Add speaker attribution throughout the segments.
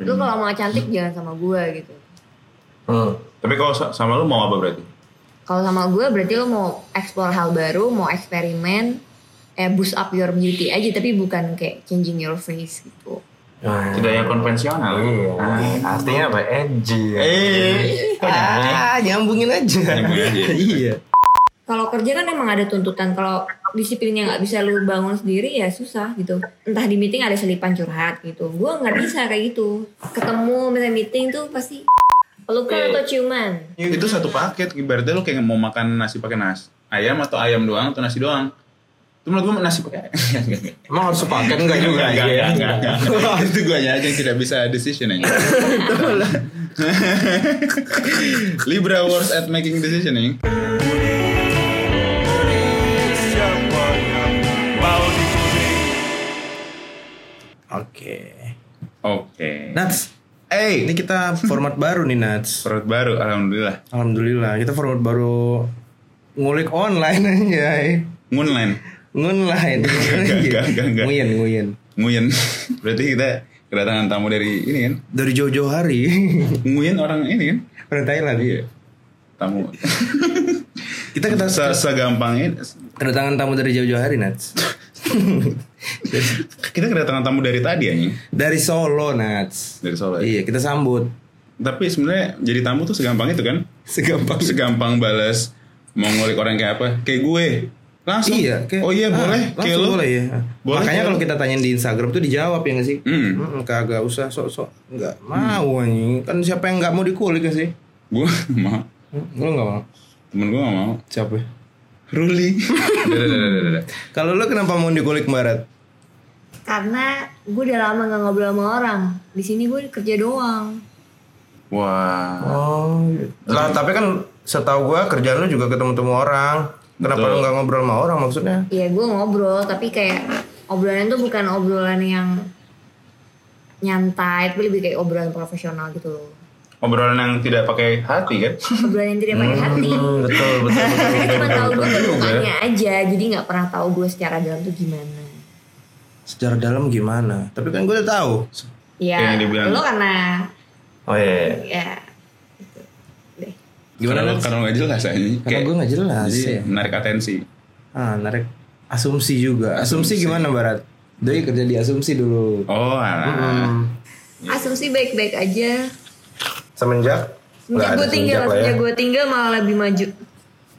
Speaker 1: Lu kalau mau cantik jangan sama gue gitu.
Speaker 2: Hmm.
Speaker 3: Tapi kalau sa- sama lu mau apa berarti?
Speaker 1: Kalau sama gue berarti lu mau explore hal baru, mau eksperimen, eh boost up your beauty aja tapi bukan kayak changing your face gitu.
Speaker 4: Nah,
Speaker 3: Tidak yang konvensional. Ah,
Speaker 2: Iya. Artinya apa? Edgy.
Speaker 4: Iya.
Speaker 3: Eh, kok nyambung?
Speaker 2: Ah, nyambungin aja.
Speaker 3: Nyambungin aja.
Speaker 2: iya.
Speaker 1: Kalau kerja kan emang ada tuntutan. Kalau disiplinnya nggak bisa lu bangun sendiri ya susah gitu. Entah di meeting ada selipan curhat gitu. Gue nggak bisa kayak gitu. Ketemu misalnya meeting tuh pasti pelukan atau ciuman.
Speaker 3: Itu satu paket. Ibaratnya lu kayak mau makan nasi pakai nasi ayam atau ayam doang atau nasi doang. Itu menurut gue nasi pakai
Speaker 2: Emang harus sepakat enggak
Speaker 3: Enggak,
Speaker 2: juga
Speaker 3: enggak,
Speaker 2: ya?
Speaker 3: enggak, enggak, enggak. iya. Itu gue aja yang tidak bisa decision aja. Libra Wars at making decisioning.
Speaker 4: Oke.
Speaker 3: Oke.
Speaker 4: Nats,
Speaker 3: Eh,
Speaker 4: ini
Speaker 3: ini
Speaker 4: kita format baru nih Nats.
Speaker 3: perut baru alhamdulillah.
Speaker 4: Alhamdulillah, kita format baru ngulik online aja.
Speaker 3: Moonline.
Speaker 4: Ngunline.
Speaker 3: enggak, enggak, enggak.
Speaker 4: Nguyen, nguyen.
Speaker 3: Nguyen. Berarti kita kedatangan tamu dari ini kan.
Speaker 4: Dari jauh-jauh hari.
Speaker 3: Nguyen orang ini kan.
Speaker 4: Orang Thailand.
Speaker 3: Iya. Tamu.
Speaker 4: Kita kita
Speaker 3: Se- Segampang ini.
Speaker 4: kedatangan tamu dari jauh-jauh hari Nats.
Speaker 3: Kita kedatangan tamu dari tadi ya Nyi?
Speaker 4: dari Solo Nats.
Speaker 3: Dari Solo. ya?
Speaker 4: Iya, kita sambut.
Speaker 3: Tapi sebenarnya jadi tamu tuh segampang itu kan.
Speaker 4: Segampang.
Speaker 3: Segampang balas mau ngulik orang kayak apa? Kayak gue. Langsung.
Speaker 4: Iya, kayak-
Speaker 3: oh
Speaker 4: ah,
Speaker 3: iya boleh. kayak
Speaker 4: langsung
Speaker 3: lu.
Speaker 4: boleh ya.
Speaker 3: Boleh,
Speaker 4: Makanya
Speaker 3: kayak
Speaker 4: kalau
Speaker 3: lu.
Speaker 4: kita tanyain di Instagram tuh dijawab ya nggak sih?
Speaker 3: Hmm.
Speaker 4: Mm, kagak usah sok-sok, nggak mau anjing. Kan siapa yang nggak mau dikulik ya sih?
Speaker 3: Gue mau.
Speaker 4: Hmm, Lu nggak mau?
Speaker 3: Temen gue gak mau.
Speaker 4: Siapa? ya?
Speaker 3: Ruli. Dadah, dadah, dadah, dadah.
Speaker 4: Kalau lu kenapa mau dikulik Barat?
Speaker 1: Karena gue udah lama nggak ngobrol sama orang. Di sini gue kerja doang.
Speaker 3: Wah.
Speaker 4: Oh, lah tapi kan setahu gua kerjaan lu juga ketemu-temu orang. Kenapa
Speaker 3: Betul.
Speaker 4: lu nggak ngobrol sama orang maksudnya?
Speaker 1: Iya gue ngobrol tapi kayak obrolan tuh bukan obrolan yang nyantai tapi lebih kayak obrolan profesional gitu loh.
Speaker 3: Obrolan yang tidak pakai hati kan?
Speaker 1: Obrolan yang tidak pakai hati.
Speaker 4: Hmm,
Speaker 3: Hmm.
Speaker 4: betul, betul,
Speaker 1: Mereka cuma tahu gue mukanya
Speaker 3: ya.
Speaker 1: aja, jadi nggak pernah tahu gue secara dalam tuh gimana.
Speaker 4: Secara dalam gimana? Tapi kan gua udah tahu.
Speaker 1: Ya,
Speaker 3: Yang dibilang-
Speaker 1: lo karena
Speaker 4: Oh iya.
Speaker 1: ya gitu deh.
Speaker 4: Gimana
Speaker 3: Karena-
Speaker 4: Nats?
Speaker 3: Karena gak jelas aja.
Speaker 4: Karena gue nggak jelas
Speaker 3: Jadi
Speaker 4: ya.
Speaker 3: menarik atensi.
Speaker 4: Ah, narik asumsi juga. Asumsi, gimana Barat? Doi kerja di asumsi dulu.
Speaker 3: Oh, alah.
Speaker 4: Hmm,
Speaker 1: Asumsi baik-baik aja.
Speaker 4: Semenjak? ya.
Speaker 1: Semenjak gue tinggal,
Speaker 3: ya.
Speaker 1: semenjak gue tinggal malah lebih maju.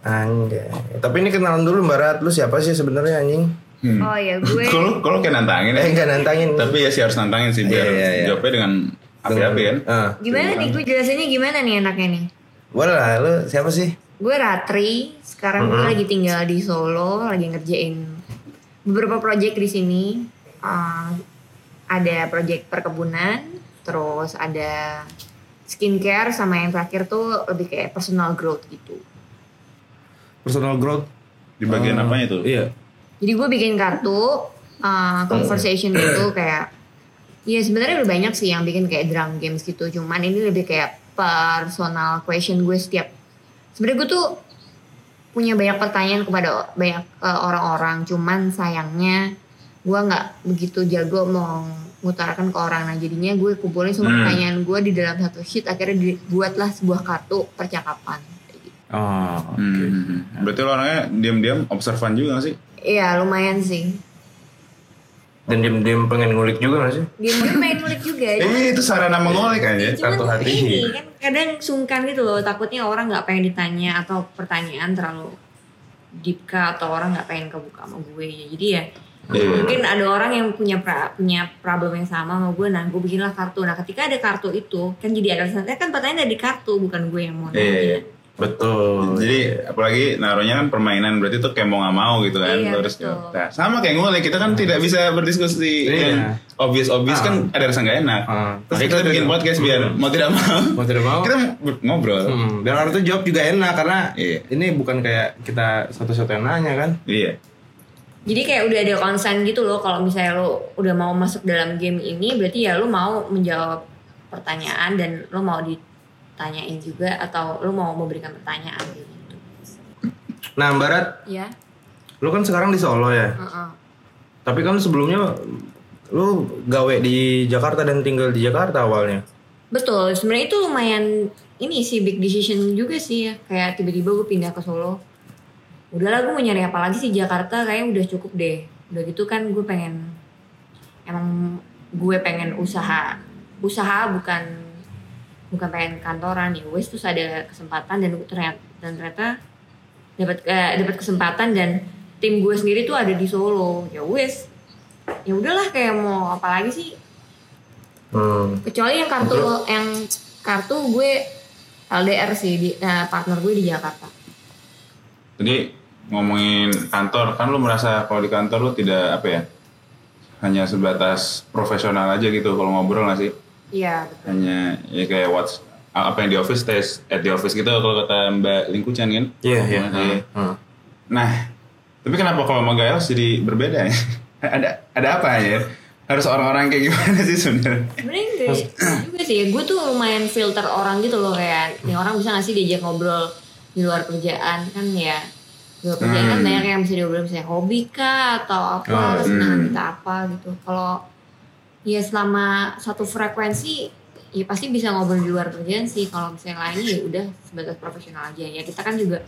Speaker 4: Anjay. Tapi ini kenalan dulu Barat. Lu siapa sih sebenarnya anjing?
Speaker 3: Hmm.
Speaker 1: Oh ya gue
Speaker 3: Kalau kalau kayak nantangin
Speaker 4: Eh
Speaker 3: eh.
Speaker 4: enggak nantangin.
Speaker 3: Tapi ya sih harus nantangin sih biar
Speaker 4: Iya, iya, iya.
Speaker 3: jawabnya dengan api-api kan.
Speaker 4: Ah.
Speaker 1: gimana nih gue jelasannya gimana nih enaknya nih?
Speaker 4: Boleh lah, lu siapa sih?
Speaker 1: Gue Ratri, sekarang gue lagi tinggal di Solo, lagi ngerjain beberapa proyek di sini. Eh, ada proyek perkebunan, terus ada skincare sama yang terakhir tuh lebih kayak personal growth gitu.
Speaker 4: Personal growth.
Speaker 3: Di bagian apanya tuh?
Speaker 4: Iya.
Speaker 1: Jadi gue bikin kartu eh, conversation gitu kayak ya sebenarnya udah banyak sih yang bikin kayak drum games gitu. Cuman ini lebih kayak personal question gue setiap sebenarnya gue tuh punya banyak pertanyaan kepada o- banyak eh, orang-orang. Cuman sayangnya gue nggak begitu jago mau mengutarakan ke orang. Nah jadinya gue kumpulin semua
Speaker 3: Hmm.
Speaker 1: pertanyaan gue di dalam satu sheet. Akhirnya dibuatlah sebuah kartu percakapan. Kayak gitu.
Speaker 4: Oh, oke.
Speaker 3: Hmm. Berarti lo orangnya diam-diam observan juga gak sih?
Speaker 1: Iya lumayan sih.
Speaker 4: Dan diem-diem pengen ngulik juga gak sih?
Speaker 1: Dia main mulik juga.
Speaker 3: Eh, itu sarana mengolik aja.
Speaker 1: Cuman
Speaker 4: kartu hati.
Speaker 1: ini kan kadang sungkan gitu loh takutnya orang nggak pengen ditanya atau pertanyaan terlalu deep kah, atau orang nggak pengen kebuka sama gue ya jadi ya
Speaker 3: Iya,
Speaker 1: mungkin ada orang yang punya pra- punya problem yang sama sama gue nah gue bikinlah kartu nah ketika ada kartu itu kan jadi ada alasan, "Eh, kan pertanyaan ada di kartu bukan gue yang mau
Speaker 3: Iya, iya, iya.
Speaker 4: Betul.
Speaker 3: Jadi apalagi naruhnya kan permainan berarti tuh kayak mau nggak mau gitu kan
Speaker 1: Iya,
Speaker 3: Lo harus
Speaker 1: betul.
Speaker 3: Nah, sama kayak ngulik kita kan tidak bisa berdiskusi
Speaker 4: Nah. Iya.
Speaker 3: yang obvious obvious kan ada rasa nggak enak.
Speaker 4: Ah.
Speaker 3: Terus kita
Speaker 4: Makanya
Speaker 3: bikin
Speaker 4: kita-
Speaker 3: podcast biar mau tidak mau
Speaker 4: Mau tidak mau.
Speaker 3: kita ber- ngobrol.
Speaker 4: Hmm, dan orang tuh jawab juga enak karena
Speaker 3: Iya.
Speaker 4: ini bukan kayak kita satu-satu yang nanya kan.
Speaker 3: Iya.
Speaker 1: jadi kayak udah ada konsen gitu loh kalau misalnya lo udah mau masuk dalam game ini berarti ya lo mau menjawab pertanyaan dan lo mau ditanyain juga atau lo mau memberikan pertanyaan gitu
Speaker 4: Nah, Barat,
Speaker 1: ya
Speaker 4: lu kan sekarang di Solo ya.
Speaker 1: Heeh.
Speaker 4: Tapi kan sebelumnya
Speaker 5: lu gawe di Jakarta dan tinggal di Jakarta awalnya.
Speaker 1: Betul, sebenarnya itu lumayan ini sih big decision juga sih ya. Kayak tiba-tiba gue pindah ke Solo. Udahlah gue mau nyari apa lagi sih Jakarta kayaknya udah cukup deh. Udah gitu kan gue pengen emang gue pengen usaha. Usaha bukan bukan pengen kantoran ya wes terus ada kesempatan dan ternyata dan ternyata dapat eh, dapat kesempatan dan tim gue sendiri tuh ada di Solo ya wes ya udahlah kayak mau apa lagi sih
Speaker 5: Hmm.
Speaker 1: kecuali yang kartu
Speaker 3: Iya.
Speaker 1: yang kartu gue LDR sih di eh, partner gue di Jakarta
Speaker 3: Jadi ngomongin kantor, kan lu merasa kalau di kantor lu tidak apa ya? Hanya sebatas profesional aja gitu kalau ngobrol nggak sih?
Speaker 1: iya betul
Speaker 3: Hanya ya kayak what's apa yang di office tes at the office gitu kalau kata Mbak Lingkuchan kan?
Speaker 5: Iya, iya.
Speaker 3: Iya.
Speaker 5: Hmm.
Speaker 3: Nah, tapi kenapa kalau sama Giles jadi berbeda ya? ada ada apa ya? Harus orang-orang kayak gimana sih sebenarnya?
Speaker 1: sebenarnya enggak juga sih gue tuh lumayan filter orang gitu loh kayak
Speaker 3: Hmm.
Speaker 1: nih orang bisa nggak sih diajak ngobrol di luar kerjaan kan ya di luar kerjaan kan
Speaker 3: Hmm.
Speaker 1: banyak yang bisa diobrolin misalnya hobi kah
Speaker 5: Oh,
Speaker 1: atau apa senang
Speaker 3: hmm.
Speaker 1: kita apa gitu kalau ya selama satu frekuensi ya pasti bisa ngobrol di luar kerjaan sih kalau misalnya lainnya ya udah sebatas profesional aja ya kita kan juga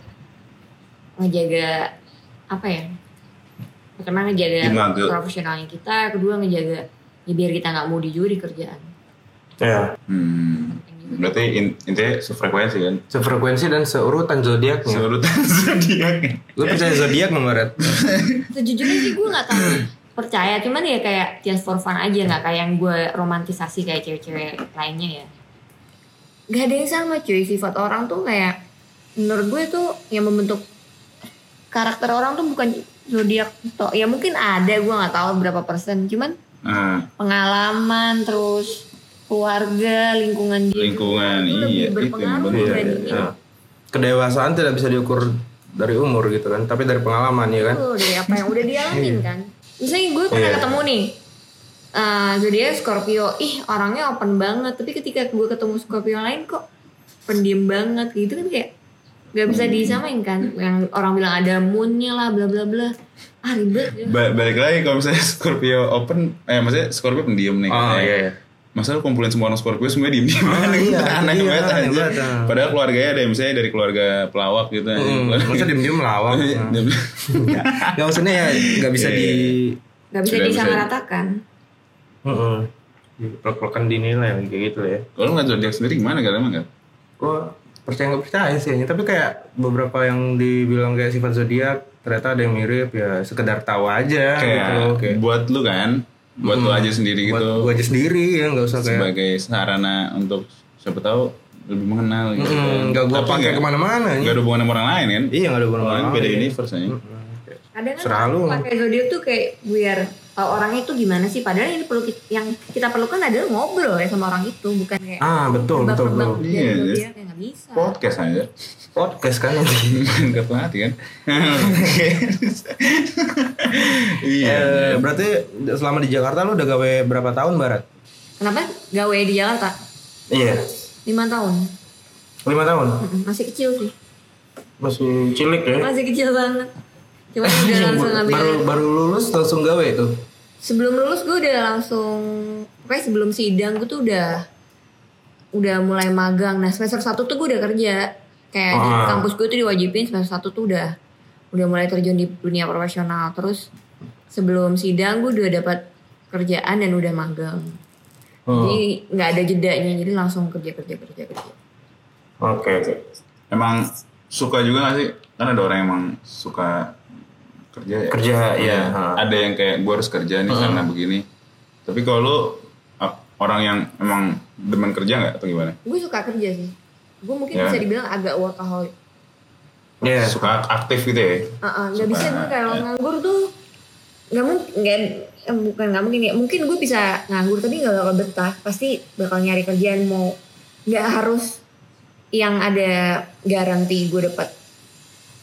Speaker 1: ngejaga apa ya pertama ngejaga
Speaker 3: Gimana tuh?
Speaker 1: profesionalnya kita kedua ngejaga ya biar kita nggak mau juga di kerjaan
Speaker 5: Ya,
Speaker 3: Hmm. Berarti in- intinya sefrekuensi kan?
Speaker 2: Sefrekuensi dan seurutan
Speaker 5: Iya.
Speaker 2: zodiaknya.
Speaker 3: Seurutan zodiak.
Speaker 4: Lu percaya zodiak nggak Maret?
Speaker 1: sejujurnya sih gue nggak tahu percaya cuman ya kayak just for fun aja nggak kayak yang gue romantisasi kayak cewek-cewek lainnya ya nggak ada yang sama cuy sifat orang tuh kayak menurut gue tuh yang membentuk karakter orang tuh bukan zodiak tok ya mungkin ada gue nggak tahu berapa persen cuman
Speaker 3: Ah,
Speaker 5: Nah.
Speaker 1: pengalaman terus keluarga lingkungan gitu
Speaker 3: lingkungan
Speaker 1: itu lebih
Speaker 3: iya itu yang
Speaker 1: berpengaruh
Speaker 3: bener.
Speaker 5: iya, iya,
Speaker 1: dibandingin
Speaker 5: iya. Kedewasaan tidak bisa diukur dari umur gitu kan, tapi dari pengalaman ya kan.
Speaker 1: Betul dari apa yang udah dialamin kan. Misalnya gue pernah
Speaker 5: Iya.
Speaker 1: ketemu nih eh zodiak Scorpio, ih orangnya open banget, tapi ketika gue ketemu Scorpio lain kok pendiam banget gitu kan kayak nggak
Speaker 5: Hmm.
Speaker 1: bisa disamain kan. Yang orang bilang ada moonnya lah, bla bla bla. Ah ribet. ya.
Speaker 3: Ba- balik lagi kalau misalnya Scorpio open eh maksudnya Scorpio pendiam nih
Speaker 5: Oh,
Speaker 3: katanya.
Speaker 5: iya, iya.
Speaker 3: masa lu kumpulin semua orang Scorpio semuanya diem diem
Speaker 5: Ah, iya,
Speaker 3: aneh
Speaker 5: iya,
Speaker 3: banget
Speaker 5: aneh
Speaker 3: aja
Speaker 5: banget, ah.
Speaker 3: padahal keluarganya ada yang misalnya dari keluarga pelawak gitu aja
Speaker 5: Hmm, masa diem-diem lawak.
Speaker 4: Gak maksudnya ya nggak bisa
Speaker 3: Iya.
Speaker 4: di
Speaker 1: Nggak bisa
Speaker 3: Nggak bisa.
Speaker 1: disamaratakan.
Speaker 5: Heeh. Pelak-pelakan iya. dinilai kayak gitu ya.
Speaker 3: kalau nggak zodiak sendiri gimana gak emang nggak
Speaker 5: Gua percaya nggak percaya sih ya. tapi kayak beberapa yang dibilang kayak sifat zodiak ternyata ada yang mirip ya sekedar tawa aja
Speaker 3: kayak
Speaker 5: gitu loh kayak
Speaker 3: buat lu kan buat lu aja sendiri
Speaker 5: buat
Speaker 3: gitu
Speaker 5: gua aja sendiri ya nggak usah kayak
Speaker 3: sebagai sarana untuk siapa tahu lebih mengenal gitu
Speaker 5: mm, nggak gua
Speaker 3: Tapi
Speaker 5: pakai
Speaker 3: nggak-
Speaker 5: kemana-mana ya.
Speaker 3: nggak ada hubungan sama orang lain kan
Speaker 5: iya nggak ada
Speaker 3: orang lain
Speaker 5: hubungan
Speaker 3: beda universe aja
Speaker 1: Kadang kan
Speaker 5: Serah lu.
Speaker 1: pakai zodiak tuh kayak biar tahu orangnya itu gimana sih padahal yang perlu ki- yang kita perlukan adalah ngobrol ya sama orang itu bukan kayak
Speaker 5: ah betul betul betul
Speaker 1: tebak-tebak
Speaker 3: Iya,
Speaker 1: dari
Speaker 3: iya.
Speaker 1: zodiak kayak nggak bisa.
Speaker 3: podcast aja
Speaker 5: podcast kan nanti
Speaker 3: nggak pelatih kan iya
Speaker 5: Eh, berarti selama di Jakarta lu udah gawe berapa tahun Barat
Speaker 1: Kenapa gawe di Jakarta?
Speaker 5: iya
Speaker 1: Lima tahun.
Speaker 5: lima tahun
Speaker 1: Mm-mm, Masih kecil sih.
Speaker 5: masih cilik ya
Speaker 1: Masih kecil banget. Cuma udah langsung ngambil.
Speaker 5: baru baru lulus langsung gawe tuh
Speaker 1: Sebelum lulus gue udah langsung pokoknya sebelum sidang gue tuh udah udah mulai magang. Nah, semester 1 tuh gue udah kerja. Kayak di
Speaker 5: Ah.
Speaker 1: kampus gue tuh diwajibin semester 1 tuh udah udah mulai terjun di dunia profesional. Terus sebelum sidang gue udah dapat kerjaan dan udah magang. Jadi nggak ada jedanya, jadi langsung kerja kerja kerja kerja.
Speaker 5: oke oke
Speaker 3: emang suka juga gak sih kan ada orang yang emang suka kerja ya
Speaker 5: Kerja, iya.
Speaker 3: ada yang kayak gue harus kerja nih karena begini tapi kalau lu ap- orang yang emang demen kerja nggak atau gimana
Speaker 1: Gue suka kerja sih. Gue mungkin
Speaker 3: Ya.
Speaker 1: bisa dibilang agak workaholic.
Speaker 5: Iya.
Speaker 3: suka aktif gitu ya
Speaker 1: Uh-uh, nggak
Speaker 3: Suka,
Speaker 1: bisa gue kalau
Speaker 3: ya.
Speaker 1: nganggur tuh nggak mungkin nggak eh, bukan nggak mungkin ya mungkin gue bisa nganggur tapi nggak bakal betah pasti bakal nyari kerjaan mau nggak harus yang ada garanti gue dapat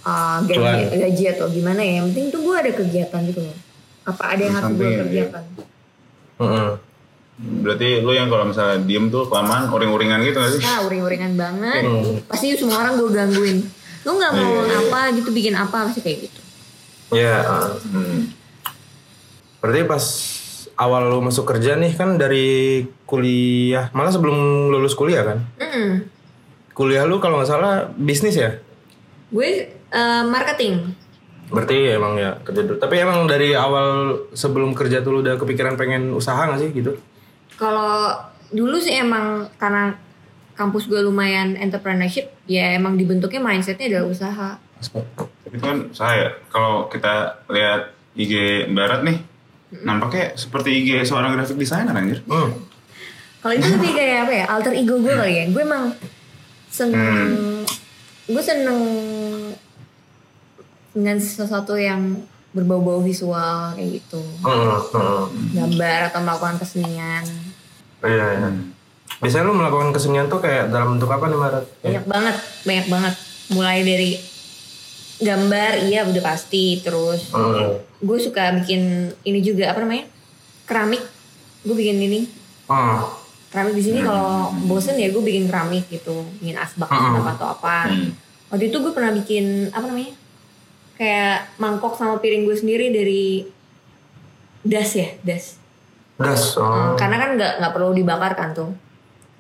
Speaker 1: uh, gaji, gaji atau gimana ya yang penting tuh gue ada kegiatan gitu loh apa ada yang harus gue
Speaker 3: Sampingan, ya.
Speaker 1: kerjakan
Speaker 5: Heeh.
Speaker 3: berarti lu yang kalau misalnya diem tuh kelamaan uring-uringan gitu gak sih
Speaker 1: Nah, uring-uringan banget.
Speaker 3: Hmm.
Speaker 1: Pasti semua orang gue gangguin. Lu nggak mau
Speaker 3: Iya.
Speaker 1: apa gitu, bikin apa, pasti kayak gitu.
Speaker 5: Iya. ah.
Speaker 3: hmm.
Speaker 5: Berarti pas
Speaker 4: awal lo masuk kerja nih kan dari kuliah malah sebelum lulus kuliah kan
Speaker 1: Mm-mm.
Speaker 4: kuliah lu kalau nggak salah bisnis ya
Speaker 1: Gue eh, marketing.
Speaker 4: berarti emang ya kerja dulu tapi emang dari awal sebelum kerja tuh lu udah kepikiran pengen usaha nggak sih gitu
Speaker 1: Kalau dulu sih emang karena kampus gue lumayan entrepreneurship, ya emang dibentuknya mindsetnya adalah usaha.
Speaker 3: Itu kan saya kalau kita lihat IG Barat nih, nampaknya seperti IG seorang graphic designer anjir.
Speaker 4: hmm.
Speaker 1: Kalau itu lebih kayak apa ya? Alter ego gue kali ya. Gue emang seneng, gue seneng dengan sesuatu yang berbau-bau visual kayak gitu,
Speaker 4: Hmm, hmm.
Speaker 1: gambar atau melakukan kesenian.
Speaker 4: iya iya biasanya lu melakukan kesenian tuh kayak dalam bentuk apa nih Marat?
Speaker 1: Banyak banget, banyak banget. Mulai dari gambar, iya udah pasti. Terus
Speaker 4: Hmm.
Speaker 1: gue suka bikin ini juga apa namanya keramik. Gue bikin ini
Speaker 4: Hmm.
Speaker 1: keramik di sini kalau bosen ya gue bikin keramik gitu, bikin asbak asbak atau apa.
Speaker 3: Hmm.
Speaker 1: waktu itu gue pernah bikin apa namanya kayak mangkok sama piring gue sendiri dari das ya das
Speaker 4: das oh.
Speaker 1: Hmm, karena kan nggak nggak perlu dibakar kan tuh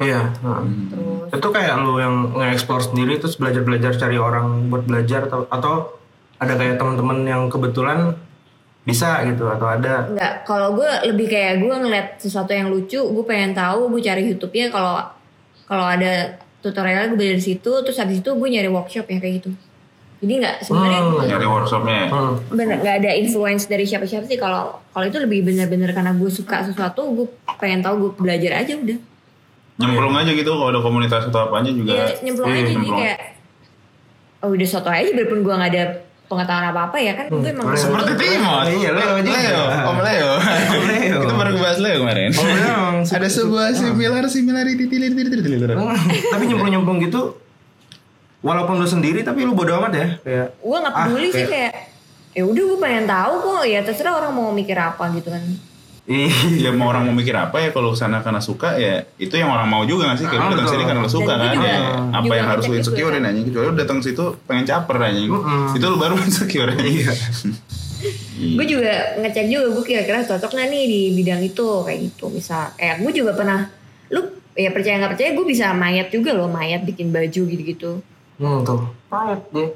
Speaker 4: iya hmm.
Speaker 1: terus
Speaker 4: itu kayak lu yang nge-explore sendiri terus belajar-belajar cari orang buat belajar atau atau ada kayak teman-teman yang kebetulan bisa gitu atau ada
Speaker 1: nggak kalau gue lebih kayak gue ngeliat sesuatu yang lucu gue pengen tahu gue cari YouTube-nya kalau kalau ada tutorialnya gue dari situ terus habis itu gue nyari workshop ya kayak gitu jadi nggak sebenarnya
Speaker 3: Nyari workshopnya. ya.
Speaker 4: hmm.
Speaker 1: bener nggak ada influence dari siapa-siapa sih kalau kalau itu lebih bener-bener karena gue suka sesuatu gue pengen tahu gue belajar aja udah
Speaker 3: Nyemplung aja gitu kalau ada komunitas atau apa aja juga.
Speaker 1: Iya nyemplung aja jadi
Speaker 3: nyemplung.
Speaker 1: kayak oh, udah soto aja biarpun gue nggak ada pengetahuan apa apa ya kan gue emang
Speaker 3: Seperti Timon.
Speaker 4: Iya, Leo juga.
Speaker 3: Leo, Om Leo.
Speaker 4: Om Leo.
Speaker 3: Kita baru bahas Leo kemarin.
Speaker 4: Oh, memang.
Speaker 3: Ada sebuah similar similarity tilir tilir tilir tilir.
Speaker 4: Hmm. tapi nyemplung-nyemplung gitu walaupun lu sendiri tapi lu bodo amat ya kayak
Speaker 1: gue nggak peduli
Speaker 4: Ah,
Speaker 1: sih kayak ya udah gue pengen tahu kok ya terserah orang mau mikir apa gitu kan
Speaker 4: ih
Speaker 3: Ya mau orang mau mikir apa ya kalau sana karena suka ya itu yang orang mau juga nggak sih
Speaker 4: Ah,
Speaker 3: kalau datang
Speaker 4: betul.
Speaker 3: sini karena lo suka
Speaker 1: Dan itu
Speaker 3: kan
Speaker 1: juga-
Speaker 3: ya apa
Speaker 1: juga
Speaker 3: yang harus lo
Speaker 1: ngecek
Speaker 3: insecure
Speaker 1: juga. kan.
Speaker 3: dan anjing kecuali lo datang situ pengen caper anjing itu lo baru insecure anjing
Speaker 4: Iya.
Speaker 3: Iya.
Speaker 1: gue juga ngecek juga gue kira-kira cocok nggak nih di bidang itu kayak gitu misal kayak gue juga pernah lu ya percaya nggak percaya gue bisa mayat juga loh mayat bikin baju gitu-gitu
Speaker 4: hmm tuh payet deh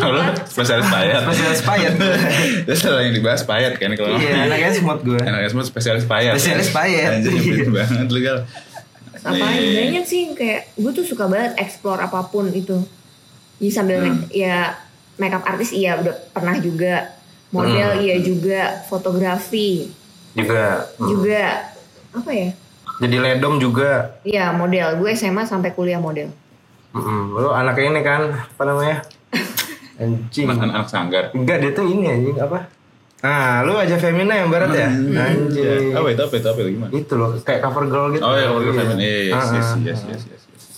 Speaker 3: kalau lo spesialis payat
Speaker 4: spesialis payet
Speaker 3: itu salah yang dibahas payat kan kalau
Speaker 4: iya anaknya semut gue
Speaker 3: Anak semua spesialis payet.
Speaker 4: Spesialis payet. Iya.
Speaker 3: Anjing nyebelin banget lu gal.
Speaker 1: apalagi
Speaker 3: Nih.
Speaker 1: banyak sih kayak gue tuh suka banget explore apapun itu jadi sambil make- ya makeup artis iya udah pernah juga model iya juga fotografi
Speaker 4: juga Hmm.
Speaker 1: juga apa ya
Speaker 4: jadi ledom juga
Speaker 1: iya model gue SMA sampai kuliah model
Speaker 4: Mm-mm. lu anaknya ini kan apa namanya anjing
Speaker 3: Mas anak sanggar.
Speaker 4: enggak dia tuh ini anjing apa nah lu aja Femina yang barat ya anjing
Speaker 3: Hmm. Iya. Apa itu apa itu apa itu gimana?
Speaker 4: itu loh kayak cover girl gitu
Speaker 3: Oh ya kalau kita feminine.
Speaker 4: Ah,
Speaker 3: Yes, yes,
Speaker 4: ah.
Speaker 3: yes, yes, yes, yes. iya,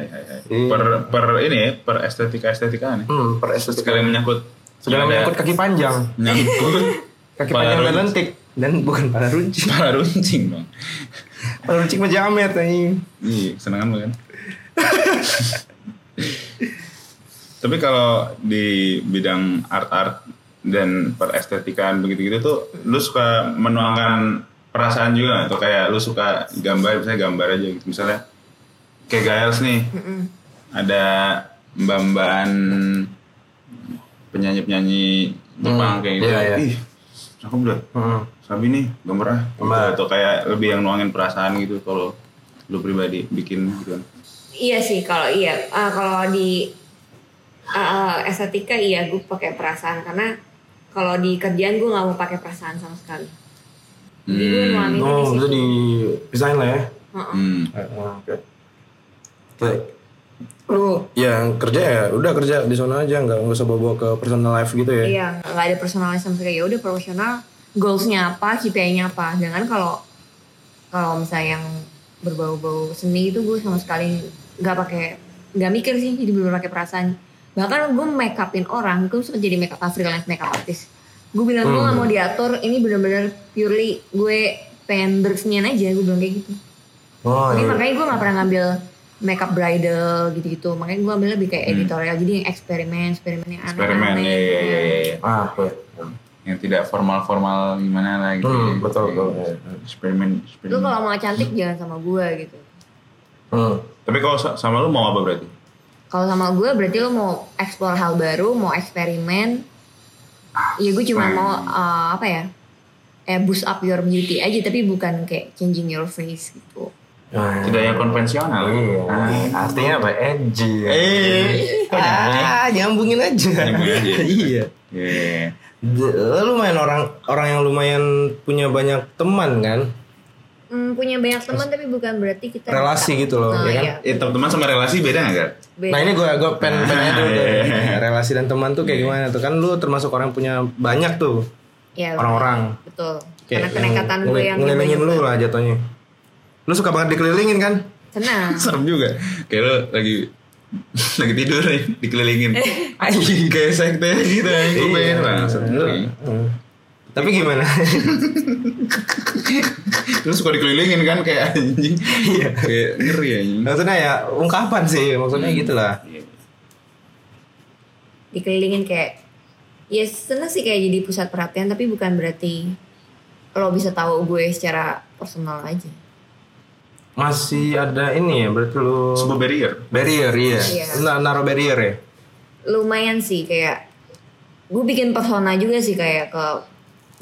Speaker 3: Hai, hai, hai.
Speaker 4: Iya.
Speaker 3: Per per ini ya, per estetika estetikaan ya.
Speaker 4: hmm, per estetika
Speaker 3: Sekali menyangkut
Speaker 4: sedang
Speaker 3: ada-
Speaker 4: menyangkut kaki panjang
Speaker 3: menyangkut
Speaker 4: kaki
Speaker 3: Pala
Speaker 4: panjang dan
Speaker 3: iya. runcing.
Speaker 4: lentik dan bukan para runcing
Speaker 3: Pala runcing bang.
Speaker 4: para runcing mah jamet anjing
Speaker 3: Iya, senengan lu kan. Tapi kalau di bidang art-art dan perestetikaan begitu-gitu tuh lu suka menuangkan perasaan juga nggak? atau kayak lu suka gambar misalnya gambar aja gitu misalnya kayak Giles nih ada mbak-mbakan penyanyi-penyanyi Jepang kayak gitu
Speaker 4: iya, iya.
Speaker 3: ih cakep dah
Speaker 4: hmm.
Speaker 3: Sabi nih gambar ah Gitu.
Speaker 4: Gambar.
Speaker 3: atau kayak lebih yang nuangin perasaan gitu kalau lu pribadi bikin gitu kan
Speaker 1: iya sih kalau iya Ah, kalau di ah, ah, estetika iya gue pakai perasaan karena kalau di kerjaan gue nggak mau pakai perasaan sama sekali jadi gue nuangin di
Speaker 4: oh
Speaker 1: situ.
Speaker 4: itu dipisahin lah ya Nah,
Speaker 1: Heeh.
Speaker 3: hmm.
Speaker 4: oke lu yang kerja ya udah kerja di sana aja nggak nggak usah bawa ke personal life gitu ya
Speaker 1: Iya, nggak ada personalnya sama sekali. Ya udah profesional, goalsnya apa, KPI-nya apa. Jangan kalau kalau misalnya yang berbau-bau seni itu gue sama sekali nggak pakai nggak mikir sih jadi belum pakai perasaan bahkan gue make upin orang gue suka jadi make up freelance make up artist gue bilang gue nggak mau diatur ini benar-benar purely gue pengen berkesenian aja gue bilang kayak gitu
Speaker 4: oh
Speaker 1: jadi
Speaker 4: iya.
Speaker 1: makanya gue nggak pernah ngambil makeup bridal gitu-gitu makanya gue gitu
Speaker 3: iya,
Speaker 1: ambil lebih kayak editorial jadi yang Hmm. eksperimen iya, eksperimen yang aneh-aneh
Speaker 3: eksperimen ya ya ya, ya.
Speaker 4: ah iya.
Speaker 3: yang tidak formal-formal gimana lah gitu.
Speaker 5: Hmm,
Speaker 2: betul, betul.
Speaker 3: Eksperimen,
Speaker 1: Lu
Speaker 3: eksperimen.
Speaker 1: kalau mau cantik
Speaker 4: Hmm.
Speaker 1: jangan sama gue gitu.
Speaker 5: Hmm.
Speaker 3: Tapi kalau sa- sama lu mau apa berarti?
Speaker 2: Hmm.
Speaker 1: Kalau sama gue berarti lu mau explore hal baru, mau eksperimen. Ya gue
Speaker 4: Hmm.
Speaker 1: cuma mau eh, apa ya? Eh boost up your beauty aja tapi bukan kayak changing your face gitu.
Speaker 3: Tidak yang konvensional.
Speaker 2: Iya.
Speaker 3: Ah.
Speaker 2: Artinya apa? Edgy.
Speaker 3: Eh, Iya. kok nyambung?
Speaker 4: Ah, nyambungin aja.
Speaker 3: Nyambungin aja.
Speaker 4: iya.
Speaker 3: Iya.
Speaker 4: D- lumayan orang orang yang lumayan punya banyak teman kan.
Speaker 1: Hmm, punya banyak teman tapi bukan berarti kita
Speaker 4: Relasi
Speaker 1: bisa-
Speaker 4: gitu loh,
Speaker 1: Nah,
Speaker 4: ya kan?
Speaker 1: iya.
Speaker 3: Eh, teman sama relasi beda nggak, Gar?
Speaker 1: Beda. Iya,
Speaker 4: Nah ini gue gue pen pen aja dulu deh.
Speaker 3: Iya.
Speaker 4: relasi dan teman tuh kayak gimana tuh kan lu termasuk orang punya banyak tuh
Speaker 1: Ya,
Speaker 4: orang-orang.
Speaker 1: Betul. Karena
Speaker 4: Kayak
Speaker 1: kenekatan
Speaker 4: ngeli-
Speaker 1: gue yang
Speaker 4: ngelilingin lu lah jatuhnya. Lu suka banget dikelilingin kan?
Speaker 1: Tenang.
Speaker 3: Serem juga. Kayak lo lagi lagi tidur nih, dikelilingin. Anjing kayak sekte gitu anjing. Gue pengen banget.
Speaker 4: Hmm. Tapi gimana?
Speaker 3: Terus suka dikelilingin kan kayak anjing. Iya. kayak ngeri anjing.
Speaker 4: maksudnya ya ungkapan sih, maksudnya gitu lah.
Speaker 1: dikelilingin kayak ya seneng sih kayak jadi pusat perhatian tapi bukan berarti lo bisa tahu gue secara personal aja
Speaker 4: Masih ada ini ya berarti lu
Speaker 3: Sebuah barrier.
Speaker 4: barrier iya.
Speaker 1: Iya.
Speaker 4: Nah, naruh barrier ya.
Speaker 1: lumayan sih kayak gue bikin persona juga sih kayak ke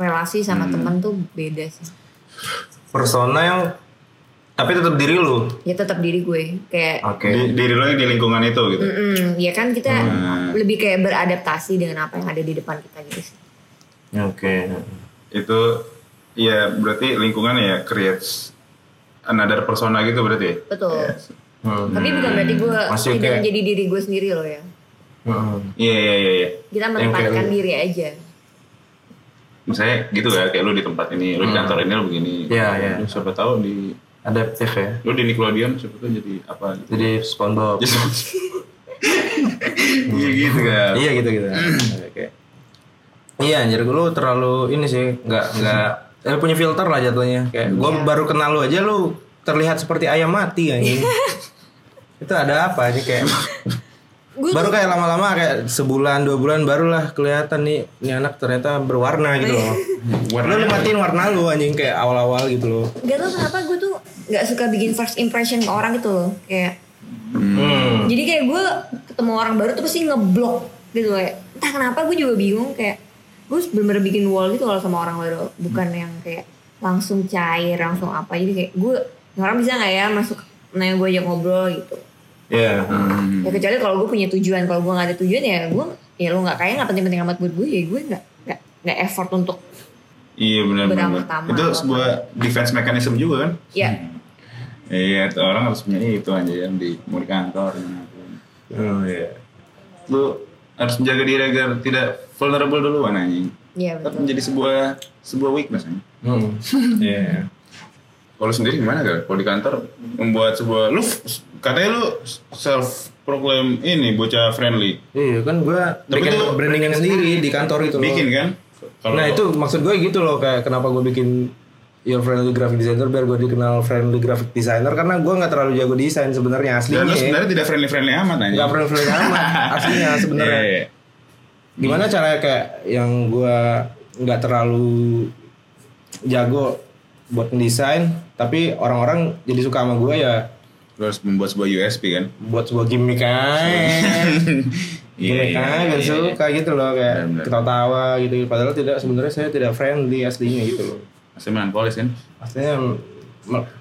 Speaker 1: relasi sama
Speaker 4: Hmm.
Speaker 1: temen tuh beda sih
Speaker 4: Persona yang tapi tetap diri lu.
Speaker 1: ya tetap diri gue kayak
Speaker 4: Oke.
Speaker 3: Di, diri lo yang di lingkungan itu gitu.
Speaker 1: mm-mm, ya kan kita
Speaker 3: Hmm.
Speaker 1: lebih kayak beradaptasi dengan apa yang ada di depan kita gitu sih
Speaker 4: Ya, Oke.
Speaker 3: Itu ya berarti lingkungan ya creates another persona gitu berarti. ya?
Speaker 1: betul
Speaker 4: Hmm.
Speaker 1: tapi bukan berarti gue
Speaker 4: Masih
Speaker 1: tidak
Speaker 4: kayak-
Speaker 1: menjadi diri gue sendiri loh ya
Speaker 4: Hmm.
Speaker 3: Iya iya iya iya.
Speaker 1: kita menempatkan diri aja
Speaker 3: Misalnya gitu ya kayak lu di tempat ini, lu di kantor ini lu begini.
Speaker 5: Iya, iya.
Speaker 3: Lu Siapa tahu di
Speaker 5: Adaptif ya.
Speaker 3: lu di Nickelodeon siapa tahu jadi apa gitu.
Speaker 5: Jadi SpongeBob.
Speaker 3: Jadi Iya gitu kan.
Speaker 4: Iya gitu gitu. Oke. Iya anjir lu terlalu ini sih nggak nggak Iya. eh, punya filter lah jatuhnya. Kayak gua baru kenal lu aja lu terlihat seperti ayam mati anjing. Itu ada apa aja kayak
Speaker 1: Gua
Speaker 4: baru kayak lama-lama kayak sebulan dua bulan barulah kelihatan nih ini anak ternyata berwarna gitu loh. lu lu matiin warna lu anjing kayak awal-awal gitu loh.
Speaker 1: Gak tau kenapa gue tuh gak suka bikin first impression ke orang gitu loh Kayak
Speaker 4: Hmm.
Speaker 1: Jadi kayak gue ketemu orang baru tuh pasti ngeblok gitu loh kayak, Entah kenapa gue juga bingung kayak Gue bener-bener bikin wall gitu kalau sama orang baru Bukan
Speaker 4: Hmm.
Speaker 1: yang kayak langsung cair langsung apa Jadi kayak gue "Ini orang bisa gak ya masuk Nanya gue ajak ngobrol gitu
Speaker 4: Iya.
Speaker 1: Ya kecuali kalau gue punya tujuan Kalau gue gak ada tujuan ya gue Ya lu gak kaya gak penting-penting amat buat gue Ya gue gak, gak, gak effort untuk
Speaker 3: Iya benar benar.
Speaker 1: Beramah-tamah.
Speaker 3: Itu sebuah defense mechanism juga kan?
Speaker 1: Ya
Speaker 4: Hmm.
Speaker 3: Iya, itu orang harus punya itu aja yang di mau di kantor. dimanapun.
Speaker 4: Oh iya.
Speaker 3: Lu harus menjaga diri agar tidak vulnerable duluan anjing.
Speaker 1: Iya
Speaker 3: Tetap
Speaker 1: betul
Speaker 3: menjadi sebuah sebuah weakness anjing.
Speaker 4: Hmm. Iya.
Speaker 3: Kalau lu sendiri gimana Gar? Kalau di kantor membuat sebuah lu katanya lu self proclaim ini bocah friendly.
Speaker 4: Iya kan gua
Speaker 3: Tapi
Speaker 4: bikin
Speaker 3: itu-
Speaker 4: brandingan sendiri di kantor itu loh.
Speaker 3: Bikin kan? Kalau
Speaker 4: Nah itu maksud gue gitu loh kayak kenapa gue bikin your friendly graphic designer biar gue dikenal friendly graphic designer karena gue nggak terlalu jago desain sebenarnya
Speaker 3: dan lu
Speaker 4: aslinya
Speaker 3: sebenarnya tidak friendly-friendly amat anjing.
Speaker 4: nggak friendly friendly amat aslinya Nah, sebenarnya
Speaker 3: Iya, iya.
Speaker 4: gimana caranya kayak yang gue nggak terlalu jago buat desain tapi orang-orang jadi suka sama gue ya
Speaker 3: Lu harus membuat sebuah USP kan? Iya,
Speaker 4: buat sebuah gimmick aja gimmick aja biar kan? suka gitu loh kayak
Speaker 3: Benar, benar.
Speaker 4: ketawa-tawa gitu padahal tidak sebenarnya saya tidak friendly aslinya gitu loh
Speaker 3: Masih melankolis kan?
Speaker 4: Maksudnya Mar-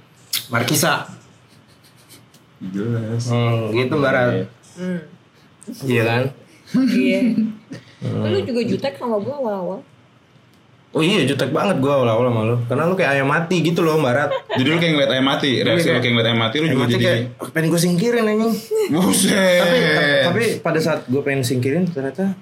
Speaker 4: Markisa.
Speaker 3: Jelas.
Speaker 4: Hmm, gitu
Speaker 3: iya.
Speaker 4: barat.
Speaker 1: Hmm.
Speaker 4: Iya kan?
Speaker 1: Iya.
Speaker 4: Eh.
Speaker 1: Lu juga jutek sama gue awal-awal.
Speaker 4: Oh iya jutek banget gua awal-awal sama lu. Karena lu kayak ayam mati gitu loh Barat.
Speaker 3: Jadi lu kayak ngeliat ayam mati, reaksi lu
Speaker 4: kayak-
Speaker 3: kayak ngeliat ayam mati, lu
Speaker 4: Ayam
Speaker 3: juga
Speaker 4: Iya, mati
Speaker 3: jadi
Speaker 4: kayak "Oh, pengen gue singkirin anjing.
Speaker 3: buset.
Speaker 4: tapi, ta- tapi pada saat gue pengen singkirin ternyata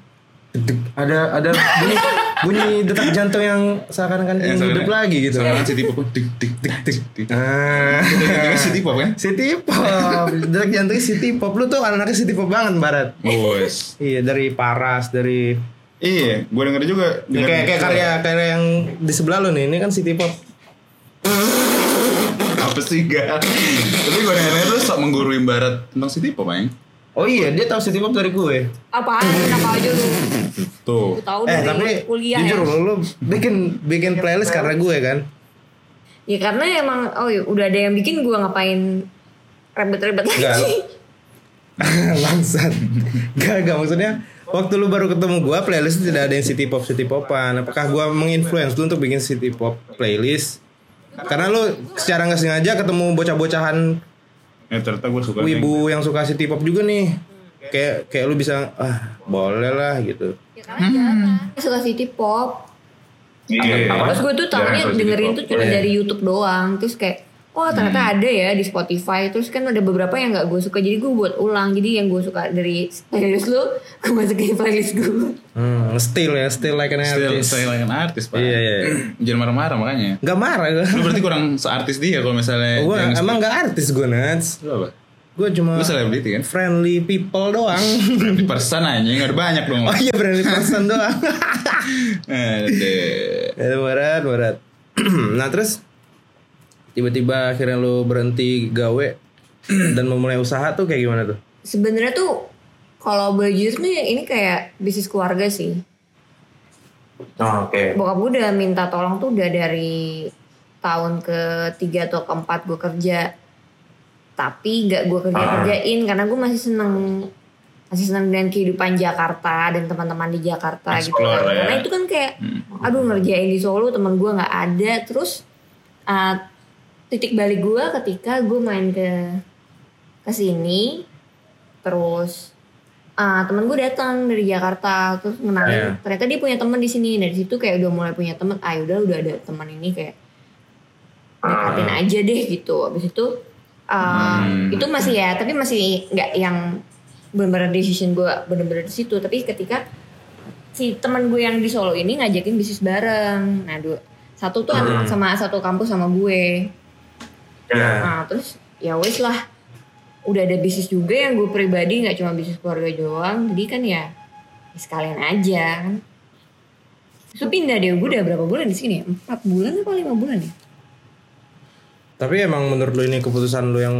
Speaker 4: dedek, ada ada bunyi bunyi detak jantung yang seakan-akan
Speaker 3: Ya,
Speaker 4: ingin hidup
Speaker 3: sebenarnya-
Speaker 4: lagi gitu.
Speaker 3: Soalnya si tipe dik dik dik dik dik.
Speaker 4: Ah.
Speaker 3: Itu si tipe kan?
Speaker 4: City pop, detak jantungnya city pop. Lu tuh anaknya city pop banget Barat.
Speaker 3: Bos.
Speaker 4: Iya dari Paras dari
Speaker 3: Iya, gua denger juga.
Speaker 4: Ini
Speaker 3: denger-
Speaker 4: kayak kayak karya karya yang di sebelah lo nih, ini kan City Pop.
Speaker 3: apa sih gak? tapi gua denger tuh sok menggurui barat tentang si tipe main.
Speaker 4: Oh iya, dia tahu city pop dari gue.
Speaker 1: Apaan? Kenapa aja lu? Lu
Speaker 3: Tuh.
Speaker 1: tahu
Speaker 4: eh,
Speaker 1: dari
Speaker 4: tapi
Speaker 1: kuliah
Speaker 4: jujur
Speaker 1: ya?
Speaker 4: lu, lu bikin bikin playlist karena gue kan.
Speaker 1: Ya karena emang oh ya, udah ada yang bikin gua ngapain ribet-ribet
Speaker 4: Enggak,
Speaker 1: lagi.
Speaker 4: Langsat. Gak, gak maksudnya waktu lu baru ketemu gue playlist tidak ada yang city pop city popan. Apakah gue menginfluence lu untuk bikin city pop playlist? Karena lu secara nggak sengaja ketemu bocah-bocahan
Speaker 3: Eh ternyata gue suka nih.
Speaker 4: wibu yang suka city pop juga nih. Kayak kayak lu bisa ah boleh lah gitu.
Speaker 1: Ya karena jarang. Suka city pop.
Speaker 3: Iya.
Speaker 1: Terus gue tuh tahunya
Speaker 3: Jangan suka
Speaker 1: dengerin
Speaker 3: City Iya.
Speaker 1: tuh cuma dari YouTube doang. Terus kayak Oh
Speaker 3: Hmm.
Speaker 1: ternyata ada ya di Spotify Terus kan ada beberapa yang gak gue suka Jadi gue buat ulang Jadi yang gue suka dari playlist lu Gue masukin playlist gue
Speaker 4: Hmm, still ya, still like an
Speaker 3: Pop. Still
Speaker 4: artist.
Speaker 3: saya like an artist pak.
Speaker 4: Iya, iya.
Speaker 3: Jangan marah-marah makanya.
Speaker 4: Gak marah gue.
Speaker 3: Lu berarti kurang seartis dia kalau misalnya.
Speaker 4: Gue
Speaker 3: jangan-
Speaker 4: Oh, emang gak artis gue Nats.
Speaker 3: Lu apa?
Speaker 4: Gue cuma
Speaker 3: Lu selebriti kan?
Speaker 4: friendly people doang.
Speaker 3: Di persen anjing ada banyak dong.
Speaker 4: oh iya friendly person doang.
Speaker 3: Eh, deh.
Speaker 4: Ya, berat berat. nah terus tiba-tiba akhirnya lu berhenti gawe dan memulai usaha tuh kayak gimana tuh?
Speaker 1: Sebenarnya tuh kalau boleh jujur nih ini kayak bisnis keluarga sih.
Speaker 5: Oh, oke.
Speaker 1: Bokap gue udah minta tolong tuh udah dari tahun ketiga atau keempat gue kerja. Tapi gak gue
Speaker 3: Ah.
Speaker 1: kerja-kerjain karena gue masih seneng masih seneng dengan kehidupan Jakarta dan teman-teman di Jakarta gitu. kan.
Speaker 3: Explore ya. Hmm.
Speaker 1: Karena itu kan kayak aduh ngerjain di Solo teman gue nggak ada terus uh, titik balik gue ketika gue main ke ke sini terus ah temen gue datang dari Jakarta terus ngenalin ternyata dia punya temen di sini dari situ kayak udah mulai punya temen ah udah udah ada teman ini kayak dekatin aja deh gitu abis itu ah,
Speaker 3: Hmm.
Speaker 1: itu masih ya tapi masih nggak yang benar-benar decision gue benar-benar di situ tapi ketika si teman gue yang di Solo ini ngajakin bisnis bareng nah dua satu tuh anak sama satu kampus sama gue
Speaker 5: Ya.
Speaker 1: Nah, terus ya wes lah. Udah ada bisnis juga yang gue pribadi nggak cuma bisnis keluarga doang. Jadi kan ya ya sekalian aja kan. Terus pindah deh gue udah berapa bulan di sini? ya? Empat bulan apa lima bulan ya?
Speaker 4: Tapi emang menurut lu ini keputusan lu yang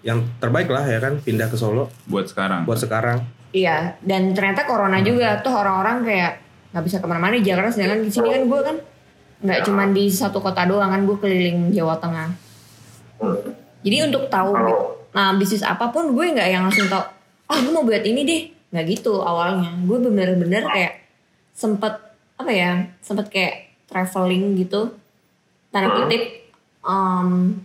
Speaker 4: yang terbaik lah ya kan pindah ke Solo
Speaker 3: Buat sekarang.
Speaker 4: buat sekarang.
Speaker 1: Iya. Dan ternyata corona juga tuh orang-orang kayak nggak bisa kemana-mana di Jakarta. Sedangkan di sini kan gue kan nggak cuma di satu kota doang kan gue keliling Jawa Tengah. Jadi untuk tahu nah bisnis apapun gue nggak yang langsung tahu oh gue mau buat ini deh nggak gitu awalnya gue bener-bener kayak sempet apa ya sempet kayak traveling gitu tanda kutip em,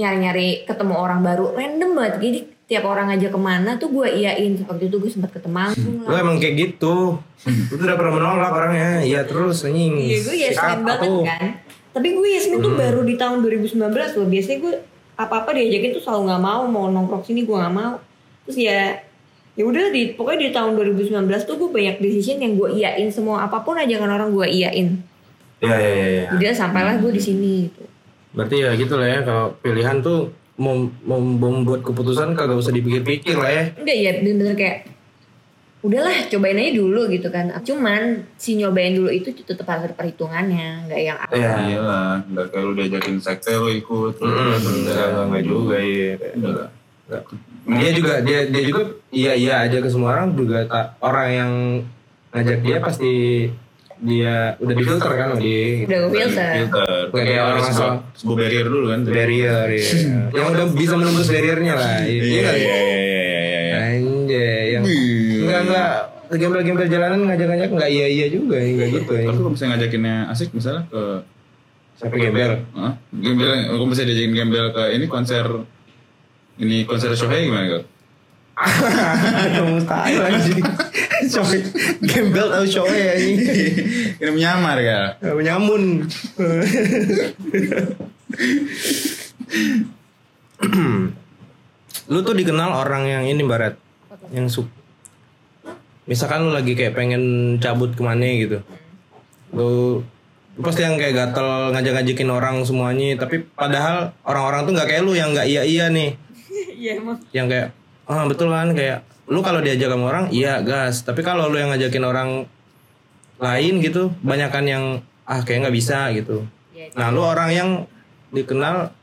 Speaker 1: nyari-nyari ketemu orang baru random banget jadi tiap orang aja kemana tuh gue iyain waktu itu gue sempet ke Temanggung
Speaker 4: Lu
Speaker 1: lah
Speaker 4: emang kayak gitu.
Speaker 5: Hmm.
Speaker 4: Lu tidak pernah menolak orangnya. Iya terus anjing.
Speaker 1: Iya Hmm. gue Yasmin
Speaker 4: Siapa
Speaker 1: banget
Speaker 4: tuh?
Speaker 1: kan Tapi gue Yasmin tuh baru di tahun 2019 loh Biasanya gue apa-apa diajakin tuh selalu gak mau Mau nongkrong sini gue gak mau Terus ya ya udah di pokoknya di tahun 2019 tuh gue banyak decision yang gue iyain semua apapun ajakan orang gue iyain
Speaker 5: Ya, ya, ya, ya.
Speaker 1: jadi sampailah gue di sini gitu.
Speaker 4: Berarti ya gitu lah ya kalau pilihan tuh mem- mem- membuat keputusan kagak usah dipikir-pikir lah ya.
Speaker 1: enggak ya bener-bener kayak udahlah cobain aja dulu gitu kan cuman si nyobain dulu itu tetap harus ada perhitungannya nggak yang
Speaker 5: Iya.
Speaker 3: Iyalah, nggak kayak lu diajakin sekte lu ikut. Enggak juga.
Speaker 4: iya.
Speaker 3: Enggak.
Speaker 4: Dia juga dia dia juga iya iya aja ke semua orang juga tak orang yang ngajak dia pasti dia udah difilter kan sama dia. gitu.
Speaker 1: udah gue filter
Speaker 3: Filter.
Speaker 4: Kayak
Speaker 3: Kayak
Speaker 4: orang
Speaker 3: harus
Speaker 4: asal.
Speaker 3: sebuah- sebuah barrier dulu kan.
Speaker 4: Barrier ya. yang udah bisa menembus barriernya lah. Iya.
Speaker 3: Iya,
Speaker 4: nggak?
Speaker 3: iya, iya, iya, iya, iya.
Speaker 4: Anjay yang enggak enggak gembel-gembel jalanan ngajak-ngajak enggak iya iya juga enggak gitu ya.
Speaker 3: Tapi kalau misalnya ngajakinnya asik misalnya ke
Speaker 4: Sampai gembel.
Speaker 3: Hah? Gembel, kalau misalnya diajakin gembel ke ini konser ini konser Shohei gimana kok?
Speaker 4: Mustahil anjing. Coy, gembel atau coy anjing.
Speaker 3: Iya. Ini menyamar kak.
Speaker 4: Menyamun. lu tuh dikenal orang yang ini barat yang suka misalkan lu lagi kayak pengen cabut kemana gitu lu, lu pasti yang kayak gatel ngajak-ngajakin orang semuanya tapi padahal orang-orang tuh nggak kayak lu yang nggak iya iya nih
Speaker 1: iya emang
Speaker 4: yang kayak ah betul kan kayak lu kalau diajak sama orang iya gas tapi kalau lu yang ngajakin orang lain gitu banyakan yang ah kayak nggak bisa gitu
Speaker 1: Iya.
Speaker 4: nah lu orang yang dikenal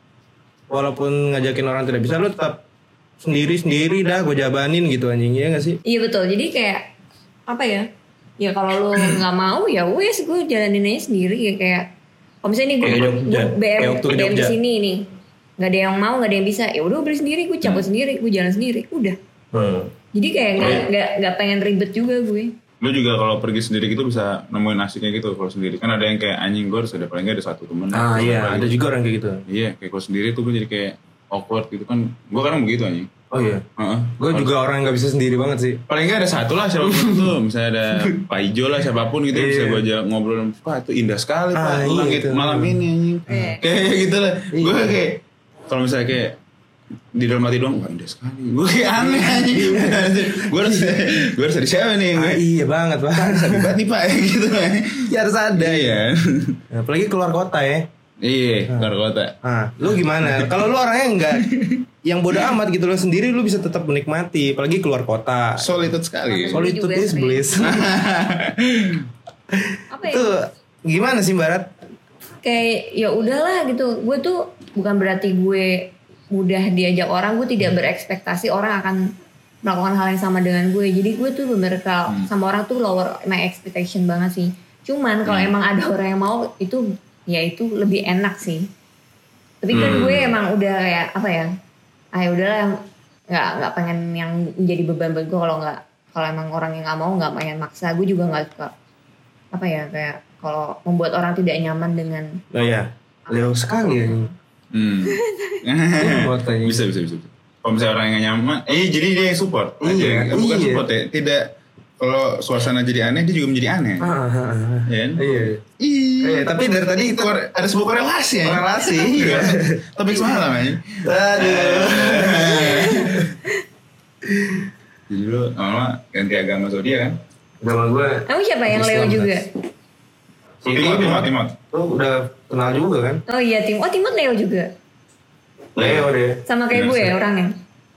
Speaker 4: walaupun ngajakin orang tidak bisa lu tetap sendiri sendiri dah gue jabanin gitu anjing ya gak sih
Speaker 1: Iya betul. Jadi kayak apa ya? Ya kalau lu nggak mau ya wes gue jalanin aja sendiri ya kayak kalau misalnya nih gue
Speaker 5: Kayak Jogja.
Speaker 1: BM
Speaker 4: Kayak waktu ke
Speaker 1: BM di
Speaker 4: Jogja.
Speaker 1: sini nih nggak ada yang mau nggak ada yang bisa ya udah gue beli sendiri gue
Speaker 4: Hmm.
Speaker 1: cabut sendiri gue jalan sendiri udah jadi kayak nggak
Speaker 4: Iya.
Speaker 1: nggak nggak pengen ribet juga gue
Speaker 3: lu juga kalau pergi sendiri gitu bisa nemuin asiknya gitu kalau sendiri kan ada yang kayak anjing gue harus ada paling nggak ada satu temen
Speaker 4: ah
Speaker 3: Terus apa
Speaker 4: iya ada
Speaker 3: gitu.
Speaker 4: juga orang kayak gitu
Speaker 3: iya kayak kalau sendiri tuh gue jadi kayak awkward gitu kan gue kadang begitu anjing
Speaker 4: oh iya
Speaker 3: Heeh.
Speaker 4: gue juga orang yang gak bisa sendiri banget sih
Speaker 3: paling nggak ada satu lah siapapun tuh misalnya ada Pak Ijo lah siapapun gitu bisa gue ajak ngobrol wah itu indah sekali
Speaker 4: Iya. Ah,
Speaker 3: Pak
Speaker 4: iya,
Speaker 3: langit
Speaker 4: itu. Iya.
Speaker 3: malam ini anjing
Speaker 1: Iya.
Speaker 3: kayak gitu lah gue kayak kalau misalnya kayak di dalam hati doang wah indah sekali gue kayak aneh anjing gue harus gue harus ada siapa nih gue
Speaker 4: Iya. ah, iya banget pak
Speaker 3: sakit banget nih Pak gitu lah
Speaker 4: ya harus ada
Speaker 3: iya
Speaker 4: apalagi keluar kota ya
Speaker 3: iya keluar kota
Speaker 4: ah lu gimana kalau lu orangnya enggak yang bodoh amat gitu lo sendiri lu bisa tetap menikmati apalagi keluar kota
Speaker 3: solitude sekali
Speaker 1: Sol-
Speaker 4: solitude
Speaker 1: Juga
Speaker 4: is
Speaker 1: sih.
Speaker 4: bliss
Speaker 1: apa ya
Speaker 4: itu gimana sih barat
Speaker 1: kayak ya udahlah gitu gue tuh bukan berarti gue mudah diajak orang gue tidak berekspektasi orang akan melakukan hal yang sama dengan gue jadi gue tuh bener kalau sama orang tuh lower my expectation banget sih cuman kalau emang ada orang yang mau itu ya itu lebih enak sih tapi kan gue emang udah kayak apa ya ah ya udahlah nggak nggak pengen yang jadi beban buat gue kalau nggak kalau emang orang yang nggak mau nggak pengen maksa gue juga nggak suka apa ya kayak kalau membuat orang tidak nyaman dengan
Speaker 4: oh iya Leo sekali ya
Speaker 3: Hmm.
Speaker 4: buat anjing.
Speaker 3: bisa bisa bisa kalau misalnya orang yang nyaman eh jadi dia yang support
Speaker 4: Iya,
Speaker 3: Aja. bukan
Speaker 4: iya.
Speaker 3: support ya tidak kalau suasana jadi aneh dia juga menjadi aneh Iya kan?
Speaker 4: iya
Speaker 3: Iya,
Speaker 4: Iya, Ah. tapi dari tadi itu-
Speaker 3: kor- ada sebuah korelasi ya.
Speaker 4: Korelasi, iya.
Speaker 3: Topik semalam ya. Jadi lu lama ganti agama zodiak kan?
Speaker 5: Nama gue
Speaker 1: kamu siapa yang Leo
Speaker 5: Islam,
Speaker 1: juga
Speaker 3: Timot, Timot, Timot.
Speaker 5: tuh udah kenal juga kan.
Speaker 1: oh iya tim oh Timot Leo juga
Speaker 5: Leo deh.
Speaker 1: sama kayak
Speaker 3: Iya,
Speaker 1: gue ya
Speaker 3: sama.
Speaker 1: orangnya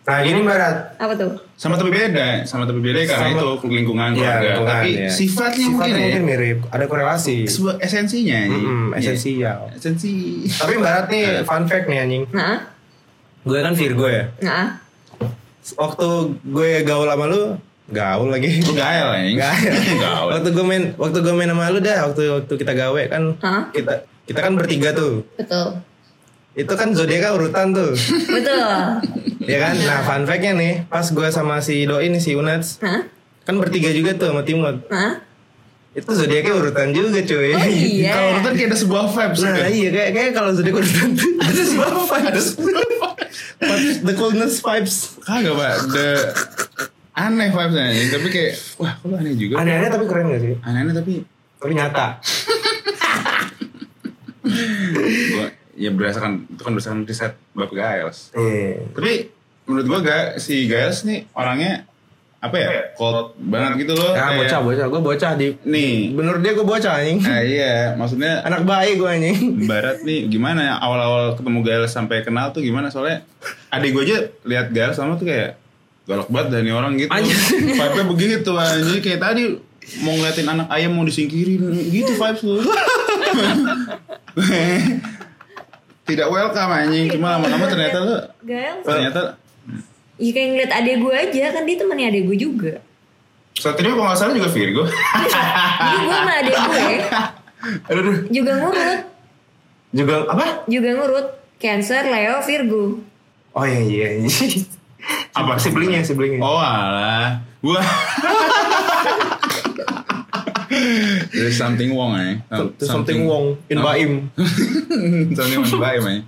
Speaker 5: Nah gini Barat.
Speaker 1: apa tuh
Speaker 3: Sama tapi beda, sama tapi beda karena
Speaker 5: Sama-
Speaker 3: itu lingkungan
Speaker 5: Iya,
Speaker 3: keluarga.
Speaker 5: lingkungan,
Speaker 3: tapi
Speaker 4: iya.
Speaker 3: sifatnya, mungkin,
Speaker 5: Sifatnya mungkin
Speaker 3: ya.
Speaker 5: mirip. Ada korelasi.
Speaker 3: Sebuah esensinya. ya.
Speaker 5: Mm-mm,
Speaker 3: Iya.
Speaker 5: esensial.
Speaker 3: Esensi.
Speaker 5: Tapi Barat
Speaker 3: Iya.
Speaker 5: nih fun fact nih anjing.
Speaker 1: nah
Speaker 4: gue kan Virgo ya
Speaker 1: nah
Speaker 4: waktu gue gaul sama lu gaul lagi
Speaker 3: Lu gael ya.
Speaker 4: Gael.
Speaker 3: Gael.
Speaker 4: waktu gue main waktu gue main sama lu dah waktu waktu kita gawe kan
Speaker 1: Hah?
Speaker 4: kita kita kan bertiga tuh
Speaker 1: betul
Speaker 4: itu kan zodiaknya urutan tuh
Speaker 1: betul
Speaker 4: ya kan nah fun fact-nya nih pas gue sama si doi nih si Unats
Speaker 1: nah
Speaker 4: kan bertiga juga tuh sama Timot
Speaker 1: nah
Speaker 4: itu zodiaknya urutan juga cuy
Speaker 1: oh iya
Speaker 3: Kalau urutan kayak ada sebuah vibes
Speaker 4: Nah,
Speaker 3: kan?
Speaker 4: iya kayak kayak kalau zodiak urutan tuh ada sebuah
Speaker 3: Ada
Speaker 4: vibes
Speaker 3: sebuah
Speaker 4: Vibes, the coolness vibes
Speaker 3: Kagak, Pak. The aneh vibesnya. ya. Tapi kayak wah, kok lu aneh juga.
Speaker 5: Aneh-aneh tapi keren gak sih?
Speaker 3: Aneh-aneh tapi
Speaker 5: Tapi nyata.
Speaker 3: gua ya berdasarkan itu kan berdasarkan riset Bapak Giles.
Speaker 4: Ya, Eh.
Speaker 5: Iya.
Speaker 3: Tapi menurut gua gak si Giles nih orangnya apa ya? Cold banget gitu loh.
Speaker 4: ah
Speaker 3: kayak-
Speaker 4: bocah bocah gue bocah di
Speaker 3: Nih.
Speaker 4: bener dia gue bocah anjing
Speaker 3: Nah, iya, maksudnya
Speaker 4: anak baik gue anjing
Speaker 3: Barat nih gimana ya awal-awal ketemu Giles sampai kenal tuh gimana soalnya adik gue aja lihat Giles sama tuh kayak galak banget dari orang gitu. Vibe-nya begitu anjir kayak tadi mau ngeliatin anak ayam mau disingkirin gitu vibes lu. Tidak welcome anjing cuma lama-lama ternyata lu
Speaker 1: Gael
Speaker 3: ternyata
Speaker 1: Iya kayak ngeliat adek gue aja kan dia temennya adek gue juga
Speaker 3: Satrio kalau nggak salah juga Virgo.
Speaker 1: jadi gue sama adek gue
Speaker 3: aduh, aduh.
Speaker 1: juga ngurut
Speaker 5: Juga apa?
Speaker 1: juga ngurut Cancer Leo Virgo
Speaker 5: Oh iya iya. iya.
Speaker 3: Apa?
Speaker 5: siblingnya siblingnya?
Speaker 3: Oh alah, gua. There's something wrong eh. Some-
Speaker 4: There's something wrong in Baim.
Speaker 3: something wrong in Baim eh.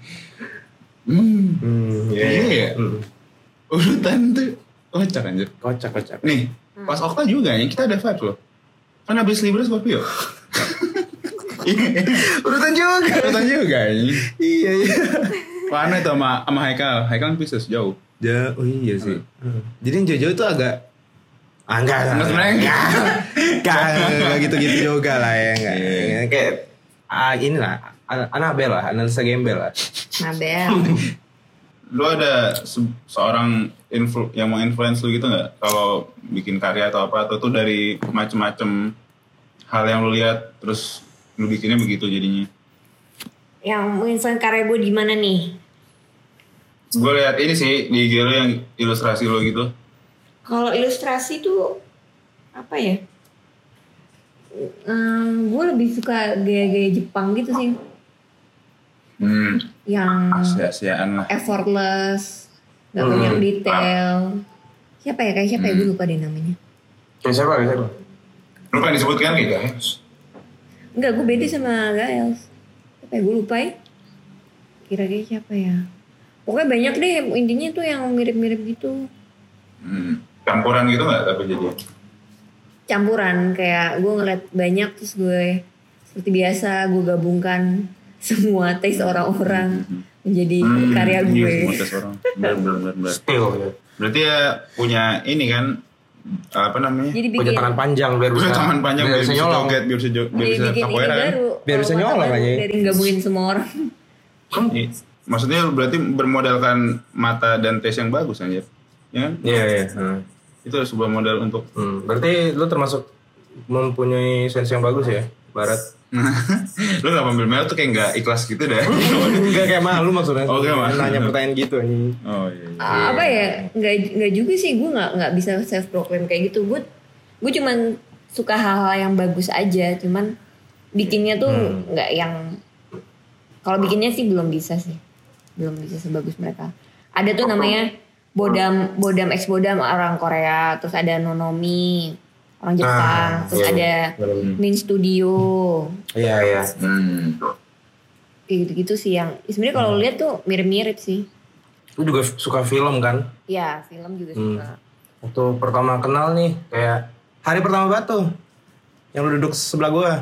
Speaker 3: Hmm,
Speaker 5: Hmm, iya.
Speaker 3: iya ya. Urutan tuh kocak anjir.
Speaker 5: Kocak kocak.
Speaker 3: Nih,
Speaker 4: Hmm.
Speaker 3: pas Okta juga ya, kita ada vibe loh. Kan habis Libra Scorpio. Iya,
Speaker 4: Urutan juga.
Speaker 3: Urutan juga ini.
Speaker 4: iya iya.
Speaker 3: Warna itu sama sama Haikal. Haikal kan Pisces jauh.
Speaker 4: Ja, oh iya sih. Jadi yang jauh-jauh itu agak ah, enggak,
Speaker 3: Enggak sebenarnya enggak.
Speaker 4: enggak, enggak, enggak gitu-gitu juga lah ya enggak.
Speaker 3: Iya.
Speaker 4: enggak. Kayak ah, ini lah an- Anabel lah, analisa gembel lah.
Speaker 1: Mabel
Speaker 3: lu ada se- seorang influ yang mau influence lu gitu nggak kalau bikin karya atau apa atau tuh dari macem-macem hal yang lu lihat terus lu bikinnya begitu jadinya
Speaker 1: yang menginfluence karya gue di mana nih
Speaker 3: Gue lihat ini sih di IG lo yang ilustrasi lo gitu.
Speaker 1: Kalau ilustrasi tuh apa ya? Hmm, gue lebih suka gaya-gaya Jepang gitu sih,
Speaker 3: Hmm,
Speaker 1: yang
Speaker 3: sia-siaan lah.
Speaker 1: effortless, gak
Speaker 5: Hmm.
Speaker 1: banyak detail. Siapa ya kayak siapa ya gue lupa deh namanya.
Speaker 5: Ya, siapa? Ya, siapa?
Speaker 3: Lu kan disebutkan gitu ya.
Speaker 1: Enggak, gue beda sama Gaels. Apa ya, gue lupa ya. Kira-kira siapa ya? Pokoknya banyak deh, intinya tuh yang mirip-mirip gitu.
Speaker 3: Hmm. Campuran gitu nggak tapi jadi.
Speaker 1: Campuran, kayak gue ngeliat banyak terus gue... Seperti biasa, gue gabungkan semua taste orang-orang menjadi
Speaker 3: Hmm,
Speaker 1: karya
Speaker 3: iya,
Speaker 1: gue.
Speaker 3: semua tes orang. Bener, bener, bener, bener.
Speaker 5: Steel ya.
Speaker 4: gitu.
Speaker 3: Berarti ya punya ini kan apa namanya?
Speaker 1: Jadi bikin,
Speaker 4: Punya tangan panjang biar
Speaker 3: Gue
Speaker 4: bisa.
Speaker 3: tangan panjang
Speaker 4: biar
Speaker 3: biar
Speaker 4: bisa
Speaker 3: Iya, bisa
Speaker 4: nyolong.
Speaker 3: joget, biar bisa jo- biar
Speaker 1: jadi
Speaker 3: bisa
Speaker 1: bikin ini
Speaker 3: takoera kan.
Speaker 1: baru.
Speaker 4: Biar bisa
Speaker 1: kalau kata
Speaker 4: ya? nyolong
Speaker 1: baru
Speaker 4: aja ya.
Speaker 1: Dari gabungin semua orang.
Speaker 3: Iya. Maksudnya berarti bermodalkan mata dan tes yang bagus anjir. Ya kan?
Speaker 4: Iya iya. Hmm.
Speaker 3: Itu sebuah modal untuk
Speaker 4: Hmm, Berarti lu termasuk mempunyai sense yang bagus ya, Barat.
Speaker 3: lu gak ambil mel tuh kayak gak ikhlas gitu dah.
Speaker 4: Enggak kayak malu maksudnya.
Speaker 3: Oh, kayak malu.
Speaker 4: Nanya pertanyaan gitu anjing.
Speaker 3: oh iya. iya.
Speaker 1: Ah, apa ya nggak nggak juga sih gue nggak nggak bisa self proclaim kayak gitu gue gue cuman suka hal-hal yang bagus aja cuman bikinnya tuh
Speaker 4: Hmm.
Speaker 1: nggak yang kalau bikinnya sih belum bisa sih belum bisa sebagus mereka ada tuh namanya bodam bodam ex bodam orang Korea terus ada nonomi orang Jepang
Speaker 4: Ah,
Speaker 1: terus
Speaker 4: iya.
Speaker 1: ada min studio
Speaker 4: Iya iya.
Speaker 3: Hmm.
Speaker 1: kayak gitu gitu sih yang sebenarnya kalau
Speaker 4: Hmm.
Speaker 1: lihat tuh mirip-mirip sih
Speaker 4: Lu juga f- suka film kan?
Speaker 1: ya film juga
Speaker 4: Hmm.
Speaker 1: suka
Speaker 4: Waktu pertama kenal nih kayak hari pertama batu yang lu duduk sebelah gua.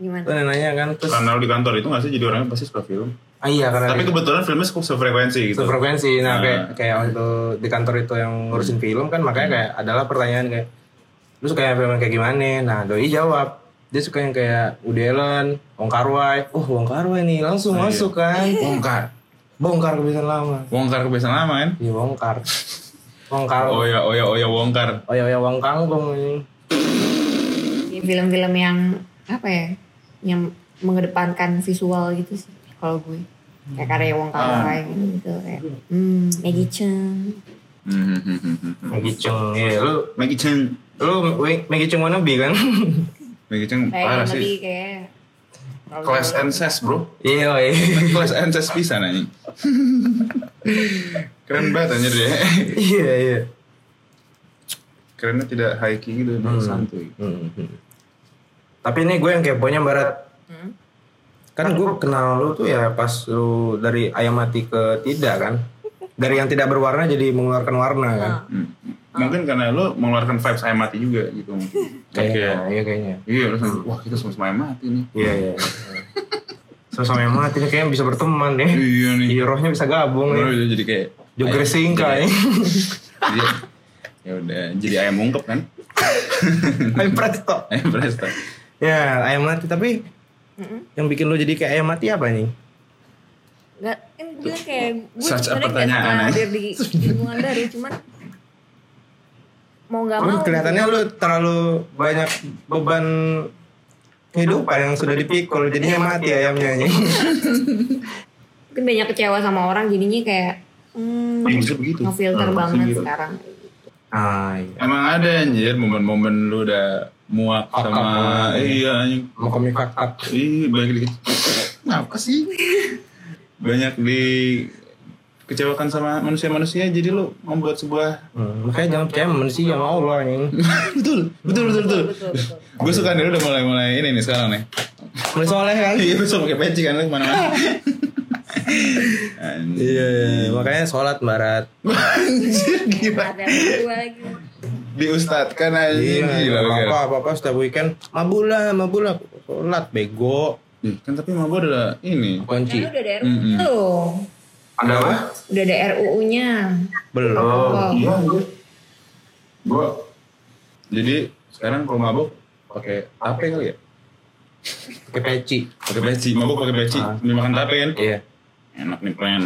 Speaker 1: gimana
Speaker 4: Lu nanya kan terus
Speaker 3: Karena lu di kantor itu gak sih jadi orangnya pasti suka film.
Speaker 4: ah, iya karena
Speaker 3: Tapi kebetulan filmnya cukup sefrekuensi gitu.
Speaker 4: frekuensi nah
Speaker 3: Ah.
Speaker 4: kayak kayak waktu di kantor itu yang ngurusin film kan makanya kayak adalah pertanyaan kayak lu suka yang film kayak gimana nah doi jawab dia suka yang kayak Woody Allen Wong Kar Wai oh Wong Kar Wai nih langsung masuk kan
Speaker 3: Bongkar.
Speaker 4: bongkar kebiasaan lama Iya,
Speaker 3: Wongkar kebiasaan lama kan?
Speaker 4: ini bongkar bongkar
Speaker 3: Oh ya, oh ya, oh ya, wongkar.
Speaker 4: oh ya ya Wong Kangkung ini
Speaker 1: Ya, film-film yang apa ya yang mengedepankan visual gitu sih kalau gue kayak karya Wong Kar
Speaker 3: Ah.
Speaker 1: Wai gitu kayak hmm Maggie Cheung
Speaker 3: Hmm, hmm, hmm, hmm, hmm.
Speaker 4: Maggie Cheung ya lu
Speaker 3: Maggie Cheng,
Speaker 4: lu Wi- Maggie Cheung wannabe kan
Speaker 3: Maggie
Speaker 1: kayak
Speaker 3: Cheng
Speaker 1: yang
Speaker 3: parah
Speaker 1: tadi
Speaker 3: sih.
Speaker 1: kayak
Speaker 3: Kelas NSES bro.
Speaker 4: iya iya
Speaker 3: Kelas NSES bisa nanya. Keren banget anjir deh.
Speaker 4: iya iya
Speaker 3: Kerennya tidak hiking gitu, dia santuy.
Speaker 4: Hmm. Tapi ini gue yang keponya Barat. Kan gue kenal lu tuh ya pas lu dari ayam mati ke tidak kan. Dari yang tidak berwarna jadi mengeluarkan warna kan.
Speaker 1: Ah,
Speaker 3: Hmm. Mungkin karena lu mengeluarkan vibes ayam mati juga gitu. mungkin.
Speaker 4: Kayaknya, iya kayaknya.
Speaker 3: Iya, lu sampe, wah kita sama-sama ayam mati nih.
Speaker 4: Iya, iya. Sama-sama ayam mati nih, kayaknya bisa berteman deh.
Speaker 3: Iya nih.
Speaker 4: Iya, rohnya bisa gabung nih.
Speaker 3: Lu jadi kayak
Speaker 4: Joger singkai.
Speaker 3: jadi, ya udah jadi ayam ungkep kan?
Speaker 4: Ayam presto.
Speaker 3: Ayam presto.
Speaker 4: Ya, ayam mati tapi yang bikin lu jadi kayak ayam mati apa nih?
Speaker 1: nggak kan gue kayak gue
Speaker 3: Such
Speaker 1: sebenarnya
Speaker 3: a
Speaker 1: nggak
Speaker 3: pertanyaan,
Speaker 1: suka
Speaker 3: eh.
Speaker 1: hadir di lingkungan baru cuman mau nggak
Speaker 4: Kan
Speaker 1: mau
Speaker 4: kelihatannya lu terlalu banyak beban kehidupan yang sudah dipikul jadinya mati ayamnya ini.
Speaker 1: mungkin banyak kecewa sama orang jadinya kayak hmm
Speaker 3: Maksudnya begitu.
Speaker 1: ngefilter
Speaker 3: Hmm,
Speaker 1: banget
Speaker 3: maksudnya gitu.
Speaker 1: sekarang
Speaker 4: ah, iya.
Speaker 3: Emang ada anjir momen-momen lu udah muak
Speaker 4: Otak
Speaker 3: sama
Speaker 4: lu.
Speaker 3: iya anjing.
Speaker 4: Mau komik fakta.
Speaker 3: Ih, banyak dikit. Kenapa sih? Banyak dikecewakan sama manusia-manusia jadi lu membuat sebuah
Speaker 4: Hmm, makanya jangan percaya manusia sama Allah nih.
Speaker 3: betul, betul, betul, betul.
Speaker 1: betul betul
Speaker 3: Gue suka nih lu udah mulai-mulai ini nih sekarang nih.
Speaker 4: Mulai soleh kan?
Speaker 3: Iya, gue suka pakai peci kan lu kemana-mana. Anjing.
Speaker 4: Iya, makanya sholat barat.
Speaker 3: Anjir, gila.
Speaker 1: ada gue lagi
Speaker 3: Diustadkan
Speaker 4: Iya,
Speaker 3: anjing. Gila,
Speaker 4: apa
Speaker 3: gila.
Speaker 4: apa apa apa setiap weekend mabula mabula sholat bego
Speaker 3: Ih, Kan tapi mah gue adalah ini.
Speaker 1: Kan
Speaker 4: kunci
Speaker 1: udah ada RUU
Speaker 3: Iya. Mm-mm.
Speaker 1: tuh
Speaker 5: Ada apa?
Speaker 1: udah ada RUU-nya
Speaker 4: belum.
Speaker 1: Oh.
Speaker 3: Iya, gue. Gue. Jadi sekarang kalau mabuk pakai tape kali ya?
Speaker 4: Pakai peci.
Speaker 3: Pakai peci, mabuk pakai peci, sambil makan tape kan?
Speaker 4: Iya.
Speaker 3: Enak nih friend.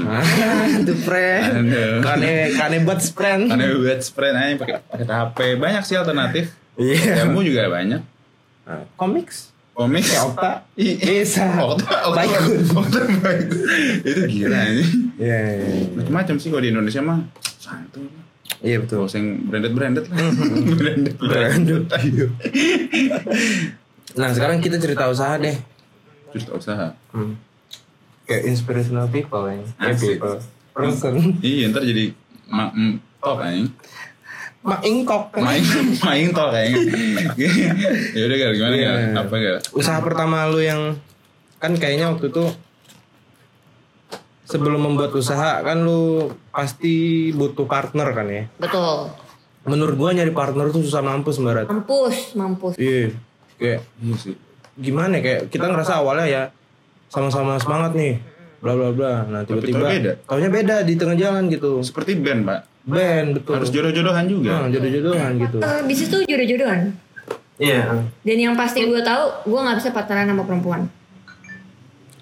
Speaker 4: Itu friend.
Speaker 3: Aduh.
Speaker 4: Kane kane buat friend.
Speaker 3: Ada buat spread aja pakai pakai tape. Banyak sih alternatif.
Speaker 4: Iya.
Speaker 3: Jamu juga banyak.
Speaker 4: Nah, Komiks.
Speaker 3: Komik
Speaker 4: Kayak Okta.
Speaker 3: Iya.
Speaker 4: Bisa.
Speaker 3: Okta, Okta,
Speaker 4: Baikun.
Speaker 3: Okta, Baikun. Itu gila ini.
Speaker 4: Iya, iya, iya.
Speaker 3: macam-macam sih kalau di Indonesia mah santai
Speaker 4: iya
Speaker 3: Tuh,
Speaker 4: betul.
Speaker 3: yang branded-branded lah. branded, branded. Ayo.
Speaker 4: Nah sekarang kita cerita usaha deh.
Speaker 3: Terus usaha.
Speaker 4: Hmm. Kayak inspirational people ya.
Speaker 3: Asik.
Speaker 4: people. Person.
Speaker 3: Iya, ntar jadi ma mm, talk anjing.
Speaker 4: Mak ingkok.
Speaker 3: Main main talk kayaknya. ya udah Gar, gimana
Speaker 4: Iya.
Speaker 3: Gar? Apa Gar?
Speaker 4: Usaha pertama lu yang kan kayaknya waktu itu sebelum membuat usaha kan lu pasti butuh partner kan ya.
Speaker 1: Betul.
Speaker 4: Menurut gua nyari partner tuh susah mampus barat.
Speaker 1: Mampus, mampus.
Speaker 4: Iya. Kayak
Speaker 3: Iya sih.
Speaker 4: gimana ya, kayak kita ngerasa awalnya ya sama-sama semangat nih bla bla bla nah
Speaker 3: Tapi
Speaker 4: tiba-tiba
Speaker 3: taunya beda.
Speaker 4: taunya beda di tengah jalan gitu
Speaker 3: Seperti band, Pak.
Speaker 4: band betul
Speaker 3: Harus jodoh-jodohan
Speaker 4: nah,
Speaker 3: juga.
Speaker 4: jodoh-jodohan gitu
Speaker 1: Eh, bisnis tuh jodoh-jodohan.
Speaker 5: Iya.
Speaker 1: Dan yang pasti gue tahu, gue nggak bisa partneran sama perempuan.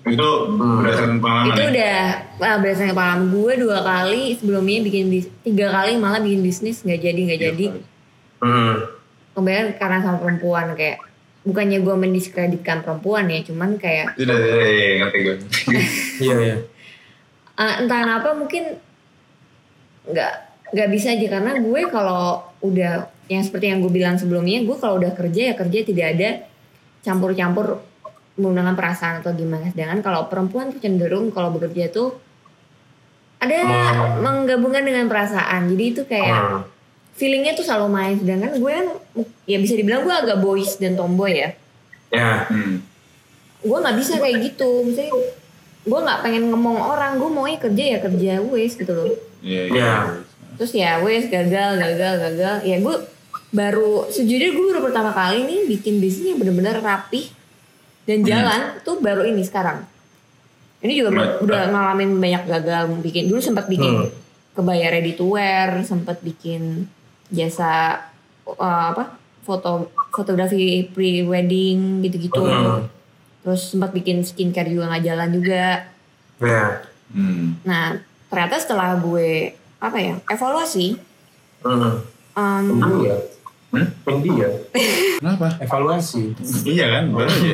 Speaker 3: Itu berdasarkan pengalaman.
Speaker 1: itu
Speaker 3: ya?
Speaker 1: udah ah, berdasarkan pengalaman gue dua kali sebelumnya bikin bis- tiga kali malah bikin bisnis nggak jadi nggak jadi
Speaker 5: Hmm.
Speaker 1: kemudian karena sama perempuan kayak bukannya gue mendiskreditkan perempuan ya cuman kayak
Speaker 3: Tidak, tidak, tidak, tidak, ya, ngerti gue.
Speaker 4: iya iya
Speaker 1: eh, entah kenapa mungkin nggak nggak bisa aja karena gue kalau udah yang seperti yang gue bilang sebelumnya gue kalau udah kerja ya kerja tidak ada campur-campur menggunakan perasaan atau gimana sedangkan kalau perempuan tuh cenderung kalau bekerja tuh ada menggabungkan dengan perasaan jadi itu kayak
Speaker 5: Hmm.
Speaker 1: feelingnya tuh selalu main sedangkan gue kan ya bisa dibilang gue agak boys dan tomboy ya
Speaker 5: Ya.
Speaker 3: Hmm.
Speaker 1: gue nggak bisa kayak gitu misalnya gue nggak pengen ngomong orang gue maunya kerja ya kerja wes gitu loh
Speaker 3: Iya, iya.
Speaker 5: Iya.
Speaker 1: terus ya wes gagal gagal gagal ya gue baru sejujurnya gue baru pertama kali nih bikin bisnis yang bener-bener rapih dan jalan tuh baru ini sekarang ini juga ber-
Speaker 3: Right.
Speaker 1: udah ngalamin banyak gagal bikin dulu sempat
Speaker 4: Hmm.
Speaker 1: bikin kebaya ready to wear sempat bikin jasa uh, apa foto fotografi pre wedding gitu-gitu
Speaker 5: Hmm.
Speaker 1: terus sempat bikin skincare juga nggak jalan juga
Speaker 5: Ya.
Speaker 3: Hmm.
Speaker 1: Nah, ternyata setelah gue apa ya evaluasi,
Speaker 5: Hmm.
Speaker 1: em,
Speaker 4: ya?
Speaker 5: Pendiam.
Speaker 3: Hmm?
Speaker 5: Pendiam.
Speaker 3: Kenapa?
Speaker 5: Evaluasi.
Speaker 3: Iya kan, baru aja.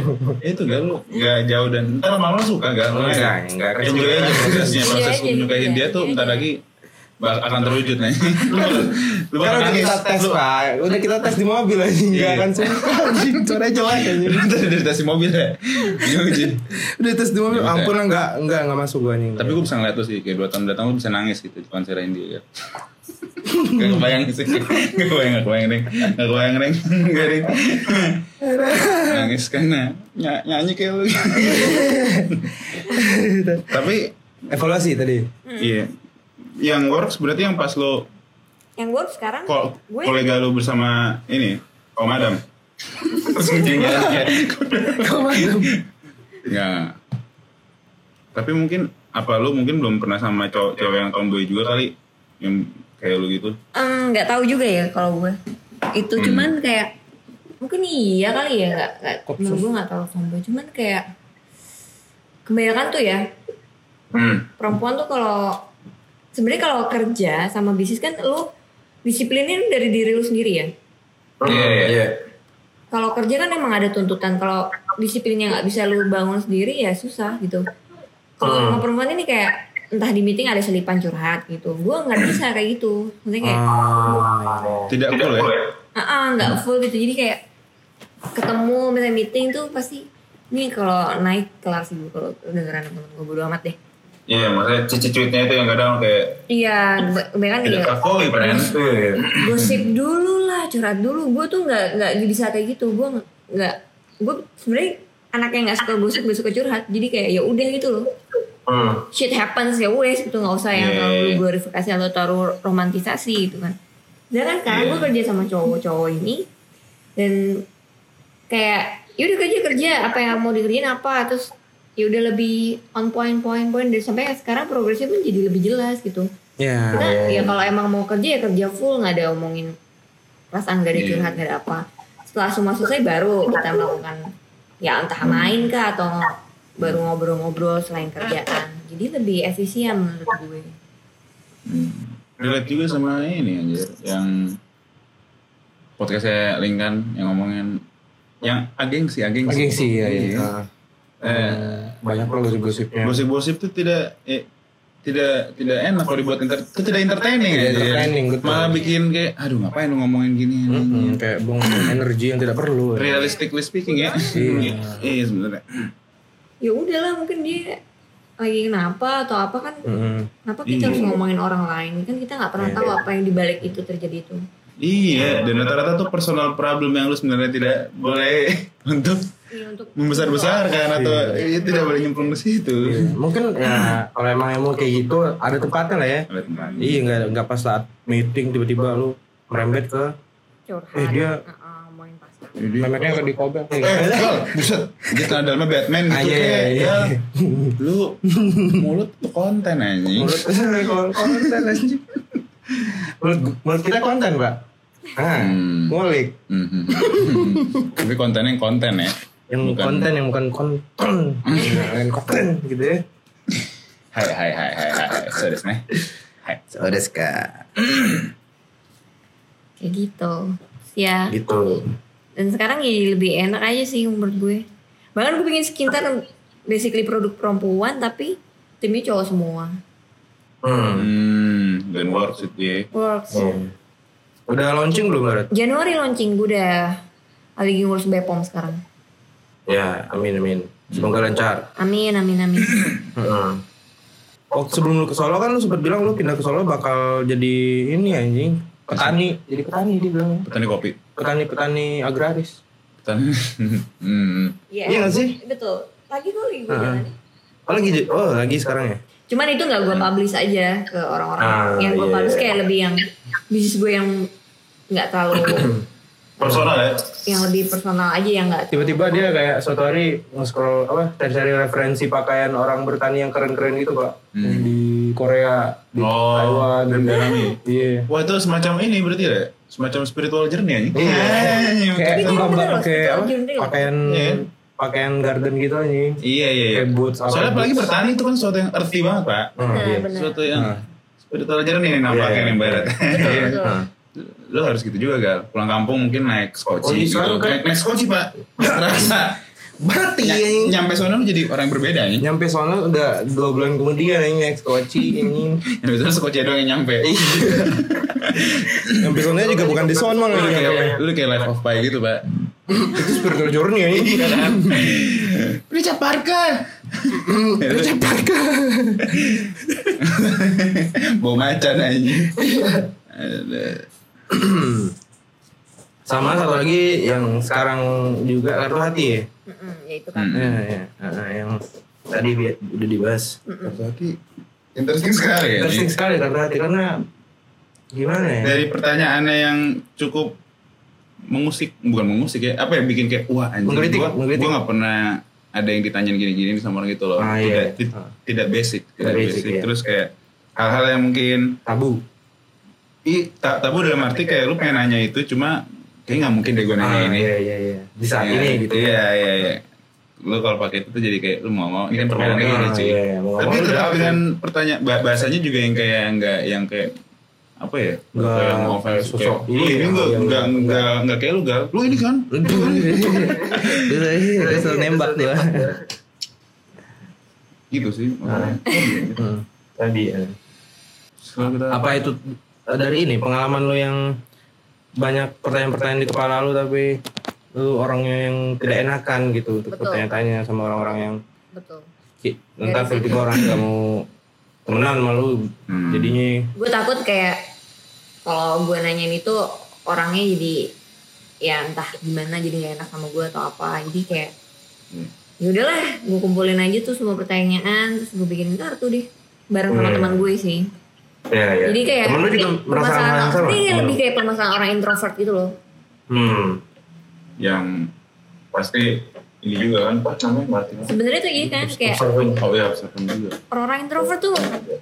Speaker 3: Itu gak lu gak jauh dan ntar lama suka kan? Iya. gak?
Speaker 4: Enggak, enggak.
Speaker 3: Enjoy aja ya, prosesnya,
Speaker 1: Enjoy
Speaker 3: proses
Speaker 1: aja,
Speaker 3: lu menyukai
Speaker 1: iya.
Speaker 3: dia tuh bentar lagi bak- akan terwujud nih. Lu
Speaker 4: kan
Speaker 3: bakal
Speaker 4: udah kita
Speaker 3: nangis.
Speaker 4: tes pak udah kita tes di mobil aja nggak
Speaker 3: Iya.
Speaker 4: akan suka suara jelek aja
Speaker 3: Lu tadi dari tasi mobil ya. Iya, Ji.
Speaker 4: udah tes di mobil
Speaker 3: Iya,
Speaker 4: ampun enggak enggak enggak masuk gua nih
Speaker 3: Tapi gue bisa ngeliat lu sih, kayak 2 tahun datang lu bisa nangis gitu di konserin dia. Gak kebayang sih, gak kebayang, gak kebayang Reng. Gak kebayang Reng, gak Reng. Nangis karena ny- nyanyi kayak lu. Tapi
Speaker 4: evaluasi tadi
Speaker 3: Iya. Yang works berarti yang pas lo
Speaker 1: yang gue sekarang
Speaker 3: ko-
Speaker 1: gue
Speaker 3: kolega lo bersama ini, Om Adam. Terus ujungnya ya. Ya. Tapi mungkin apa lo mungkin belum pernah sama cowok cewek yang tomboy juga kali yang kayak lo gitu.
Speaker 1: em, nggak tahu juga ya kalau gue itu cuman kayak mungkin iya kali ya nggak nggak menurut gue nggak tahu sombong cuman kayak kebanyakan tuh ya
Speaker 3: Hmm.
Speaker 1: perempuan tuh kalau sebenarnya kalau kerja sama bisnis kan lu disiplinin dari diri lu sendiri ya
Speaker 3: Iya, iya.
Speaker 1: kalau kerja kan emang ada tuntutan kalau disiplinnya nggak bisa lu bangun sendiri ya susah gitu kalau sama perempuan ini kayak entah di meeting ada selipan curhat gitu gue nggak bisa kayak gitu maksudnya kayak
Speaker 5: Ah.
Speaker 3: Tidak cool ya.
Speaker 1: ah ah, nggak full gitu jadi kayak ketemu misalnya meeting tuh pasti ini kalau naik kelas ibu kalau dengeran temen gue bodo amat deh
Speaker 3: Iya, maksudnya cici-cuitnya itu yang kadang kayak
Speaker 1: iya kebanyakan
Speaker 3: tidak gitu,
Speaker 1: juga
Speaker 3: kafoi padahal.
Speaker 5: Iya.
Speaker 1: gosip dulu lah curhat dulu gue tuh nggak nggak bisa kayak gitu gue nggak gue sebenarnya anak yang nggak suka gosip gak suka curhat jadi kayak ya udah gitu loh
Speaker 5: Hmm.
Speaker 1: shit happens ya wes itu nggak usah yang
Speaker 3: Yeah.
Speaker 1: terlalu glorifikasi atau terlalu romantisasi gitu kan sedangkan sekarang gue kerja sama cowok-cowok ini dan kayak yaudah kerja kerja apa yang mau dikerjain apa terus ya udah lebih on point point point dan sampai sekarang progresnya pun jadi lebih jelas gitu
Speaker 4: ya
Speaker 1: kita ya kalau emang mau kerja ya kerja full nggak ada omongin perasaan nggak ada
Speaker 3: Iya.
Speaker 1: curhat nggak ada apa setelah semua selesai baru kita melakukan ya entah
Speaker 4: Hmm.
Speaker 1: main kah atau ngo- baru ngobrol-ngobrol selain kerjaan jadi lebih efisien menurut gue
Speaker 3: relate juga sama ini anjir yang podcastnya Lingkan yang ngomongin yang ageng sih ageng
Speaker 4: Oke
Speaker 3: sih
Speaker 4: sih ya,
Speaker 3: Iya.
Speaker 4: ya.
Speaker 3: eh,
Speaker 4: banyak loh dari gosipnya
Speaker 3: gosip-gosip tuh tidak eh, tidak tidak enak kalau dibuat enter itu tidak entertaining ya.
Speaker 4: entertaining, betul.
Speaker 3: Malah bikin kayak aduh ngapain lu ngomongin gini.
Speaker 4: Hmm, kayak buang energi yang tidak
Speaker 3: Iya.
Speaker 4: perlu. ya.
Speaker 3: Realistically speaking ya. Iya, iya sebenarnya.
Speaker 1: ya udahlah mungkin dia lagi kenapa atau apa kan
Speaker 4: Hmm. Iya.
Speaker 1: kenapa kita harus ngomongin orang lain kan kita nggak pernah tahu apa yang dibalik itu terjadi itu
Speaker 3: Iya, dan rata-rata tuh personal problem yang lu sebenarnya tidak boleh untuk
Speaker 1: Iya, untuk
Speaker 3: membesar-besarkan atau iya, tidak boleh nyemplung ke situ.
Speaker 4: Mungkin ya kalau emang emang kayak gitu ada tempatnya lah ya.
Speaker 3: Ada teman.
Speaker 4: Iya nggak nggak pas saat meeting tiba-tiba lu merembet ke
Speaker 1: curhat
Speaker 4: Eh, dia-
Speaker 1: Heeh, ngomongin pasangan
Speaker 4: memetnya ke di kobel.
Speaker 3: Eh, Sol, buset. Dia tuh dalamnya Batman gitu
Speaker 4: Ah, iya,
Speaker 3: kayak,
Speaker 4: iya,
Speaker 3: ya. Lu mulut tuh konten anjing.
Speaker 4: Mulut konten anjing. Mulut, mulut kita konten pak. Ah,
Speaker 3: Hmm.
Speaker 4: ngulik.
Speaker 3: Mhm. Mm-hmm. Tapi kontennya yang konten ya.
Speaker 4: Yang
Speaker 3: Bukan.
Speaker 4: konten yang bukan konten, Iya, Yang bukan konten gitu ya.
Speaker 3: Hai hai hai hai hai. hai. So desu ne. Hai.
Speaker 4: Sudah sekali.
Speaker 1: kayak gitu ya
Speaker 4: Gitu.
Speaker 1: dan sekarang jadi lebih enak aja sih menurut gue bahkan gue pengen skincare basically produk perempuan tapi timnya cowok semua
Speaker 4: Hmm. Iya.
Speaker 3: Hmm, dan worth it ya.
Speaker 1: works
Speaker 4: Udah launching belum Barat?
Speaker 1: Januari launching gue udah lagi ngurus Bepom sekarang
Speaker 4: Ya, amin amin. Semoga lancar.
Speaker 1: amin amin amin
Speaker 4: Heeh. Oh, sebelum lu ke Solo kan lu sempat bilang lu pindah ke Solo bakal jadi ini ya, anjing, petani. Jadi petani dia bilang.
Speaker 3: Petani kopi.
Speaker 4: Petani-petani agraris.
Speaker 3: Petani. hmm.
Speaker 4: Iya Uh-huh. nggak sih?
Speaker 1: betul lagi gue lagi gue
Speaker 4: Heeh.
Speaker 1: jalanin.
Speaker 4: Oh lagi j- oh lagi sekarang ya.
Speaker 1: cuman itu nggak gue publish aja ke orang-orang
Speaker 4: Ah,
Speaker 1: yang gue
Speaker 4: iya,
Speaker 1: publish
Speaker 4: iya.
Speaker 1: kayak lebih yang bisnis gue yang nggak terlalu
Speaker 3: Personal ya.
Speaker 1: yang lebih personal aja yang nggak
Speaker 4: Tiba-tiba dia kayak suatu hari nge-scroll apa cari-cari referensi pakaian orang bertani yang keren-keren gitu, Pak. Di Korea, di
Speaker 3: Oh,
Speaker 4: Taiwan, gitu.
Speaker 3: dan dalami.
Speaker 4: Iya.
Speaker 3: Wah itu semacam ini berarti ya? Semacam spiritual journey anjing.
Speaker 4: Iya.
Speaker 3: Anjing.
Speaker 4: Kayak
Speaker 1: Tapi
Speaker 4: sumpah
Speaker 1: gitu
Speaker 4: Pak,
Speaker 1: loh,
Speaker 4: kayak
Speaker 1: itu
Speaker 4: apa?
Speaker 1: urgent real.
Speaker 4: Pakaian
Speaker 3: Iya.
Speaker 4: pakaian garden gitu anjing.
Speaker 3: Iya iya iya.
Speaker 4: Kayak boots, apa,
Speaker 3: Soalnya apalagi
Speaker 4: boots.
Speaker 3: bertani itu kan sesuatu yang earthy banget pak.
Speaker 4: Hmm,
Speaker 1: Nah,
Speaker 4: iya.
Speaker 1: bener.
Speaker 3: Sesuatu yang spiritual kan journey nih nampaknya nih barat. Iya.
Speaker 1: Betul.
Speaker 4: Nah.
Speaker 3: Lo harus gitu juga gal. Pulang kampung mungkin naik
Speaker 4: Oh,
Speaker 3: skoci
Speaker 4: iya,
Speaker 3: gitu.
Speaker 4: soalnya kan-
Speaker 3: Naik, naik skoci pak. Terasa.
Speaker 4: Berarti anjing.
Speaker 3: Ny- nyampe sono lo jadi orang yang berbeda nih.
Speaker 4: nyampe sono udah dua bulan kemudian ini next koci ini
Speaker 3: Nyampe sono skoci doang yang nyampe.
Speaker 4: nyampe sono Iya, juga bukan di sono Iya,
Speaker 3: Lu
Speaker 4: lagi
Speaker 3: kayak
Speaker 4: nyampe.
Speaker 3: lu kayak life of pi gitu pak.
Speaker 4: itu spiritual journey ini
Speaker 3: Richard Parker.
Speaker 4: Richard Parker
Speaker 3: Bau macan aja.
Speaker 4: Iya.
Speaker 3: Ada.
Speaker 4: sama satu lagi yang sekarang juga kartu hati ya
Speaker 1: Mm-mm, ya itu kan
Speaker 4: ya, ya. Nah, yang tadi bi- udah dibahas
Speaker 3: Kartu hati interesting sekali ya.
Speaker 4: Hmm. interesting
Speaker 3: ini.
Speaker 4: sekali kartu hati karena gimana ya
Speaker 3: Dari pertanyaannya yang cukup mengusik, bukan mengusik ya, apa ya bikin kayak wah anjing
Speaker 4: Menggelitik,
Speaker 3: gua,
Speaker 4: menggelitik.
Speaker 3: gua gak pernah ada yang ditanyain gini-gini sama orang gitu loh.
Speaker 4: Ah, iya.
Speaker 3: tidak ti-
Speaker 4: Ah.
Speaker 3: tidak basic, tidak
Speaker 4: Tidak
Speaker 3: basic.
Speaker 4: basic, iya.
Speaker 3: Terus kayak hal-hal yang mungkin
Speaker 4: tabu
Speaker 3: i tak tabu dalam arti kayak lu pengen nanya itu cuma kayak nggak mungkin deh gue nanya ini.
Speaker 4: iya iya iya di saat
Speaker 3: Iya,
Speaker 4: ini gitu
Speaker 3: Iya, iya, iya. Lu kalau pakai itu tuh jadi kayak lu mau ngomong, ini kan permainan kayak gini
Speaker 4: Ah,
Speaker 3: cuy.
Speaker 4: iya, iya. Mau
Speaker 3: Tapi
Speaker 4: ngomong
Speaker 3: tetap
Speaker 4: udah.
Speaker 3: dengan pertanyaan bah- bahasanya juga yang kayak enggak yang kayak apa ya?
Speaker 4: Nggak
Speaker 3: Kayak mau offense,
Speaker 4: sosok.
Speaker 3: kayak, Lu
Speaker 4: Iya,
Speaker 3: ini enggak
Speaker 4: iya,
Speaker 3: enggak
Speaker 4: iya.
Speaker 3: enggak enggak kayak lu gal. Lu ini kan. iya.
Speaker 4: terus nembak tuh
Speaker 3: Gitu sih.
Speaker 4: Nah.
Speaker 3: makanya. iya.
Speaker 4: tadi ya.
Speaker 3: Setelah kita
Speaker 4: apa itu eh, dari ini pengalaman lo yang banyak pertanyaan-pertanyaan di kepala lo tapi lu orangnya yang tidak enakan gitu untuk
Speaker 1: Betul. Iya
Speaker 4: bertanya-tanya sama orang-orang yang
Speaker 1: betul
Speaker 4: "Ki, ntar tiba-tiba orang nggak mau temenan malu
Speaker 3: Hmm.
Speaker 4: jadinya
Speaker 1: gue takut kayak kalau gue nanyain itu orangnya jadi ya entah gimana jadi gak enak sama gue atau apa jadi kayak
Speaker 3: Hmm.
Speaker 1: ya udahlah gue kumpulin aja tuh semua pertanyaan terus gue bikin kartu deh bareng sama
Speaker 4: Hmm.
Speaker 1: teman gue sih
Speaker 4: ya, ya.
Speaker 1: jadi kayak
Speaker 4: temen lu juga
Speaker 1: eh,
Speaker 4: merasakan hal yang sama Iya.
Speaker 1: ini kayak lebih kayak permasalahan orang introvert gitu loh
Speaker 4: hmm
Speaker 3: yang pasti ini juga kan apa namanya Martin?
Speaker 1: sebenarnya tuh iya kan kayak
Speaker 4: observing
Speaker 3: Oh iya, observant juga.
Speaker 1: orang introvert tuh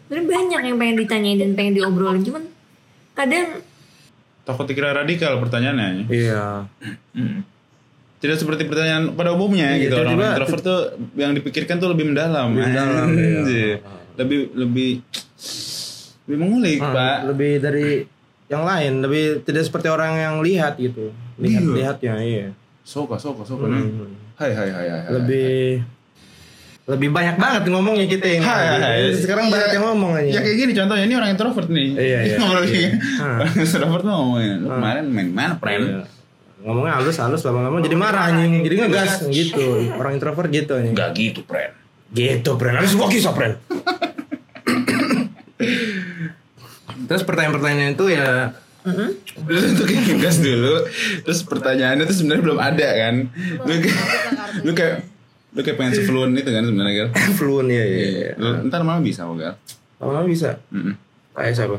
Speaker 1: sebenarnya banyak yang pengen ditanyain dan pengen diobrolin cuman kadang
Speaker 3: Takut dikira radikal pertanyaannya.
Speaker 4: iya
Speaker 3: Hmm. Tidak seperti pertanyaan pada
Speaker 4: Iya,
Speaker 3: umumnya gitu orang
Speaker 4: tiba-tiba-
Speaker 3: introvert tuh yang dipikirkan tuh lebih mendalam.
Speaker 4: Lebih mendalam,
Speaker 3: Anjir.
Speaker 4: iya.
Speaker 3: Lebih lebih lebih mengulik,
Speaker 4: Ah,
Speaker 3: Pak.
Speaker 4: lebih dari yang lain lebih tidak seperti orang yang lihat gitu lihat lihatnya iya
Speaker 3: Soka, soka, soka.
Speaker 4: Hmm.
Speaker 3: Hai, hai, hai, hai. hai.
Speaker 4: lebih Lebih banyak banget ngomongnya kita yang
Speaker 3: Hai,
Speaker 4: tadi.
Speaker 3: hai.
Speaker 4: sekarang banyak
Speaker 3: Ya,
Speaker 4: yang ngomong aja.
Speaker 3: Ya kayak gini contohnya ini orang introvert nih.
Speaker 4: Iya, iya.
Speaker 3: Ngobrol
Speaker 4: Iya.
Speaker 3: kayak gini.
Speaker 4: Hmm.
Speaker 3: Orang introvert tuh ngomongin, "Lu kemarin main mana, friend?
Speaker 4: Iya. Ngomongnya halus-halus lama-lama jadi marah anjing, jadi ngegas gitu. Orang introvert gitu anjing.
Speaker 3: Gak gitu, friend.
Speaker 4: Gitu, Pren. Harus gua kisah, Pren. Terus pertanyaan-pertanyaan itu ya
Speaker 3: Terus untuk kayak ngegas dulu. Terus pertanyaannya tuh sebenarnya belum ada kan. Lu kayak lu kayak lu kayak pengen sefluent itu kan sebenarnya Gal.
Speaker 4: fluent ya, ya. ya.
Speaker 3: Lu Ntar malam bisa kok Gal.
Speaker 4: Lama-lama bisa.
Speaker 3: Mm-mm.
Speaker 4: Kayak siapa?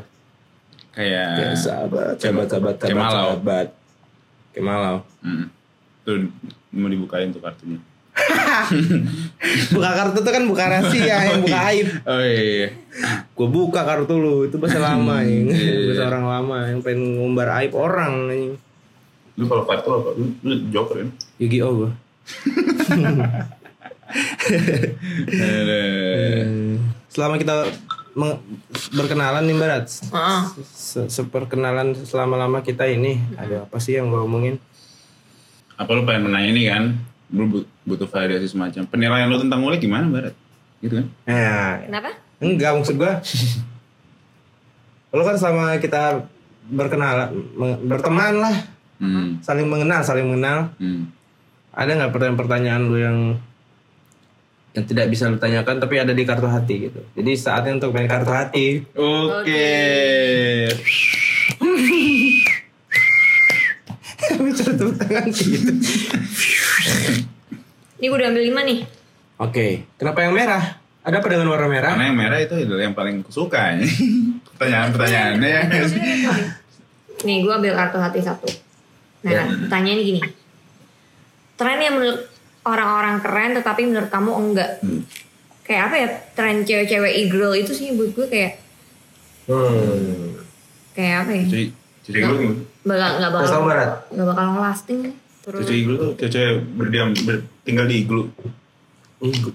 Speaker 3: Kayak
Speaker 4: sahabat,
Speaker 3: Kayak- kayak malau.
Speaker 4: sahabat. Kayak malau.
Speaker 3: Mm. Tuh mau dibukain tuh kartunya.
Speaker 4: Buka kartu itu kan buka rahasia, yang buka aib.
Speaker 3: Oh iya. iya.
Speaker 4: Gue buka kartu lu, itu bahasa lama yang
Speaker 3: Iya.
Speaker 4: bahasa orang lama yang pengen ngumbar aib orang anjing.
Speaker 3: Lu kalau kartu apa? Lu, lu joker kan?
Speaker 4: Yu-Gi-Oh gua.
Speaker 3: Iya.
Speaker 4: Selama kita meng- berkenalan nih Barat.
Speaker 1: Heeh.
Speaker 4: Se- Seperkenalan selama-lama kita ini, ada apa sih yang gue omongin?
Speaker 3: apa lu pengen menanya ini kan lu bu- butuh validasi semacam penilaian lu tentang mulai gimana Barat gitu kan
Speaker 4: Nah,
Speaker 1: Kenapa?
Speaker 4: Enggak maksud gua. Lo kan sama kita berkenalan, meng- berteman lah,
Speaker 3: hmm.
Speaker 4: saling mengenal, saling mengenal.
Speaker 3: hmm.
Speaker 4: Ada nggak pertanyaan-pertanyaan lu yang yang tidak bisa lu tanyakan tapi ada di kartu hati gitu. Jadi saatnya untuk main kartu hati.
Speaker 3: oke
Speaker 4: Bicara tepuk tangan sih gitu.
Speaker 1: Ini gue udah ambil lima nih.
Speaker 4: Oke, kenapa yang merah? Ada apa dengan warna merah?
Speaker 3: karena yang merah itu adalah yang paling kusuka ya. pertanyaan-pertanyaannya ya guys.
Speaker 1: Nih gue ambil kartu hati satu. Nah, pertanyaannya gini. Tren yang menurut orang-orang keren tetapi menurut kamu enggak. Kayak apa ya tren cewek-cewek e-girl itu sih buat gue kayak
Speaker 4: Hmm.
Speaker 1: kayak apa ya?
Speaker 3: cuci cuci iglu gimana?
Speaker 1: Bakal nggak bakal
Speaker 4: Pasal barat.
Speaker 1: nggak bakal lasting terus.
Speaker 3: cuci iglu tuh cuci berdiam ber- tinggal di iglu
Speaker 4: Iglu,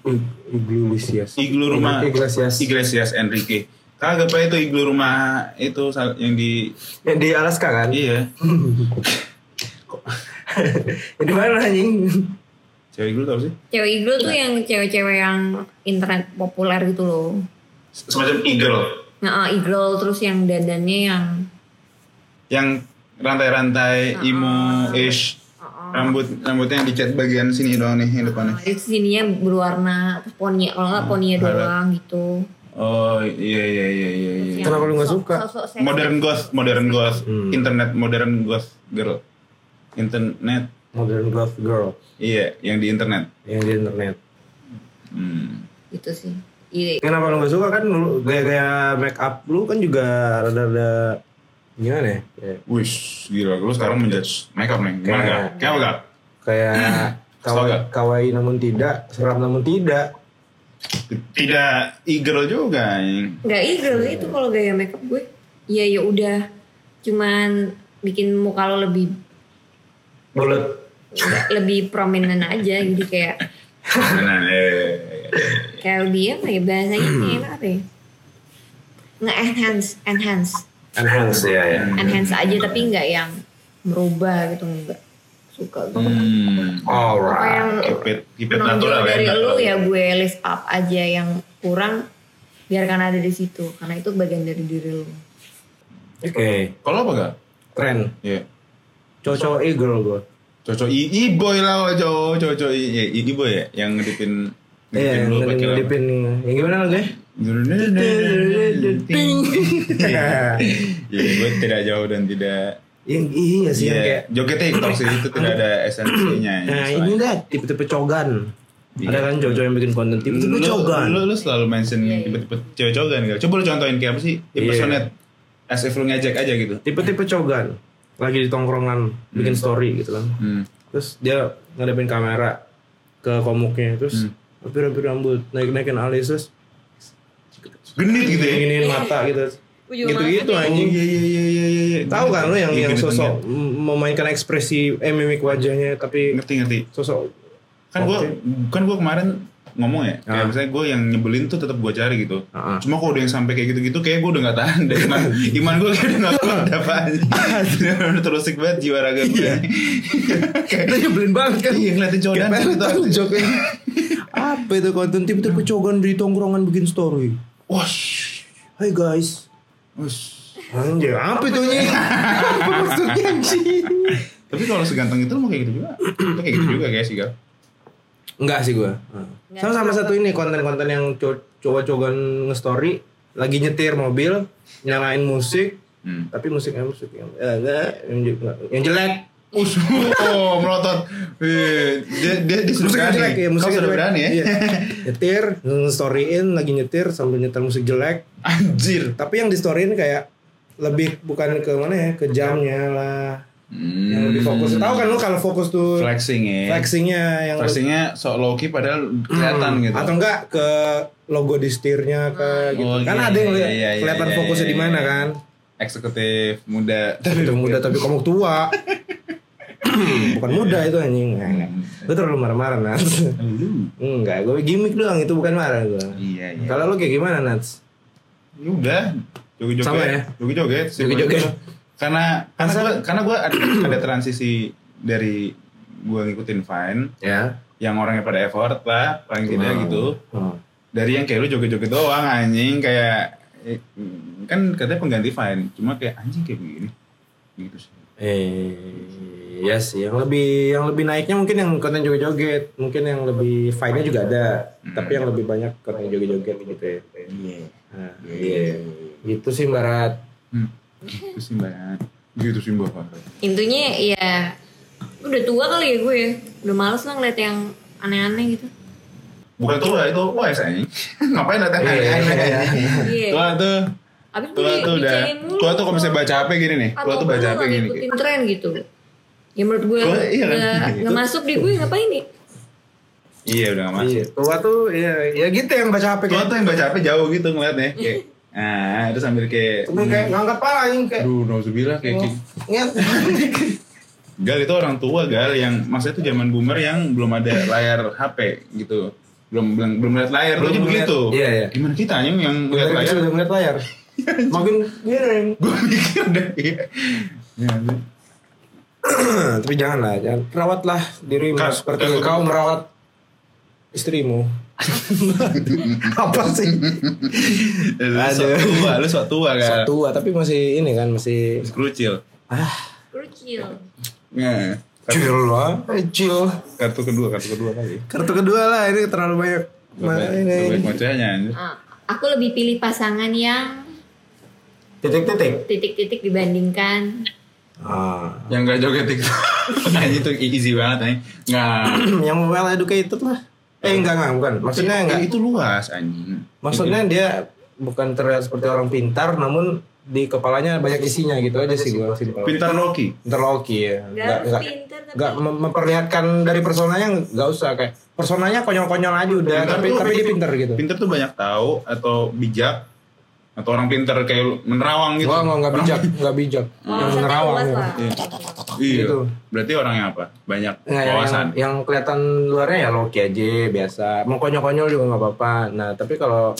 Speaker 4: iglu Lucius.
Speaker 3: iglu rumah
Speaker 4: Iglesias.
Speaker 3: Iglesias Enrique kagak apa itu iglu rumah itu sal- yang di
Speaker 4: Yang di Alaska kan?
Speaker 3: iya
Speaker 4: Yang di mana anjing?
Speaker 3: cewek iglu tau sih
Speaker 1: Cewek e-girl tuh yang cewek-cewek yang internet populer gitu loh.
Speaker 3: semacam eagle
Speaker 1: Nah, eh, e-girl terus yang dandannya yang
Speaker 3: yang rantai-rantai emo ish rambut rambutnya yang dicat bagian sini doang nih yang depannya
Speaker 1: Jadi sininya berwarna terus poni kalau nggak poninya doang gitu.
Speaker 3: oh iya iya iya iya iya
Speaker 1: Yang
Speaker 4: Kenapa lu nggak
Speaker 1: sok-
Speaker 4: suka?
Speaker 1: sosok seksi.
Speaker 3: modern goth modern goth
Speaker 4: Hmm.
Speaker 3: internet modern goth girl internet
Speaker 4: Modern Love Girl
Speaker 3: iya yang di internet
Speaker 4: yang di internet.
Speaker 3: hmm.
Speaker 1: gitu sih. Iya.
Speaker 4: Kenapa lu gak suka kan lu gaya-gaya make up lu kan juga rada-rada gimana ya? Kayak,
Speaker 3: wish gila lu sekarang menjudge makeup nih gimana
Speaker 4: Kayak-
Speaker 3: gak kayak apa gak
Speaker 4: kayak
Speaker 3: Hmm.
Speaker 4: kawa-
Speaker 3: Astaga.
Speaker 4: kawaii namun tidak, seram namun tidak.
Speaker 3: tidak e-girl juga yang
Speaker 1: Gak e-girl itu kalau gaya makeup gue. Iya ya udah. Cuman bikin muka lo lebih
Speaker 4: Bulat.
Speaker 1: nggak- lebih prominent aja jadi kayak
Speaker 3: nah, iya, iya, iya.
Speaker 1: kayak lebih apa ya bahasanya kayak apa ya? Nge-enhance, enhance,
Speaker 4: Enhance ya ya.
Speaker 3: Hmm.
Speaker 1: enhance aja tapi nggak yang merubah gitu nggak suka gue.
Speaker 3: hmm.
Speaker 1: Apa yang
Speaker 3: keep it, keep it
Speaker 1: menonjol
Speaker 3: natural ya,
Speaker 1: dari
Speaker 3: natural.
Speaker 1: lu ya gue lift up aja yang kurang biarkan ada di situ karena itu bagian dari diri lu.
Speaker 4: Oke,
Speaker 3: kalau apa gak
Speaker 4: tren.
Speaker 3: iya
Speaker 4: Cocok e-girl gua.
Speaker 3: Cocok i, i boy lah cowok cocok i, i, i boy ya yang ngedipin ngedipin
Speaker 4: Iya,
Speaker 3: lu
Speaker 4: yang
Speaker 3: pakai
Speaker 4: ngedipin. Yang Ya, gimana lu, Guys?
Speaker 3: Ting. Iya, gue tidak jauh dan tidak
Speaker 4: Yang iya sih yang kayak
Speaker 3: Iya, joget TikTok sih itu tidak ada esensinya. ya,
Speaker 4: Nah, ini
Speaker 3: selain-
Speaker 4: dah tipe-tipe cogan.
Speaker 3: Iya.
Speaker 4: Ada kan cowok-cowok yang bikin konten tipe-tipe
Speaker 3: Lu-
Speaker 4: cogan.
Speaker 3: Lu, lu selalu mention tipe-tipe cewek cogan gak? Coba lu contohin kayak apa sih? Impersonate as if lu ngejek aja gitu.
Speaker 4: tipe-tipe cogan lagi di tongkrongan bikin story gitu kan
Speaker 3: Hmm.
Speaker 4: terus dia ngadepin kamera ke komuknya terus
Speaker 3: Hmm.
Speaker 4: hampir-hampir rambut naik-naikin alis terus
Speaker 3: Genit gitu ya.
Speaker 4: giniin mata gitu gitu-gitu
Speaker 3: Oh, iya
Speaker 4: anjing
Speaker 3: iya iya iya iya.
Speaker 4: tahu kan lu yang yang
Speaker 3: Iya, genit,
Speaker 4: sosok
Speaker 3: genit.
Speaker 4: m- memainkan ekspresi eh mimik wajahnya tapi
Speaker 3: ngerti ngerti.
Speaker 4: sosok
Speaker 3: kan gue kan gue kemarin ngomong ya kayak
Speaker 4: Ah.
Speaker 3: misalnya gue yang nyebelin tuh tetap gue cari gitu
Speaker 4: Ah, ah.
Speaker 3: cuma kalau udah yang sampai kayak gitu-gitu kayak gue udah gak tahan deh iman iman gue kayak udah gak kuat apa aja terusik banget jiwa raga gue
Speaker 4: kita nyebelin banget kan
Speaker 3: iya ngeliatin cowok dan gitu
Speaker 4: joknya apa itu konten tiba-tiba cogan di tongkrongan bikin story wah hai guys anjir apa itu nih apa maksudnya anjing
Speaker 3: Tapi kalau seganteng itu lu mau kayak gitu juga. Lu kayak gitu juga guys, Igal.
Speaker 4: enggak sih gua
Speaker 1: Enggak
Speaker 4: sama sama satu ini konten-konten yang co- coba-coban nge-story lagi nyetir mobil nyalain musik
Speaker 3: Hmm.
Speaker 4: tapi musiknya musik yang eh, enggak, yang, enggak, yang jelek
Speaker 3: Us, oh, melotot. Wih, Iya, Dia dia dia sudah
Speaker 4: musiknya
Speaker 3: berani.
Speaker 4: jelek ya
Speaker 3: Kau
Speaker 4: musiknya
Speaker 3: sudah
Speaker 4: jelek.
Speaker 3: berani ya.
Speaker 4: Iya. nyetir nge-storyin lagi nyetir sambil nyetir musik jelek
Speaker 3: Anjir.
Speaker 4: tapi yang di storyin kayak lebih bukan ke mana ya ke jamnya lah
Speaker 3: Hmm.
Speaker 4: yang lebih fokus tahu kan lu kalau fokus tuh
Speaker 3: flexing ya.
Speaker 4: flexingnya yang Hmm.
Speaker 3: Flexingnya sok low key padahal kelihatan gitu.
Speaker 4: atau enggak ke logo di setirnya ke gitu
Speaker 3: Oh,
Speaker 4: kan
Speaker 3: iya,
Speaker 4: ada yang
Speaker 3: iya,
Speaker 4: lihat
Speaker 3: iya, iya,
Speaker 4: kelihatan
Speaker 3: iya,
Speaker 4: fokusnya
Speaker 3: iya,
Speaker 4: di mana
Speaker 3: iya.
Speaker 4: kan
Speaker 3: Eksekutif muda.
Speaker 4: itu muda tapi kamu tua bukan muda itu anjing Nah,
Speaker 3: Iya.
Speaker 4: enggak. gue terlalu marah-marah Nats
Speaker 3: Eh, Lu.
Speaker 4: enggak gue gimmick doang itu bukan marah gue
Speaker 3: Iya, iya.
Speaker 4: kalau lu kayak gimana Nats
Speaker 3: Ya udah joget-joget
Speaker 4: Sama ya?
Speaker 3: joget-joget sih.
Speaker 4: Joget-joget.
Speaker 3: karena karena
Speaker 4: Asal-
Speaker 3: gue karena gue ada, ada transisi dari gue ngikutin Vine
Speaker 4: ya
Speaker 3: yang orangnya pada effort lah paling tidak
Speaker 4: Wow.
Speaker 3: gitu
Speaker 4: oh.
Speaker 3: dari yang kayak lu joget-joget doang anjing kayak eh, kan katanya pengganti Vine cuma kayak anjing kayak begini gitu sih
Speaker 4: eh ya sih yang lebih yang lebih naiknya mungkin yang konten joget-joget mungkin yang lebih fine-nya juga ada
Speaker 3: Hmm.
Speaker 4: tapi yang lebih banyak konten joget-joget gitu ya Nah, iya gitu sih Mbak Rat
Speaker 3: hmm. gitu sih mbak gitu sih mbak
Speaker 1: Intinya ya udah tua kali ya gue. Udah males lah ngeliat yang aneh-aneh gitu.
Speaker 3: bukan tua itu wise anjing Iya, ngapain datang aneh-aneh
Speaker 1: Iya.
Speaker 3: tua tuh
Speaker 1: Abis gue
Speaker 3: tua
Speaker 1: di-
Speaker 3: tuh udah
Speaker 1: dicengin mulu
Speaker 3: tua tuh kalau misalnya baca HP gini nih
Speaker 1: Atau
Speaker 3: tua tuh baca
Speaker 1: perlu
Speaker 3: HP
Speaker 1: nggak
Speaker 3: gini
Speaker 1: ngikutin tren gitu. Ya menurut gue
Speaker 3: Tua, iya kan?
Speaker 1: nggak-
Speaker 3: Gitu.
Speaker 1: nggak masuk di gue ngapain nih?
Speaker 3: iya udah nggak masuk
Speaker 4: Iya, tua tuh ya, ya gitu yang baca HP
Speaker 3: Tua
Speaker 4: kayak.
Speaker 3: tuh yang baca HP jauh gitu ngeliatnya kayak nah itu sambil kayak
Speaker 4: Gue kayak Oh. ngangkat pala anjing kayak.
Speaker 3: Hmm. aduh nauzubillah kayak kayak-
Speaker 4: Nget.
Speaker 3: Gal itu orang tua Gal yang maksudnya tuh zaman boomer yang belum ada layar HP gitu belum belum belum lihat layar tuh
Speaker 4: Belum
Speaker 3: aja
Speaker 4: lihat,
Speaker 3: begitu
Speaker 4: iya, iya. gitu.
Speaker 3: gimana kita anjing yang lihat
Speaker 4: Dari
Speaker 3: layar
Speaker 4: kecil udah ngeliat layar. Makin miring.
Speaker 3: gue mikir udah iya Ya, anjing.
Speaker 4: Tapi janganlah, jangan. Rawatlah dirimu
Speaker 3: Kak,
Speaker 4: seperti
Speaker 3: kak,
Speaker 4: kau merawat istrimu. Apa sih?
Speaker 3: lu sok
Speaker 4: Aduh.
Speaker 3: tua lu sok tua kan
Speaker 4: Satu, ah, tapi masih ini kan masih Ah,
Speaker 3: Masih kerucil
Speaker 1: Kecil.
Speaker 3: Nah, kartu,
Speaker 4: cil lah, Eh, cil.
Speaker 3: kartu kedua kartu kedua kali
Speaker 4: Kartu kedua lah ini terlalu banyak. Mana ini?
Speaker 3: Baik bacanya anjing.
Speaker 1: Ah, aku lebih pilih pasangan yang
Speaker 5: Titik-titik.
Speaker 1: titik-titik dibandingkan
Speaker 4: Ah.
Speaker 3: yang gak joget TikTok anjing itu easy banget anjing nggak
Speaker 4: yang well educated lah. Eh enggak enggak bukan. Maksudnya enggak
Speaker 3: itu luas anjing
Speaker 4: Maksudnya dia bukan terlihat seperti orang pintar, namun di kepalanya banyak isinya gitu aja sih gue simpel.
Speaker 3: pintar Loki
Speaker 4: Pintar Loki ya.
Speaker 1: Nggak
Speaker 4: Nggak
Speaker 1: harus
Speaker 4: nggak
Speaker 1: pintar, tapi-
Speaker 4: nggak mem- memperlihatkan dari personanya nggak usah kayak personanya konyol-konyol aja udah,
Speaker 3: Pintar
Speaker 4: tapi
Speaker 3: tuh-
Speaker 4: tapi dia pintar gitu.
Speaker 3: pintar tuh banyak tahu atau bijak atau orang pintar kayak menerawang gitu
Speaker 4: Wah nggak nggak bijak, nggak bijak. Yang
Speaker 1: wawasannya
Speaker 4: nerawang
Speaker 1: Oh, luas
Speaker 4: gitu.
Speaker 1: lah.
Speaker 3: iya
Speaker 4: gitu. Iya,
Speaker 3: berarti orang yang apa banyak
Speaker 4: Nggak, yang,
Speaker 3: wawasan
Speaker 4: yang kelihatan luarnya ya Loki aja biasa. Mau konyol-konyol juga nggak apa-apa. Nah tapi kalau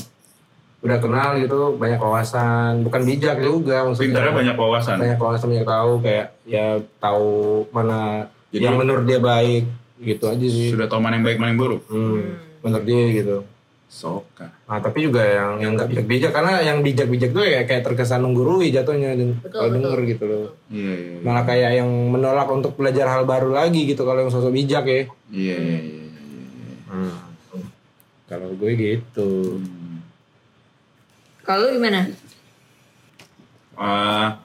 Speaker 4: udah kenal gitu banyak wawasan, bukan bijak juga maksudnya.
Speaker 3: pintarnya banyak wawasan
Speaker 4: banyak orang sama yang tahu kayak ya tahu mana
Speaker 3: Jadi-
Speaker 4: yang menurut dia baik gitu aja sih
Speaker 3: sudah tahu mana yang baik mana yang buruk
Speaker 4: hmm, menurut dia gitu
Speaker 3: soka
Speaker 4: nah tapi juga yang yang nggak bijak bijak karena yang bijak bijak tuh ya kayak terkesan menggurui jatuhnya dan
Speaker 1: Betul,
Speaker 4: kalau
Speaker 1: betul.
Speaker 4: denger gitu loh
Speaker 3: iya iya iya.
Speaker 4: malah kayak yang menolak untuk belajar hal baru lagi gitu kalau yang sosok bijak ya
Speaker 3: iya iya iya, iya.
Speaker 4: kalau gue gitu
Speaker 3: Hmm.
Speaker 1: Kalau lu gimana?
Speaker 3: Ah,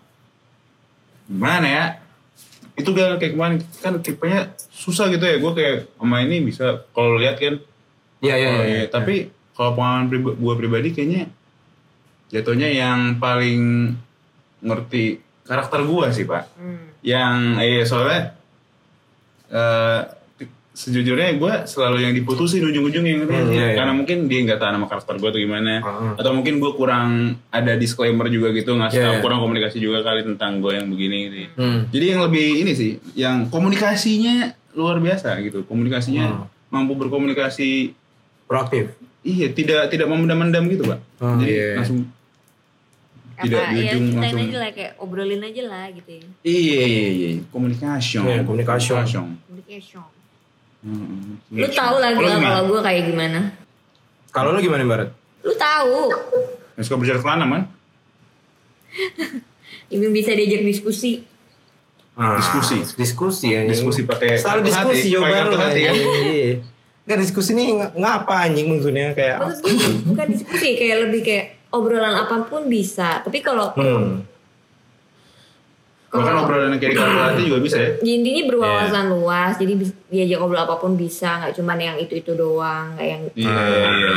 Speaker 3: gimana ya itu gal kayak kemarin kan tipenya susah gitu ya gue kayak sama ini bisa kalau lihat kan
Speaker 4: iya iya
Speaker 3: Oh,
Speaker 4: iya
Speaker 3: iya. Tapi kalau pengalaman priba- gua pribadi kayaknya jatuhnya yang paling ngerti karakter gua sih pak. Yang eh soalnya eh, ti- sejujurnya gua selalu yang diputusin ujung-ujungnya ngerti nggak
Speaker 4: Hmm,
Speaker 3: sih?
Speaker 4: iya, Ah, iya.
Speaker 3: karena mungkin dia nggak tahan sama karakter gua atau gimana.
Speaker 4: Heeh.
Speaker 3: Atau mungkin gua kurang ada disclaimer juga gitu ngasih
Speaker 4: Iya,
Speaker 3: tau,
Speaker 4: iya.
Speaker 3: kurang komunikasi juga kali tentang gua yang begini. Gitu.
Speaker 4: hmm.
Speaker 3: Jadi yang lebih ini sih, yang komunikasinya luar biasa gitu. Komunikasinya
Speaker 4: Hmm.
Speaker 3: mampu berkomunikasi
Speaker 4: proaktif
Speaker 3: Iya, tidak tidak memendam-mendam gitu, Pak.
Speaker 4: Oh,
Speaker 3: Jadi
Speaker 4: iya.
Speaker 3: langsung tidak
Speaker 1: Apa
Speaker 3: di
Speaker 1: ya
Speaker 3: ujung
Speaker 1: kitain
Speaker 3: langsung.
Speaker 1: aja lah kayak obrolin aja lah gitu ya.
Speaker 3: Iya, iya, iya. Komunikasi.
Speaker 4: Iya, komunikasi.
Speaker 3: Komunikasi.
Speaker 1: Communication. Lu tahu lah
Speaker 3: Lu
Speaker 1: gua
Speaker 3: Iya, gimana?
Speaker 1: kalau gue kayak gimana.
Speaker 4: Kalau lu gimana Barat?
Speaker 1: Lu tahu.
Speaker 3: Nggak suka berjalan celana man.
Speaker 1: Ibu bisa diajak diskusi.
Speaker 3: Diskusi.
Speaker 4: Ah, Diskusi ya.
Speaker 3: Diskusi pakai
Speaker 4: Selalu
Speaker 3: kartu
Speaker 4: diskusi
Speaker 3: hati. Pakai
Speaker 4: jawaban
Speaker 3: kartu
Speaker 4: lu.
Speaker 3: hati ya.
Speaker 4: Enggak iya, diskusi nih ng- ngapa anjing maksudnya kayak
Speaker 1: Maksud gue bukan diskusi kayak lebih kayak obrolan apapun bisa. Tapi kalau
Speaker 4: hmm.
Speaker 3: Bahkan obrolan yang kayak di kartu hati juga bisa ya.
Speaker 1: Ya, intinya berwawasan luas jadi bis- diajak ngobrol apapun bisa nggak cuman yang itu itu doang nggak yang
Speaker 3: Iya, iya, iya,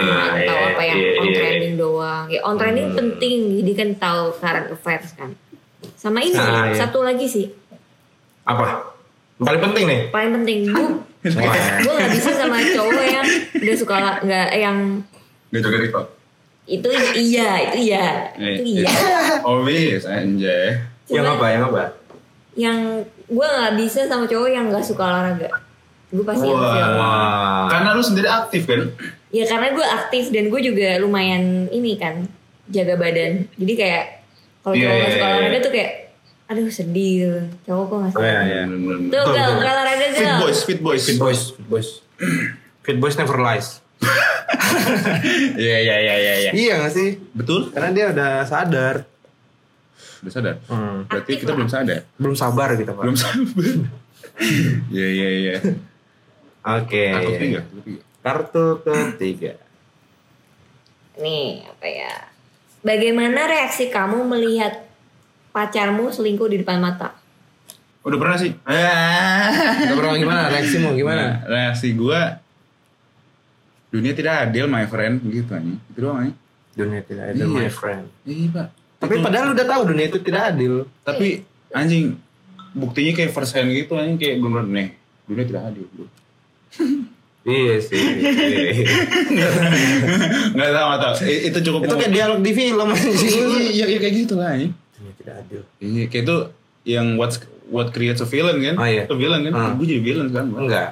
Speaker 3: iya,
Speaker 1: tahu
Speaker 2: iya,
Speaker 1: apa yang
Speaker 2: iya,
Speaker 1: on
Speaker 2: iya.
Speaker 1: trending doang ya on trending penting jadi kan tahu current affairs kan sama ini
Speaker 4: Ah, iya.
Speaker 1: satu lagi sih
Speaker 4: apa? Paling penting nih.
Speaker 1: paling penting gue gue nggak bisa sama cowok yang udah suka la- nggak eh, yang
Speaker 3: Nggak juga rival.
Speaker 1: itu iya itu iya
Speaker 3: Eh,
Speaker 1: itu iya
Speaker 3: Obvious Oh, anjay.
Speaker 4: Yang
Speaker 1: Cuman
Speaker 4: apa? Yang apa?
Speaker 1: yang gue nggak bisa sama cowok yang nggak suka olahraga gue pasti yang
Speaker 3: Wah.
Speaker 1: feel.
Speaker 4: Wah.
Speaker 3: Karena lu sendiri aktif kan?
Speaker 1: Ya karena gue aktif dan gue juga lumayan ini kan jaga badan. Jadi kayak kalau
Speaker 3: Iya,
Speaker 1: cowok
Speaker 3: iya,
Speaker 1: nggak suka
Speaker 3: iya,
Speaker 1: olahraga
Speaker 3: iya.
Speaker 1: tuh kayak aduh sedih gitu. cowok kok nggak suka.
Speaker 4: Oh, iya, iya.
Speaker 1: Tuh
Speaker 4: Betul,
Speaker 1: gal,
Speaker 4: betul.
Speaker 1: nggak olahraga
Speaker 3: Fit
Speaker 1: gal.
Speaker 3: boys, Ah, fit boys.
Speaker 4: Fit boys, fit boys.
Speaker 5: Fit boys never lies.
Speaker 3: Iya, iya, iya, iya, iya.
Speaker 4: Iya gak sih?
Speaker 3: Betul?
Speaker 4: Karena dia udah sadar.
Speaker 3: Udah sadar.
Speaker 4: Hmm.
Speaker 3: Berarti
Speaker 1: Aktif
Speaker 3: kita
Speaker 1: lah.
Speaker 3: belum sadar.
Speaker 5: Belum sabar gitu pak.
Speaker 3: Belum sabar. Iya, iya, iya.
Speaker 4: Oke.
Speaker 3: Aku tiga, aku tiga.
Speaker 4: Kartu ketiga.
Speaker 1: Nih apa ya? Bagaimana reaksi kamu melihat pacarmu selingkuh di depan mata?
Speaker 3: Udah pernah sih. Eh.
Speaker 4: Udah pernah gimana? Reaksimu
Speaker 3: Nah,
Speaker 4: gimana?
Speaker 3: reaksi gua dunia tidak adil my friend gitu anjing. Itu doang anjing.
Speaker 5: Dunia tidak ada my
Speaker 3: Iya.
Speaker 5: friend.
Speaker 3: Iya, Pak.
Speaker 4: Tapi padahal udah tahu dunia itu tidak adil.
Speaker 3: Tapi anjing buktinya kayak first hand gitu anjing kayak bener nih. Dunia tidak adil, bro.
Speaker 4: Iya sih.
Speaker 3: Enggak tahu, nggak tahu. I- Itu cukup
Speaker 4: itu kayak dialog di film anjing.
Speaker 3: Iya, iya, kayak gitu lah anjing.
Speaker 5: Dunia tidak adil.
Speaker 3: Iya, kayak itu yang what's what creates a villain kan?
Speaker 4: Oh, iya.
Speaker 3: Itu villain kan?
Speaker 4: Hmm.
Speaker 3: Gue jadi villain sekarang. gua.
Speaker 4: Enggak.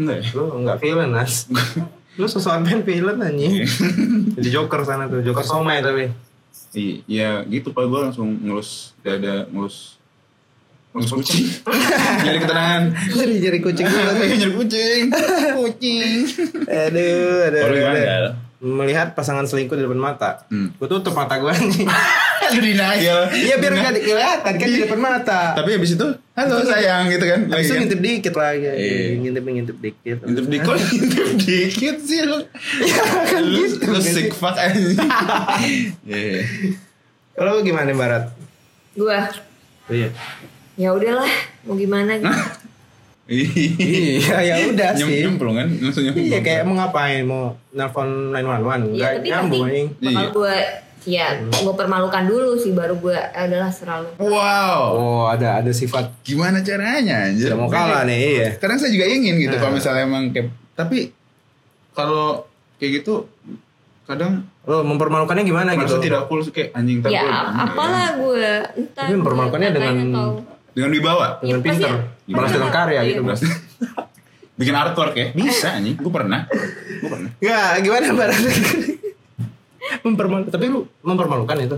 Speaker 3: Enggak ya?
Speaker 4: Lu enggak villain, Nas. Lu sosokan pengen villain anjing. Jadi Joker sana tuh, Joker somai tapi.
Speaker 3: Iya, ya gitu pak gue langsung ngelus dada, ngelus ngelus kucing, nyari ketenangan,
Speaker 4: Jadi jadi kucing gua tapi.
Speaker 3: nyari kucing, kucing.
Speaker 4: Aduh, aduh.
Speaker 3: Baru
Speaker 4: aduh.
Speaker 3: gimana?
Speaker 4: Melihat pasangan selingkuh di depan mata.
Speaker 3: Hmm.
Speaker 4: Gua tutup mata gua anjing.
Speaker 3: Aduh denial.
Speaker 4: Iya biar enggak kelihatan kan di depan mata.
Speaker 3: Tapi habis itu, halo sayang gitu kan?
Speaker 4: Habis
Speaker 3: Lagi
Speaker 4: itu
Speaker 3: kan?
Speaker 4: ngintip dikit lagi.
Speaker 3: Iya.
Speaker 4: Ngintip ngintip dikit.
Speaker 3: Ngintip dikit, kok ngintip dikit sih lu?
Speaker 4: Iya, kan
Speaker 3: Lu,
Speaker 4: gitu,
Speaker 3: lu sick fuck aja. Iya.
Speaker 4: Kalau lu gimana Barat?
Speaker 1: Gua
Speaker 4: Iya.
Speaker 1: ya udahlah mau gimana gitu.
Speaker 4: Iya ya udah
Speaker 3: Nah. Nyem-
Speaker 4: sih.
Speaker 3: Nyemplung kan? Langsung nyemplung.
Speaker 4: Iya kayak mau ngapain mau nelpon 911 enggak
Speaker 1: ya tapi
Speaker 4: nyambung Hmm.
Speaker 1: pasti
Speaker 4: anjing.
Speaker 1: bakal
Speaker 3: Iya.
Speaker 1: gue ya gue permalukan dulu sih baru eh, gue adalah selalu
Speaker 3: Wow,
Speaker 4: Oh, ada ada sifat
Speaker 3: gimana caranya anjir?
Speaker 4: tidak mau kalah nih, iya.
Speaker 3: Karena saya juga ingin gitu
Speaker 4: Nah.
Speaker 3: kalau misalnya emang kayak tapi kalau kayak gitu kadang
Speaker 4: Lo mempermalukannya gimana
Speaker 3: merasa
Speaker 4: gitu?
Speaker 3: tidak cool sih, kayak anjing tapi
Speaker 1: ya apalah gue entah
Speaker 4: Tapi mempermalukannya
Speaker 1: gua katanya
Speaker 4: dengan-
Speaker 1: tahu.
Speaker 3: dengan dibawa
Speaker 4: Dengan
Speaker 1: Iya, pasti
Speaker 4: pinter,
Speaker 1: pernah.
Speaker 4: balas dengan karya
Speaker 1: Iya.
Speaker 4: gitu, Bas.
Speaker 3: bikin artwork ya bisa anjing gue pernah gue pernah
Speaker 4: Enggak, gimana Barat? mempermalukan, tapi lu mempermalukan itu.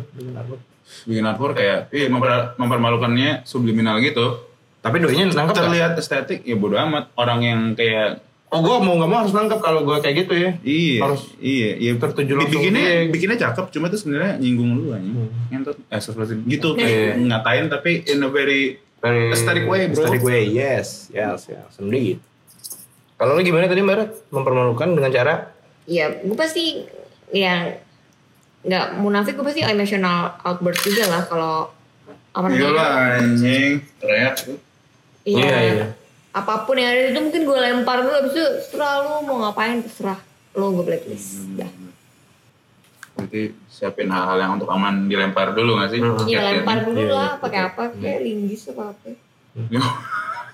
Speaker 3: bikin artwork kayak eh, memper- mempermalukannya subliminal gitu
Speaker 4: Tapi doinya nangkep nggak?
Speaker 3: terlihat estetik ya bodo amat orang yang kayak
Speaker 4: Oh, gua mau nggak mau harus nangkep kalau gua kayak gitu ya.
Speaker 3: iya
Speaker 4: Harus
Speaker 3: iya iya
Speaker 4: tertuju
Speaker 3: Bi-
Speaker 4: langsung.
Speaker 3: bikinnya
Speaker 4: Iya. Hmm.
Speaker 3: bikinnya cakep cuma itu sebenarnya nyinggung lu anjing ngentot eh seperti gitu kayak ngatain tapi in a very
Speaker 4: Very
Speaker 3: Aesthetic way, bro.
Speaker 4: Aesthetic way, yes, yes, yes. Sendiri gitu. Kalau lu gimana tadi Barat? Mempermalukan dengan cara
Speaker 1: ya gue pasti yang nggak munafik gue pasti emotional outburst juga lah kalau apa
Speaker 3: Iya
Speaker 1: namanya,
Speaker 3: lah anjing, teriak
Speaker 1: iya,
Speaker 4: Iya, iya.
Speaker 1: apapun yang ada itu mungkin gue lempar dulu abis itu selalu mau ngapain terserah lo gue blacklist dah
Speaker 3: Berarti siapin hal-hal yang untuk aman dilempar dulu gak sih?
Speaker 1: iya
Speaker 3: Jaket-nya.
Speaker 1: lempar dulu
Speaker 4: Iya,
Speaker 1: lah pakai apa kayak linggis apa apa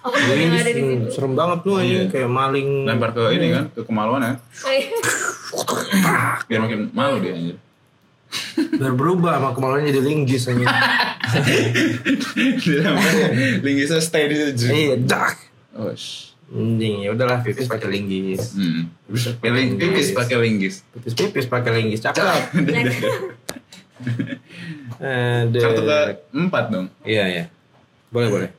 Speaker 1: apa
Speaker 4: Ih,
Speaker 1: yang ada di
Speaker 4: serem-
Speaker 1: situ
Speaker 4: serem banget lu anjing
Speaker 3: Iya.
Speaker 4: kayak maling.
Speaker 3: lempar ke ini kan, ke kemaluan ya. Biar makin malu dia anjir.
Speaker 4: Biar berubah sama kemaluannya jadi linggis anjing.
Speaker 3: Dilempar, ya. linggisnya stay di situ.
Speaker 4: Iya, dak.
Speaker 3: Oh, shh.
Speaker 4: Anjing, ya udahlah pipis pakai linggis.
Speaker 3: Hmm. Pakai ling- pipis pakai linggis.
Speaker 4: Pipis pipis pakai linggis cakep. Ada.
Speaker 3: Kartu keempat dong.
Speaker 4: Iya iya. Boleh boleh.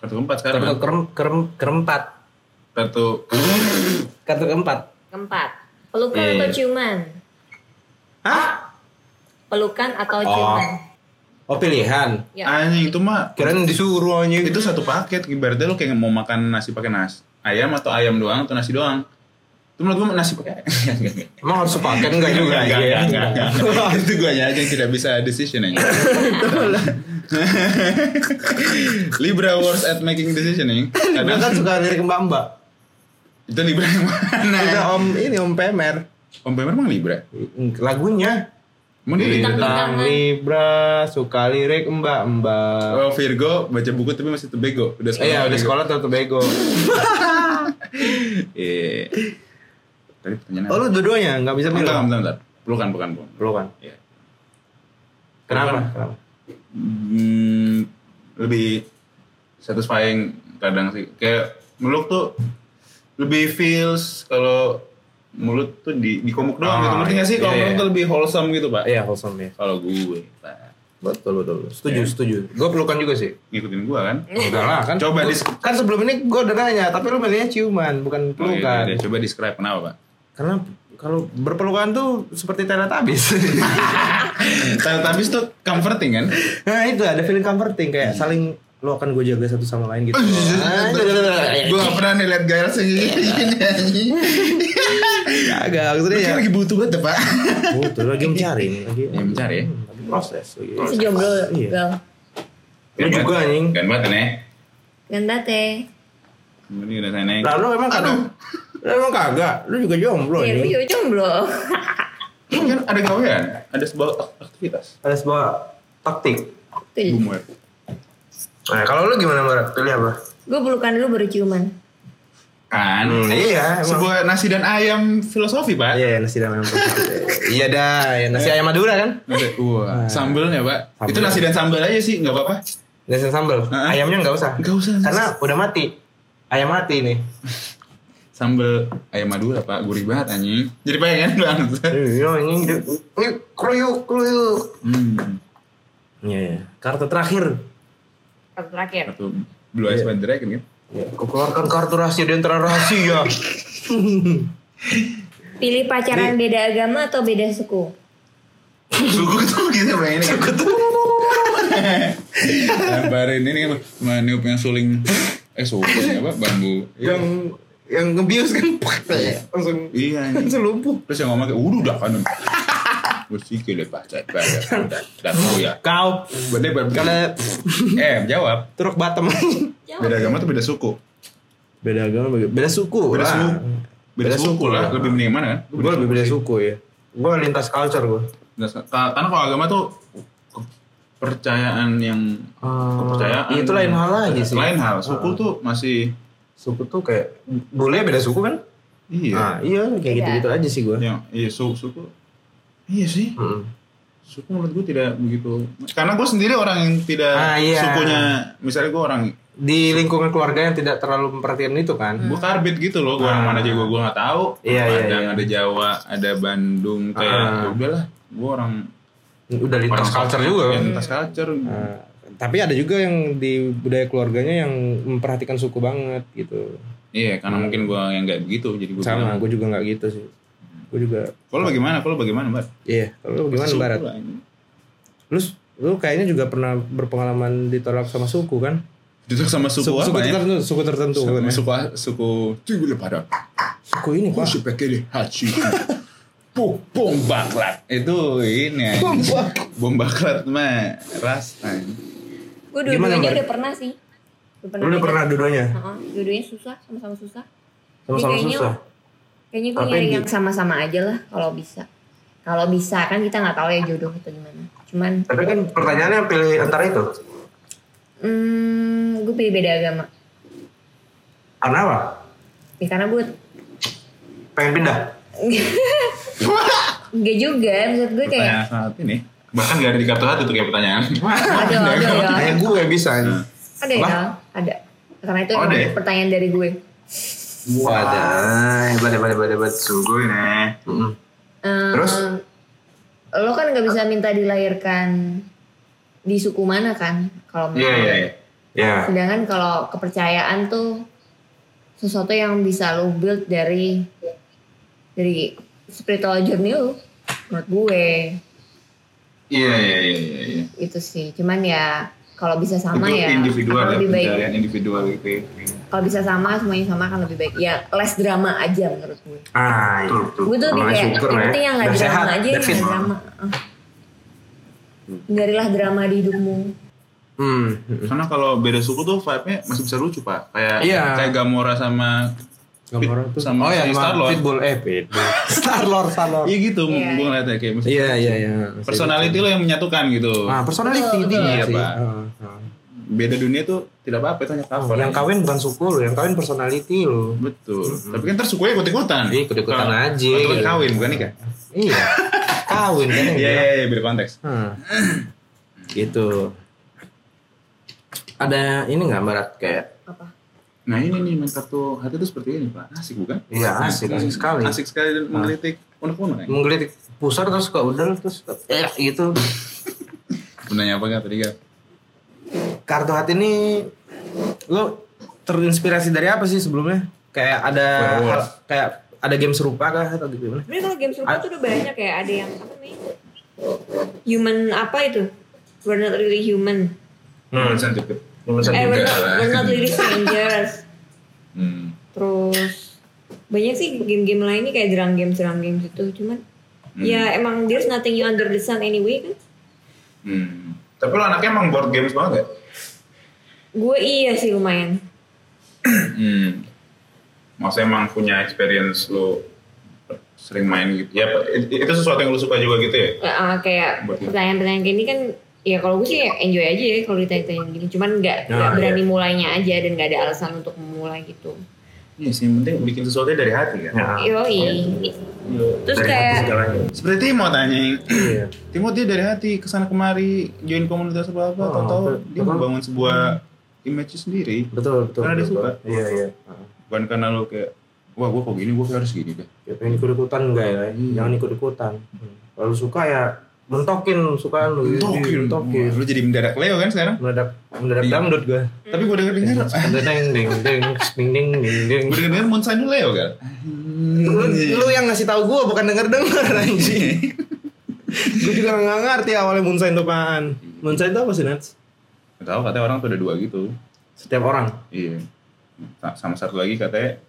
Speaker 3: Kartu keempat sekarang.
Speaker 4: Kartu kerem kerem kerempat.
Speaker 3: kartu
Speaker 4: Kartu keempat.
Speaker 1: Keempat, pelukan
Speaker 4: Iya.
Speaker 1: atau ciuman?
Speaker 4: Hah?
Speaker 1: Pelukan atau
Speaker 4: Oh.
Speaker 1: ciuman?
Speaker 4: Oh pilihan.
Speaker 1: Ya.
Speaker 3: anjing itu mah
Speaker 4: Kirain disuruh anjing.
Speaker 3: itu satu paket ibaratnya lu kayak mau makan nasi pakai nasi ayam atau ayam doang atau nasi doang itu menurut gue nasi pakai
Speaker 4: Emang harus sepaket enggak juga iya. anjing?
Speaker 3: enggak, enggak, enggak, enggak, itu gue aja yang tidak bisa decision aja Libra works at making decision ya
Speaker 4: Gua
Speaker 3: kadang
Speaker 4: kan suka lirik Mbak Mbak.
Speaker 3: itu Libra yang mana
Speaker 4: Kita om ini om Pemer.
Speaker 3: Om Pemer emang Libra
Speaker 4: Lagunya
Speaker 3: emang dia Libra
Speaker 4: Tentang Libra, suka lirik Mbak Mbak.
Speaker 3: Oh Virgo baca buku tapi masih tebego udah sekolah
Speaker 4: Iya, udah
Speaker 3: bego.
Speaker 4: sekolah tetap bego.
Speaker 3: Iya. Tadi pertanyaan
Speaker 4: Oh,
Speaker 3: apa?
Speaker 4: lu dua-duanya nggak bisa milih.
Speaker 3: Bentar, bentar, bentar. Pelukan, pelukan, pelukan.
Speaker 4: Lu kan.
Speaker 3: Iya.
Speaker 4: Kenapa?
Speaker 3: Bukan.
Speaker 4: Kenapa?
Speaker 3: Hmm, lebih satisfying kadang sih. Kayak meluk tuh lebih feels kalau mulut tuh di dikomuk doang
Speaker 4: Ah,
Speaker 3: gitu. Ngerti nggak sih? Kalau
Speaker 4: iya,
Speaker 3: mulut
Speaker 4: iya.
Speaker 3: tuh lebih wholesome gitu, Pak.
Speaker 4: Iya, wholesome ya.
Speaker 3: Kalau gue, Pak.
Speaker 4: Betul, betul. Setuju, setuju. Gue pelukan juga sih.
Speaker 3: Ngikutin gua kan?
Speaker 4: Enggak lah, kan.
Speaker 3: Coba
Speaker 4: gua-
Speaker 3: dis-
Speaker 4: kan sebelum ini gue udah nanya, tapi lu milihnya ciuman, bukan
Speaker 3: Oh, iya, iya,
Speaker 4: pelukan.
Speaker 3: iya. Coba describe kenapa, Pak?
Speaker 4: Karena kalau berpelukan tuh seperti teletabis.
Speaker 3: Tapi habis tuh comforting kan?
Speaker 4: nah, itu ada feeling comforting kayak saling lu akan gue jaga satu sama lain gitu. iya.
Speaker 3: gue gak pernah nih liat Giles yang gini anjing.
Speaker 4: iya. Agak maksudnya ya. Iya.
Speaker 3: Dia kan lagi butuh banget, Pak.
Speaker 4: Oh, tuh lagi mencari nih, lagi.
Speaker 3: Ya, bentar ya.
Speaker 4: lagi proses. lagi.
Speaker 1: Sejomblo,
Speaker 4: Iya.
Speaker 1: gal.
Speaker 4: Lu juga anjing.
Speaker 3: Kan banget kan ya.
Speaker 1: Ganda teh.
Speaker 3: Ini udah saya naik.
Speaker 4: Lah lu emang kagak. Lu emang kagak. Lu juga jomblo
Speaker 1: Iya, lu
Speaker 4: anjing.
Speaker 1: juga jomblo.
Speaker 3: Ini kan ada gawean, ada sebuah ak- aktivitas.
Speaker 5: Ada sebuah taktik.
Speaker 1: Tuh,
Speaker 3: Boomer.
Speaker 4: Nah, kalau lu gimana, Barat? Pilih apa?
Speaker 1: gue pelukan dulu baru ciuman.
Speaker 3: Kan.
Speaker 4: Hmm, iya, emang.
Speaker 3: sebuah nasi dan ayam filosofi, Pak.
Speaker 4: Iya, nasi dan ayam Madura. Iya dah, ya, nasi ayam Madura kan?
Speaker 3: Nasi- Wah, sambelnya, Pak.
Speaker 4: Sambel.
Speaker 3: Itu nasi dan sambal aja sih, nggak apa-apa.
Speaker 4: Nasi sambal.
Speaker 3: Heeh.
Speaker 4: Ayamnya nggak usah.
Speaker 3: Nggak usah.
Speaker 4: Karena udah mati. Ayam mati nih.
Speaker 3: Sambal ayam Madura, Pak. Gurih banget anjing. Jadi pengen banget.
Speaker 4: Iya, ini ini kruyuk kruyuk.
Speaker 3: Hmm.
Speaker 4: Iya, iya. Kartu terakhir.
Speaker 1: Kartu terakhir.
Speaker 3: Satu Blue Eyes White Dragon kan.
Speaker 4: Aku keluarkan kartu rahasia di antara rahasia.
Speaker 1: Pilih pacaran beda agama atau beda suku?
Speaker 3: Suku tuh gitu pengen ini. Suku tuh. Lemparin ini kan sama niup yang suling eh suling apa bambu.
Speaker 4: yang yang ngebius kan langsung
Speaker 3: Iya. anjing.
Speaker 4: langsung lumpuh.
Speaker 3: Terus yang ngomong kayak, udah dah kan. Gue sih kira baca, baca, dan tahu ya.
Speaker 4: Kau
Speaker 3: Berarti ber-
Speaker 4: karena
Speaker 3: eh jawab.
Speaker 4: truk Batam.
Speaker 3: Beda agama tuh beda suku.
Speaker 4: beda agama, beda, beda suku.
Speaker 3: Beda
Speaker 4: lah.
Speaker 3: suku. Beda, suku, lah. Lebih mending mana kan?
Speaker 4: Gue lebih beda suku ya. Gue lintas culture gue.
Speaker 3: Nah, ka- Karena kalau agama tuh kepercayaan yang kepercayaan.
Speaker 4: Iya,
Speaker 3: Iya,
Speaker 4: itu lain hal lagi sih.
Speaker 3: Lain hal. Suku tuh masih
Speaker 4: Suku tuh kayak boleh beda suku kan?
Speaker 3: iya.
Speaker 4: Nah, iya kayak
Speaker 1: Iya.
Speaker 4: gitu-gitu aja sih gue.
Speaker 3: Yang iya su- suku. Iya sih.
Speaker 4: Mm.
Speaker 3: Suku menurut gue tidak begitu. Karena gue sendiri orang yang tidak
Speaker 4: Ah, iya.
Speaker 3: sukunya. Misalnya gue orang
Speaker 4: Di lingkungan keluarga yang tidak terlalu memperhatikan itu kan.
Speaker 3: gue karbit gitu loh gue orang
Speaker 4: Ah.
Speaker 3: mana aja gue gue nggak tahu
Speaker 4: Iya, iya,
Speaker 3: Padang
Speaker 4: iya.
Speaker 3: ada Jawa ada Bandung kayak
Speaker 4: Ah.
Speaker 3: ya udahlah gue orang
Speaker 4: Udah
Speaker 3: orang
Speaker 4: lintas culture juga
Speaker 3: ya,
Speaker 4: kan.
Speaker 3: lintas culture
Speaker 4: Nah, tapi ada juga yang di budaya keluarganya yang memperhatikan suku banget gitu.
Speaker 3: iya karena mungkin gue yang nggak begitu jadi gue
Speaker 4: Sama, gue juga nggak gitu sih. Gue juga,
Speaker 3: kalau bagaimana kalau bagaimana mbak
Speaker 4: iya. Kalau lu gimana
Speaker 3: Suku
Speaker 4: Barat?
Speaker 3: lah ini.
Speaker 4: Lu, lu kayaknya juga pernah berpengalaman ditolak sama suku kan?
Speaker 3: itu sama suku,
Speaker 4: suku,
Speaker 3: apa ya
Speaker 4: tertentu, suku tertentu. kan
Speaker 3: sama
Speaker 4: ya?
Speaker 3: suku suku suku pada
Speaker 4: Suku ini pak.
Speaker 3: suku kiri haji Bom- bom baklat itu ini ya. bom baklat mah ras anjing.
Speaker 1: Gue
Speaker 4: Gimana,
Speaker 1: dua-duanya
Speaker 4: Mbak?
Speaker 1: udah pernah sih. Udah
Speaker 4: Lu udah
Speaker 1: beda.
Speaker 4: pernah dua-duanya?
Speaker 1: Heeh, dua-duanya susah, sama-sama susah. Jadi
Speaker 5: Sama-sama
Speaker 1: kayaknya-
Speaker 5: susah.
Speaker 1: Kayaknya gue
Speaker 5: Tapi
Speaker 1: nyari
Speaker 5: di-
Speaker 1: yang sama-sama aja lah kalau bisa. Kalau bisa kan kita nggak tahu ya jodoh itu gimana. Cuman,
Speaker 5: Tapi kan pertanyaannya pilih antara itu.
Speaker 1: hmm, gue pilih beda agama.
Speaker 5: Karena apa?
Speaker 1: Ya, karena gue
Speaker 5: Pengen pindah.
Speaker 1: nggak juga, maksud gue kayak
Speaker 3: pertanyaan saat ini bahkan gak ada di kartu satu tuh kayak pertanyaan
Speaker 1: ada ada ya,
Speaker 4: Kayak gue bisa.
Speaker 3: Nah.
Speaker 1: ada ya,
Speaker 4: Bah.
Speaker 1: ada. Karena itu
Speaker 3: Oh,
Speaker 1: emang
Speaker 3: ada ya?
Speaker 1: pertanyaan dari gue.
Speaker 4: Nah,
Speaker 5: Wadah, hebat hebat hebat hebat.
Speaker 3: sungguh nih
Speaker 5: Mm-mm.
Speaker 1: Eh,
Speaker 5: Terus?
Speaker 1: lo kan nggak bisa minta dilahirkan di suku mana kan? Kalau
Speaker 3: Iya
Speaker 1: menurut
Speaker 3: iya.
Speaker 1: lo.
Speaker 3: iya.
Speaker 5: Ya,
Speaker 1: Sedangkan kalau kepercayaan tuh sesuatu yang bisa lu build dari dari spiritual journey lu menurut gue
Speaker 3: Iya iya iya iya. iya.
Speaker 1: itu sih cuman ya kalau bisa sama
Speaker 3: Itu
Speaker 1: ya
Speaker 3: individual
Speaker 1: akan
Speaker 3: ya,
Speaker 1: lebih baik
Speaker 3: pencarian individual gitu ya.
Speaker 4: Hmm.
Speaker 1: kalau bisa sama semuanya sama akan lebih baik ya less drama aja menurut gue
Speaker 5: Ah, iya.
Speaker 1: gue tuh lebih
Speaker 5: Makanya
Speaker 1: kayak
Speaker 5: syukur lah
Speaker 1: yang
Speaker 5: ya.
Speaker 1: penting yang nggak
Speaker 5: Biar
Speaker 1: drama
Speaker 5: sehat,
Speaker 1: aja yang
Speaker 5: biar fit.
Speaker 1: nggak drama Ah. hindarilah drama di hidupmu
Speaker 4: Hmm.
Speaker 3: Karena kalau beda suku tuh vibe-nya masih bisa lucu pak. Kayak
Speaker 4: Iya.
Speaker 3: kayak Gamora sama
Speaker 4: Gamora tuh. oh
Speaker 3: sama
Speaker 4: ya,
Speaker 3: si
Speaker 4: sama
Speaker 3: Star-Lord.
Speaker 4: Pitbull eh Pitbull. Star Lord, Star Lord.
Speaker 3: Iya gitu,
Speaker 1: Iya,
Speaker 3: gue
Speaker 1: iya.
Speaker 3: ngeliatnya kayak masih-
Speaker 4: Iya iya iya.
Speaker 3: personality lo yang menyatukan gitu.
Speaker 4: Ah, personality
Speaker 1: Betul,
Speaker 4: dia
Speaker 3: betul.
Speaker 4: sih.
Speaker 3: Iya, Pak.
Speaker 4: Heeh, heeh.
Speaker 3: Beda dunia tuh tidak apa-apa itu hanya cover.
Speaker 4: Oh, Yang kawin bukan suku lo, yang kawin personality lo.
Speaker 3: Betul. Tapi kan ntar sukunya ikut-ikutan.
Speaker 4: Iya, ikut-ikutan
Speaker 3: Kalau-
Speaker 4: aja.
Speaker 3: kalau itu kan kawin bukan nikah.
Speaker 4: Iya. Kawin kan
Speaker 3: Iya
Speaker 4: yang
Speaker 3: iya
Speaker 4: bilang.
Speaker 3: iya, beda konteks.
Speaker 4: Hmm. Gitu. Ada ini nggak barat kayak
Speaker 1: apa
Speaker 3: Nah ini nih main kartu hati itu seperti ini pak. Asik bukan?
Speaker 4: Iya, asik, asik sekali. Nah.
Speaker 3: Asik sekali dan mengkritik unek-unek.
Speaker 4: menggelitik pusar terus ke udel terus ke- eh gitu.
Speaker 3: Benarnya apa nggak tadi Gap?
Speaker 4: Kartu hati ini lo terinspirasi dari apa sih sebelumnya? Kayak ada
Speaker 3: Werewolf.
Speaker 4: hal- kayak ada game serupa kah atau gimana?
Speaker 1: ini kalau game serupa
Speaker 5: Ah.
Speaker 1: tuh udah banyak ya ada yang apa nih human apa itu we're not really human
Speaker 3: Hmm, scientific.
Speaker 1: eh we're not,
Speaker 3: lah.
Speaker 1: we're not really strangers
Speaker 3: Hmm.
Speaker 1: terus banyak sih game-game lainnya kayak drum game drum game gitu cuman
Speaker 5: Hmm.
Speaker 1: ya emang there's nothing you under the sun anyway kan
Speaker 3: Hmm. Tapi lo anaknya emang board games banget ya?
Speaker 1: gue iya sih lumayan
Speaker 3: Hmm. Maksudnya emang punya experience lo sering main gitu. Ya, it- itu sesuatu yang lo suka juga gitu ya?
Speaker 1: Eh, eh, kayak
Speaker 3: Buat-
Speaker 1: pertanyaan-pertanyaan kayak gini kan ya kalau gue sih ya enjoy aja ya kalau ditanya-tanya gini cuman nggak nggak
Speaker 4: Nah,
Speaker 1: berani mulainya aja dan nggak ada alasan untuk memulai gitu
Speaker 3: Iya sih, yang penting bikin sesuatu dari hati kan.
Speaker 5: Ya.
Speaker 1: yoi
Speaker 3: iya. Nah,
Speaker 1: terus kayak
Speaker 5: Segalanya.
Speaker 3: Seperti mau tanya,
Speaker 4: Iya.
Speaker 3: Timothy dari hati kesana kemari join komunitas apa apa,
Speaker 4: Oh,
Speaker 3: atau
Speaker 4: betul.
Speaker 3: dia membangun sebuah image sendiri.
Speaker 4: Betul betul.
Speaker 3: Karena dia
Speaker 4: betul.
Speaker 3: suka.
Speaker 4: Iya iya. Heeh.
Speaker 3: Bukan karena lo kayak, wah gue kok gini, gue harus gini deh.
Speaker 4: ya pengen ikut ikutan enggak ya
Speaker 3: Iya.
Speaker 4: jangan ikut ikutan kalau suka ya mentokin suka lu
Speaker 3: Tokin,
Speaker 4: mentokin
Speaker 3: Lo jadi mendadak Leo kan sekarang?
Speaker 4: mendadak mendadak
Speaker 3: Iya.
Speaker 4: dangdut gue
Speaker 3: Tapi gue denger denger,
Speaker 4: deng deng deng ding ding ding ding
Speaker 3: gue denger denger Monsanto Leo kan?
Speaker 4: lu, lu yang ngasih tahu gue bukan denger denger anjing gue juga nggak ngerti awalnya munsain itu apaan munsain itu apa sih Nats?
Speaker 3: Gak tau katanya orang tuh ada dua gitu.
Speaker 4: setiap orang
Speaker 3: Iya. Sa- Sama satu lagi katanya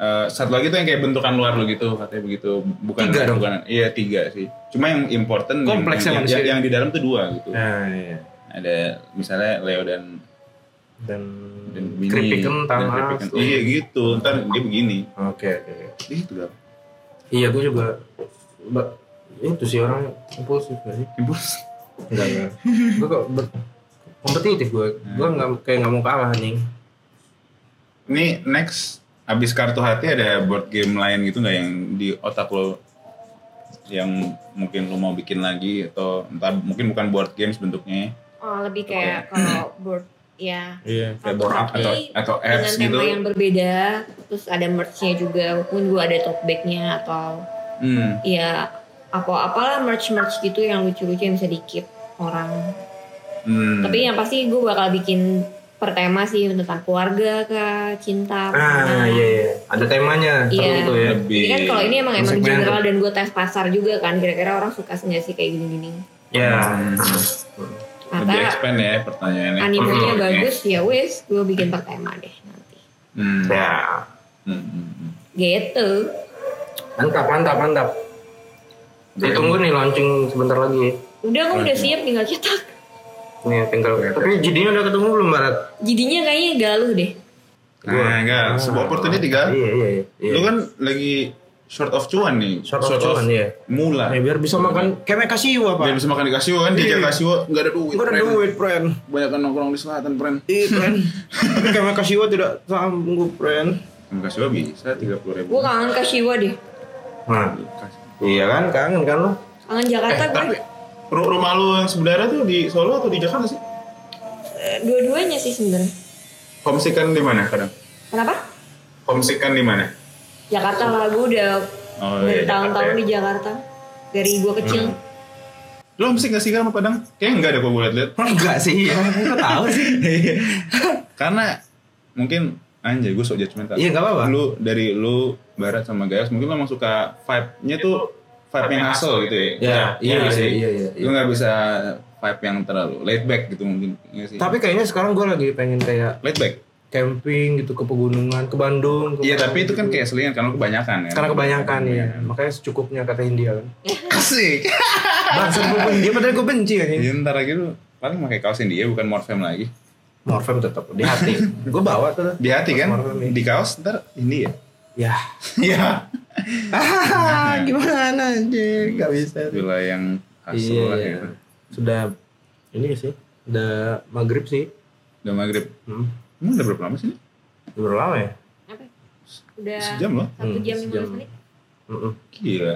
Speaker 3: eh, satu lagi tuh yang kayak bentukan luar lo gitu katanya begitu bukan
Speaker 4: Tiga dong?
Speaker 3: bukan iya tiga sih cuma yang important yang-
Speaker 4: Kompleksnya
Speaker 3: yang,
Speaker 4: manusia.
Speaker 3: yang, yang di dalam tuh dua gitu
Speaker 4: nah iya
Speaker 3: ada misalnya Leo dan
Speaker 4: dan
Speaker 3: dan Winnie
Speaker 5: Keripik kentang,
Speaker 3: dan keripik
Speaker 5: mas.
Speaker 3: kentang. iya gitu ntar dia begini
Speaker 4: oke oke oke.
Speaker 3: itu gak
Speaker 4: iya gue juga ba- itu sih orang impulsif gak sih
Speaker 3: impulsif
Speaker 4: Enggak, enggak. gue kok ber- kompetitif gue. Gue enggak kayak enggak mau kalah nih.
Speaker 3: ini next abis kartu hati ada board game lain gitu nggak yang di otak lo yang mungkin lo mau bikin lagi atau entar mungkin bukan board games bentuknya
Speaker 1: oh, lebih kayak kalau board ya
Speaker 4: Iya.
Speaker 3: kayak board up atau
Speaker 1: Tapi
Speaker 3: atau
Speaker 1: dengan
Speaker 3: apps
Speaker 1: tema
Speaker 3: gitu
Speaker 1: yang berbeda terus ada merchnya juga walaupun gue ada tote bagnya atau
Speaker 3: hmm.
Speaker 1: ya apa apalah merch merch gitu yang lucu-lucu yang bisa dikip orang
Speaker 3: Hmm.
Speaker 1: Tapi ya, yang pasti gue bakal bikin per tema sih tentang keluarga kah, cinta.
Speaker 4: Ah,
Speaker 1: pertemanan.
Speaker 4: iya iya. Ada temanya
Speaker 1: Iya.
Speaker 4: tertentu ya.
Speaker 1: Jadi kan kalau ini emang emang
Speaker 4: Segmen.
Speaker 1: general dan gue tes pasar juga kan kira-kira orang suka nggak sih kayak gini-gini.
Speaker 5: Ya.
Speaker 3: lebih
Speaker 1: Kata
Speaker 3: expand ya pertanyaannya Hmm,
Speaker 1: animenya
Speaker 3: Oke.
Speaker 1: bagus ya wes gue bikin per tema deh nanti.
Speaker 3: hmm.
Speaker 5: Ya.
Speaker 4: Nah.
Speaker 3: Hmm, hmm, hmm.
Speaker 1: Gitu.
Speaker 4: Mantap, mantap, mantap.
Speaker 5: Ditunggu nih launching sebentar lagi.
Speaker 1: Udah gue udah siap tinggal cetak.
Speaker 4: Nih tinggal. Tapi jadinya udah ketemu belum Barat?
Speaker 1: Jadinya kayaknya galuh deh.
Speaker 3: nah enggak sebuah opportunity
Speaker 4: Ya. Ah.
Speaker 3: kan
Speaker 4: Iya, iya, iya.
Speaker 3: Lu kan lagi short of cuan nih.
Speaker 4: Short of cuan, iya.
Speaker 3: Mula.
Speaker 4: Ya, biar bisa makan kemek kasih
Speaker 3: Dia
Speaker 4: apa?
Speaker 3: bisa makan di Casio kan, di Casio nggak ada duit.
Speaker 4: Gue iya. ada
Speaker 3: friend.
Speaker 4: duit, friend.
Speaker 3: Banyak kan nongkrong di selatan, friend.
Speaker 4: Iya, friend. Tapi kemek kasih tidak sanggup, friend.
Speaker 3: Di Casio bisa 30 ribu.
Speaker 1: Gue kangen ke Shiwa deh.
Speaker 4: Nah, iya kan? Kangen kan lo?
Speaker 1: Kangen Jakarta
Speaker 3: Eh, tapi
Speaker 1: gue.
Speaker 3: ru- rumah lu yang sebenarnya tuh di Solo atau di Jakarta sih?
Speaker 1: Eh, Dua-duanya sih sebenarnya.
Speaker 3: Homesick-an kan di mana kadang?
Speaker 1: Kenapa?
Speaker 3: Homesick-an di mana?
Speaker 1: Jakarta lah gue udah
Speaker 3: Oh,
Speaker 1: dari
Speaker 3: iya,
Speaker 1: tahun-tahun
Speaker 3: Jakarta Hmm.
Speaker 1: di Jakarta. Dari gue kecil.
Speaker 3: Lu homesick gak sih kan sama Padang? Kayaknya enggak
Speaker 4: Iya,
Speaker 3: deh kalau gue liat-liat.
Speaker 4: Enggak sih, ya. Kok tahu sih?
Speaker 3: Karena mungkin Anjay, gue sok judgmental.
Speaker 6: Iya, nggak apa-apa.
Speaker 3: Lu dari lu barat sama guys, mungkin lu emang suka vibe-nya tuh vibe yang hustle gitu ya.
Speaker 6: Ya, iya,
Speaker 3: nggak
Speaker 6: iya,
Speaker 3: sih?
Speaker 6: iya, iya, iya.
Speaker 3: Lu nggak bisa vibe yang terlalu laid back gitu mungkin. Iya sih.
Speaker 4: Tapi kayaknya sekarang gue lagi pengen kayak
Speaker 3: laid back.
Speaker 4: camping gitu ke pegunungan, ke Bandung. ke
Speaker 3: Iya,
Speaker 4: mana
Speaker 3: tapi itu kan
Speaker 4: gitu.
Speaker 3: kayak selingan karena kebanyakan ya.
Speaker 4: karena kebanyakan ya, makanya secukupnya kata India kan.
Speaker 3: Asik.
Speaker 4: Bangsat gue benci, padahal gue benci ya.
Speaker 3: Jadi ntar lagi lu paling pakai kaos dia bukan Morfem lagi.
Speaker 4: Morfem tetap di hati. gue bawa tuh.
Speaker 3: Di hati kan,
Speaker 4: Morfem, iya.
Speaker 3: di kaos ntar ini ya.
Speaker 4: Ya.
Speaker 3: Iya.
Speaker 4: Ah, gimana anjir, gak bisa.
Speaker 3: Bila yang hustle
Speaker 4: Iya,
Speaker 3: lah
Speaker 4: iya.
Speaker 3: gitu.
Speaker 4: Sudah ini sih, udah maghrib sih.
Speaker 3: Udah maghrib.
Speaker 4: Hmm.
Speaker 3: Emang udah berapa lama sih? ini?
Speaker 4: Udah Berapa lama ya?
Speaker 1: Apa? Udah
Speaker 3: Sejam loh.
Speaker 1: satu
Speaker 4: Hmm,
Speaker 1: jam lima
Speaker 4: sejam.
Speaker 1: belas menit.
Speaker 4: Mm-mm.
Speaker 3: Gila.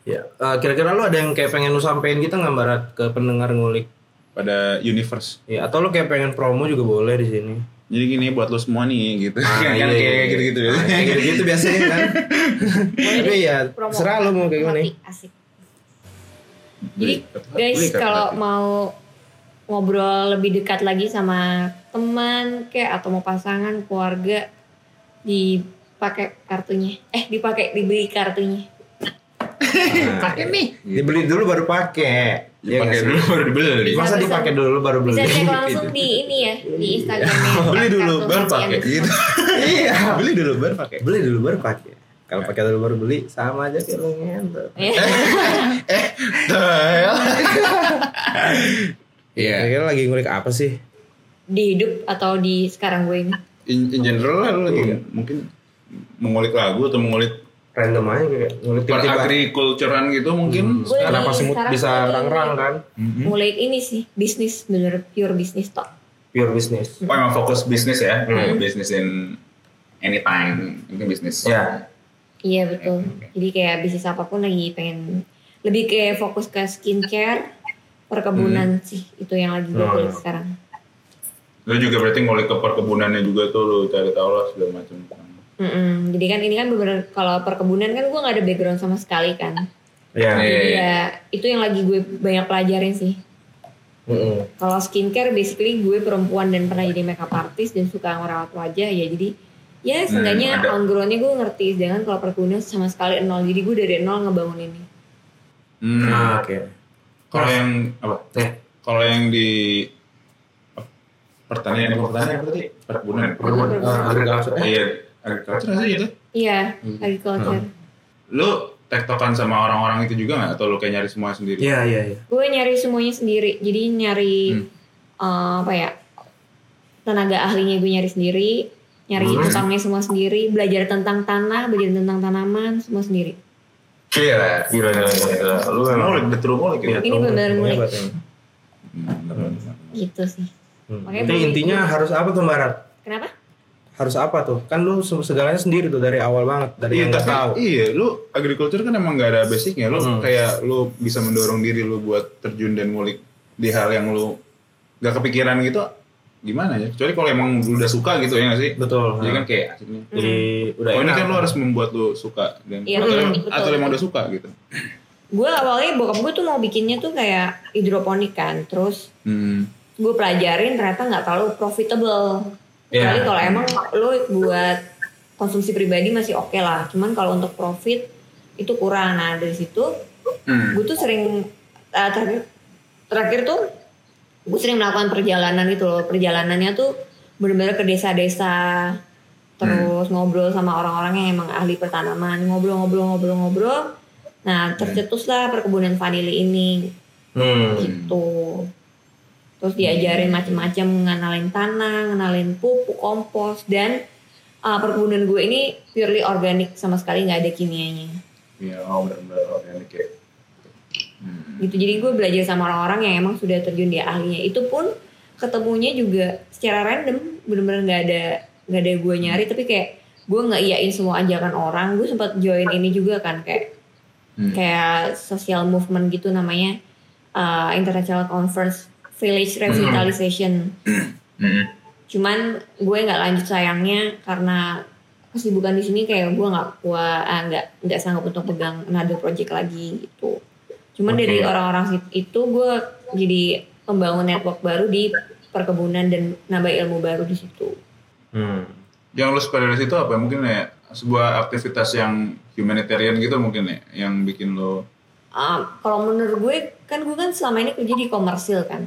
Speaker 4: Ya, eh, kira-kira lu ada yang kayak pengen lu sampein gitu nggak Barat ke pendengar ngulik?
Speaker 3: Pada universe.
Speaker 4: Ya, atau lu kayak pengen promo juga boleh di sini.
Speaker 3: Jadi gini buat lo semua nih gitu.
Speaker 4: Ah,
Speaker 3: kan
Speaker 4: iya,
Speaker 3: kan
Speaker 4: iya,
Speaker 3: kayak
Speaker 4: iya.
Speaker 3: gitu-gitu ya.
Speaker 4: Ah, kayak gitu-gitu biasanya kan. Tapi ya,
Speaker 1: Promo.
Speaker 4: serah lu mau kayak gimana. ya.
Speaker 1: Mati, Asik. Jadi guys kalau mau ngobrol lebih dekat lagi sama teman kayak atau mau pasangan keluarga dipakai kartunya eh dipakai dibeli kartunya pakai nih
Speaker 4: Dibeli dulu baru pakai. Iya
Speaker 3: dipakai
Speaker 4: nggak sih? Iya.
Speaker 3: dulu baru dibeli.
Speaker 4: Masa
Speaker 1: Bisa,
Speaker 4: dipakai dulu baru
Speaker 1: bisa
Speaker 4: beli?
Speaker 1: cek langsung di ini ya di Instagramnya
Speaker 3: Iya. Beli dulu baru pakai gitu.
Speaker 4: Iya.
Speaker 3: Beli dulu baru pakai.
Speaker 4: Beli dulu baru pakai. Kalau pakai dulu baru beli sama aja kayak lu ngentot.
Speaker 1: Ya.
Speaker 3: Iya.
Speaker 4: Kira-kira lagi ngulik apa sih?
Speaker 1: di hidup atau di sekarang gue ini
Speaker 3: In, in general lah lo lagi Hmm, mungkin mengulik lagu atau mengulik
Speaker 4: Random aja kayak ngulik
Speaker 3: per
Speaker 4: tiba-tiba.
Speaker 3: agriculturean gitu mungkin. Hmm.
Speaker 1: Gue lagi
Speaker 4: Kenapa semut
Speaker 1: sekarang
Speaker 4: bisa
Speaker 1: lagi
Speaker 4: rang-rang kan?
Speaker 1: mulai ini sih bisnis bener pure bisnis talk
Speaker 4: Pure business.
Speaker 3: Oh emang fokus bisnis ya,
Speaker 4: Hmm.
Speaker 3: bisnis in anytime mungkin bisnis.
Speaker 4: Ya.
Speaker 1: Iya betul. Jadi kayak bisnis apapun lagi pengen lebih kayak fokus ke skincare,
Speaker 3: Hmm.
Speaker 1: perkebunan sih itu yang lagi gue
Speaker 3: Oh.
Speaker 4: Hmm.
Speaker 1: kulik sekarang.
Speaker 3: Lo juga berarti ngulik ke perkebunannya juga tuh lo cari tahu lah segala macam.
Speaker 4: Hmm.
Speaker 1: Mm-mm. Jadi kan ini kan bener kalau perkebunan kan gue nggak ada background sama sekali kan.
Speaker 4: Ya.
Speaker 1: Jadi
Speaker 3: Iya.
Speaker 1: ya itu yang lagi gue banyak pelajarin sih.
Speaker 4: Mm-mm.
Speaker 1: Kalau skincare basically gue perempuan dan pernah jadi makeup artist dan suka ngerawat wajah ya jadi ya seenggaknya
Speaker 3: Hmm, ada.
Speaker 1: on ground-nya gue ngerti jangan kalau perkebunan sama sekali nol jadi gue dari nol ngebangun ini.
Speaker 3: Hmm.
Speaker 4: Ah, Oke.
Speaker 3: Kalau yang apa?
Speaker 4: Eh,
Speaker 3: Kalau yang di pertanian pertanian apa tadi? Perkebunan.
Speaker 4: perkebunan. Ah, agriculture. Eh,
Speaker 3: Iya, agriculture sih itu.
Speaker 1: Iya
Speaker 3: Hmm.
Speaker 1: agriculture.
Speaker 3: Lu tektokan sama orang-orang itu juga nggak? Atau lu kayak nyari semua sendiri?
Speaker 4: Iya, iya, iya.
Speaker 1: gue nyari semuanya sendiri jadi nyari eh, apa ya tenaga ahlinya gue nyari sendiri nyari
Speaker 4: Hmm.
Speaker 1: tukangnya semua sendiri belajar tentang tanah belajar tentang tanaman semua sendiri
Speaker 4: Iya,
Speaker 3: Gila, gila, gila, gila. Lu
Speaker 4: memang-
Speaker 3: ngulik, betul ngulik ya? Hmm.
Speaker 4: Iya,
Speaker 1: Ini
Speaker 4: tolong
Speaker 1: beneran
Speaker 4: ngomongnya
Speaker 1: ngulik.
Speaker 4: buat ini.
Speaker 1: gitu sih
Speaker 4: Hmm.
Speaker 1: Makanya
Speaker 4: Tapi
Speaker 1: beli-
Speaker 4: intinya harus apa tuh Barat?
Speaker 1: kenapa
Speaker 4: Harus apa tuh? Kan lu se- segalanya sendiri tuh dari awal banget, dari
Speaker 3: Iya,
Speaker 4: yang nggak
Speaker 3: tapi
Speaker 4: tahu.
Speaker 3: iya, lu agriculture kan emang gak ada basicnya. Lu
Speaker 4: Hmm.
Speaker 3: kayak lu bisa mendorong diri lu buat terjun dan ngulik di hal yang lu gak kepikiran gitu gimana ya? Kecuali kalau emang lu udah suka gitu ya nggak sih?
Speaker 4: Betul.
Speaker 3: Jadi kan kayak asik
Speaker 5: Hmm.
Speaker 3: nih.
Speaker 4: Jadi
Speaker 1: Hmm.
Speaker 4: udah
Speaker 3: Oh ini
Speaker 4: enak.
Speaker 3: kan lu harus membuat lu suka dan
Speaker 1: Iya,
Speaker 3: atau, emang,
Speaker 1: betul.
Speaker 3: atau emang udah suka gitu.
Speaker 1: gue awalnya bokap gue tuh mau bikinnya tuh kayak hidroponik kan terus
Speaker 3: Hmm.
Speaker 1: gue pelajarin ternyata nggak terlalu profitable
Speaker 4: Iya.
Speaker 1: Kecuali kalau emang lo buat konsumsi pribadi masih oke lah cuman kalau untuk profit itu kurang nah dari situ
Speaker 3: Hmm.
Speaker 1: gue tuh sering eh, terakhir terakhir tuh gue sering melakukan perjalanan gitu loh perjalanannya tuh bener-bener ke desa-desa terus ngobrol sama orang-orang yang emang ahli pertanaman ngobrol-ngobrol-ngobrol-ngobrol nah tercetuslah perkebunan vanili ini
Speaker 4: Hmm.
Speaker 1: gitu terus diajarin macem-macem ngenalin tanah ngenalin pupuk kompos dan eh, perkebunan gue ini purely organik sama sekali nggak ada kimianya
Speaker 3: Iya, oh benar-benar organik ya. Hmm.
Speaker 1: gitu jadi gue belajar sama orang-orang yang emang sudah terjun di ahlinya itu pun ketemunya juga secara random bener-bener nggak ada nggak ada gue nyari tapi kayak gue nggak iyain semua ajakan orang gue sempat join ini juga kan kayak
Speaker 3: Hmm.
Speaker 1: kayak social movement gitu namanya uh, international conference village revitalization
Speaker 3: Hmm.
Speaker 1: cuman gue nggak lanjut sayangnya karena kesibukan di sini kayak gue nggak kuat ah, nggak nggak sanggup untuk pegang another project lagi gitu cuman dari orang-orang sit- itu gue jadi pembangun network baru di perkebunan dan nambah ilmu baru di situ
Speaker 4: Hmm.
Speaker 3: Jadi yang lu suka dari situ apa mungkin ya sebuah aktivitas yang humanitarian gitu mungkin ya yang bikin lo
Speaker 1: Ah, kalau menurut gue kan gue kan selama ini kerja di komersil kan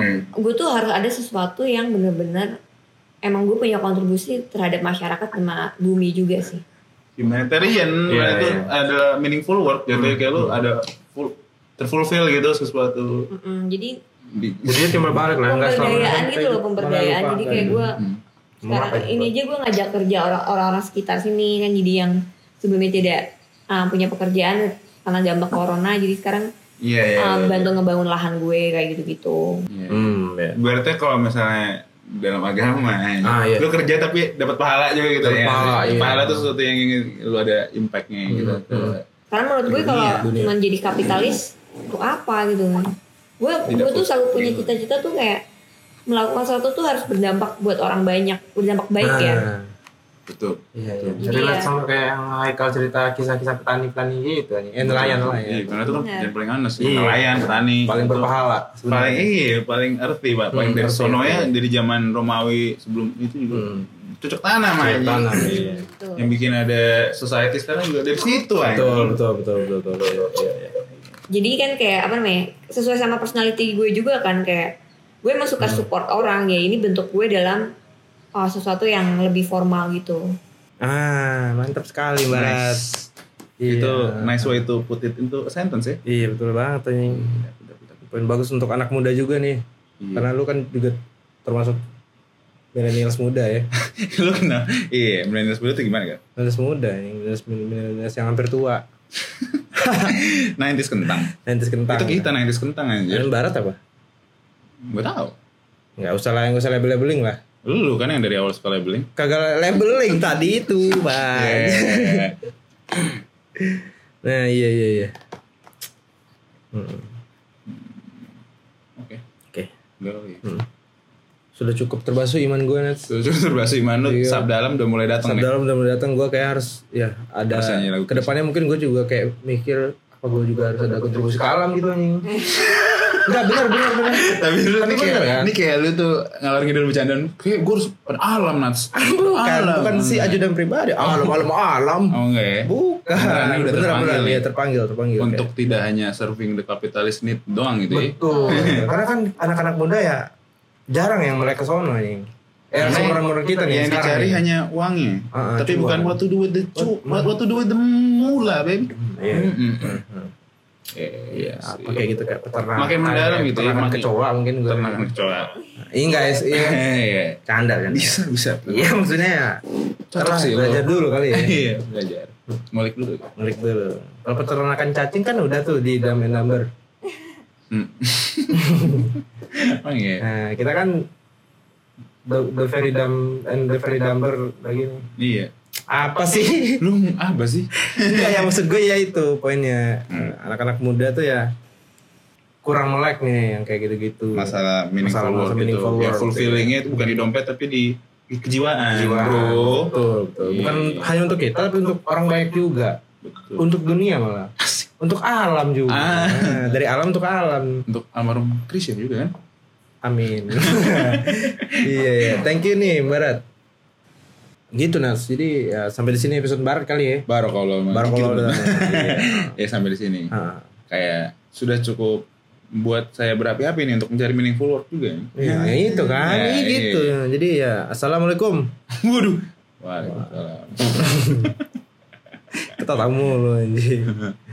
Speaker 3: hmm.
Speaker 1: gue tuh harus ada sesuatu yang bener-bener emang gue punya kontribusi terhadap masyarakat sama bumi juga sih
Speaker 3: humanitarian
Speaker 5: Iya,
Speaker 3: itu
Speaker 5: iya.
Speaker 3: ada meaningful work gitu kayak lu ada full, terfulfill gitu sesuatu
Speaker 1: Mm-mm, jadi
Speaker 3: di, iya,
Speaker 5: Jadi ya timbal balik
Speaker 3: Nah,
Speaker 5: lah, nggak selama
Speaker 1: pemberdayaan
Speaker 5: ini
Speaker 1: gitu loh pemberdayaan
Speaker 5: malah
Speaker 1: jadi
Speaker 5: lupakan.
Speaker 1: kayak gue
Speaker 3: Hmm.
Speaker 1: sekarang
Speaker 5: Murah,
Speaker 1: ini aja gue ngajak kerja orang- orang-orang sekitar sini kan jadi yang sebelumnya tidak ah, punya pekerjaan karena dampak corona jadi sekarang
Speaker 3: iya iya,
Speaker 1: ah,
Speaker 3: iya.
Speaker 1: bantu ngebangun lahan gue kayak gitu-gitu
Speaker 5: Hmm, ya.
Speaker 3: berarti kalau misalnya dalam agama
Speaker 5: Ah, iya.
Speaker 3: lu kerja tapi dapat pahala juga gitu
Speaker 5: Dapat
Speaker 3: ya
Speaker 5: pahala, iya. Hmm,
Speaker 3: tuh sesuatu yang ingin lu ada impactnya gitu
Speaker 1: Karena menurut gue kalau cuma jadi kapitalis untuk apa gitu kan. Gue
Speaker 3: Tidak iya.
Speaker 1: gue tuh selalu
Speaker 3: produktif.
Speaker 1: punya cita-cita tuh kayak melakukan sesuatu tuh harus berdampak buat orang banyak, berdampak baik ya.
Speaker 5: Nah,
Speaker 3: betul
Speaker 5: Iya, iya.
Speaker 1: Jadi
Speaker 5: Relate
Speaker 1: ya.
Speaker 5: sama kayak yang Haikal cerita kisah-kisah petani-petani gitu anjing. Eh, nelayan lah
Speaker 3: Iya,
Speaker 5: ya.
Speaker 3: karena itu kan
Speaker 1: Benar.
Speaker 3: yang paling honest sih.
Speaker 5: Iya.
Speaker 3: Nelayan, petani.
Speaker 5: Paling
Speaker 3: Itu
Speaker 5: berpahala.
Speaker 3: Paling
Speaker 5: sebenarnya.
Speaker 3: iya, paling arti pak. Paling
Speaker 5: Hmm,
Speaker 3: dari
Speaker 5: arti,
Speaker 3: sononya
Speaker 5: arti.
Speaker 3: dari zaman Romawi sebelum itu juga
Speaker 5: Hmm.
Speaker 3: cocok tanam aja.
Speaker 5: Cocok tanam, iya.
Speaker 1: Gitu.
Speaker 3: Yang bikin ada society sekarang juga dari situ aja.
Speaker 5: Betul, betul, betul, betul, betul, betul, iya, iya.
Speaker 1: Jadi kan kayak apa namanya? Sesuai sama personality gue juga kan kayak gue emang suka support orang ya ini bentuk gue dalam uh, sesuatu yang lebih formal gitu.
Speaker 4: Ah, mantap sekali Barat.
Speaker 3: Itu
Speaker 4: Iya.
Speaker 3: nice way to put it into a sentence ya.
Speaker 4: Iya betul banget anjing. Poin bagus untuk anak muda juga nih.
Speaker 3: Iya.
Speaker 4: Karena lu kan juga termasuk millennials muda ya.
Speaker 3: Lu kenal? Iya, millennials muda itu gimana kan?
Speaker 4: Millennials muda, yang millennials, millennials yang hampir tua.
Speaker 3: 90s kentang.
Speaker 4: Nanti kentang. ya?
Speaker 3: Itu kita 90s kentang anjir.
Speaker 4: Dan Barat apa?
Speaker 3: Gue tahu.
Speaker 4: Nggak usah lah, nggak usah label-labeling lah.
Speaker 3: Lu kan yang dari awal suka labeling.
Speaker 4: Kagak labeling tadi itu, Pak.
Speaker 3: Eh,
Speaker 4: Nah, iya iya iya. Hmm,
Speaker 3: Oke.
Speaker 4: Oke.
Speaker 3: Enggak lagi.
Speaker 4: Sudah cukup terbasuh iman gue net.
Speaker 3: Jujur berbahasa iman lu,
Speaker 4: Iya.
Speaker 3: sab dalam udah mulai datang
Speaker 4: Sabda
Speaker 3: nih.
Speaker 4: dalam udah mulai datang gue kayak harus ya ada
Speaker 3: ya? Harus nyanyi lagu
Speaker 4: kedepannya mungkin gue juga kayak mikir apa gue juga harus ada kontribusi ke alam gitu anjing. Enggak benar benar benar.
Speaker 3: Tapi lu ya?
Speaker 4: Tapi
Speaker 3: nih kayak,
Speaker 4: bener kan?
Speaker 3: nih kayak lu tuh ngalor ngidul bercandaan. Kayak gue harus pen alam Nats.
Speaker 4: Ah, Bukan
Speaker 3: Alam.
Speaker 4: bukan si ajudan pribadi. Alam alam alam.
Speaker 3: Oh enggak ya?
Speaker 4: Bukan.
Speaker 3: Beneran, ini udah
Speaker 4: Bener bener ya
Speaker 3: terpanggil nih.
Speaker 4: terpanggil terpanggil.
Speaker 3: Untuk tidak hanya serving the capitalist need doang gitu ya.
Speaker 5: Betul. Karena kan anak-anak muda ya jarang yang melek ke sono anjing. Eh,
Speaker 3: Karena
Speaker 5: semua orang-orang kita nih
Speaker 3: Iya. yang
Speaker 5: sekarang
Speaker 3: dicari
Speaker 5: nih.
Speaker 3: hanya uangnya.
Speaker 4: ya. Ah, ah,
Speaker 3: Tapi
Speaker 4: cuan.
Speaker 3: bukan what to do with the cu, what, what to do with the mula, baby.
Speaker 5: Iya.
Speaker 3: Mm-mm. Iya. sih.
Speaker 4: apa kayak gitu kayak peternakan.
Speaker 3: Makin mendalam
Speaker 4: kayak
Speaker 3: gitu ya,
Speaker 4: peternakan
Speaker 3: makin-
Speaker 4: kecoa mungkin gue.
Speaker 3: Ternak mencoba.
Speaker 4: Iya guys, iya.
Speaker 3: Iya.
Speaker 4: Canda kan.
Speaker 3: Bisa bisa.
Speaker 4: Iya maksudnya ya.
Speaker 3: Cocok sih lu.
Speaker 4: Belajar dulu kali ya.
Speaker 3: Iya, belajar. Ngulik dulu.
Speaker 4: Ngelik dulu. Kalau peternakan cacing kan udah tuh di dalam number.
Speaker 3: Hmm. Oh iya.
Speaker 4: Nah, kita kan the, the very dumb and the very dumber lagi nih.
Speaker 3: Iya.
Speaker 4: Apa sih?
Speaker 3: Lu apa sih?
Speaker 4: Enggak, yang maksud gue ya itu poinnya.
Speaker 3: Hmm.
Speaker 4: Anak-anak muda tuh ya kurang melek nih yang kayak gitu-gitu.
Speaker 3: masalah meaningful
Speaker 4: Masalah-
Speaker 3: work
Speaker 4: masalah
Speaker 3: gitu.
Speaker 4: meaningful
Speaker 3: ya
Speaker 4: work,
Speaker 3: fulfillingnya itu bukan di dompet tapi di, di kejiwaan,
Speaker 4: Jiwa.
Speaker 3: bro.
Speaker 4: Nah, Betul, betul. Bukan
Speaker 3: Iya.
Speaker 4: hanya untuk kita tapi untuk orang banyak juga.
Speaker 3: Betul.
Speaker 4: Untuk dunia malah. Untuk alam juga.
Speaker 3: Ah.
Speaker 4: Nah, dari alam untuk alam.
Speaker 3: Untuk almarhum Christian juga kan.
Speaker 4: Amin. iya ya. Thank you nih Barat. Gitu Nas. Jadi ya, sampai di sini episode Barat kali ya.
Speaker 3: Baru kalau
Speaker 4: Barat kalau udah. Iya.
Speaker 3: ya sampai di sini.
Speaker 4: Ah,
Speaker 3: Kayak sudah cukup buat saya berapi-api nih untuk mencari meaningful work juga.
Speaker 4: Iya, ya itu kan.
Speaker 3: Ya,
Speaker 4: Iya, gitu. Jadi ya assalamualaikum.
Speaker 3: Waduh. Waalaikumsalam.
Speaker 4: Kita tamu lu anjing.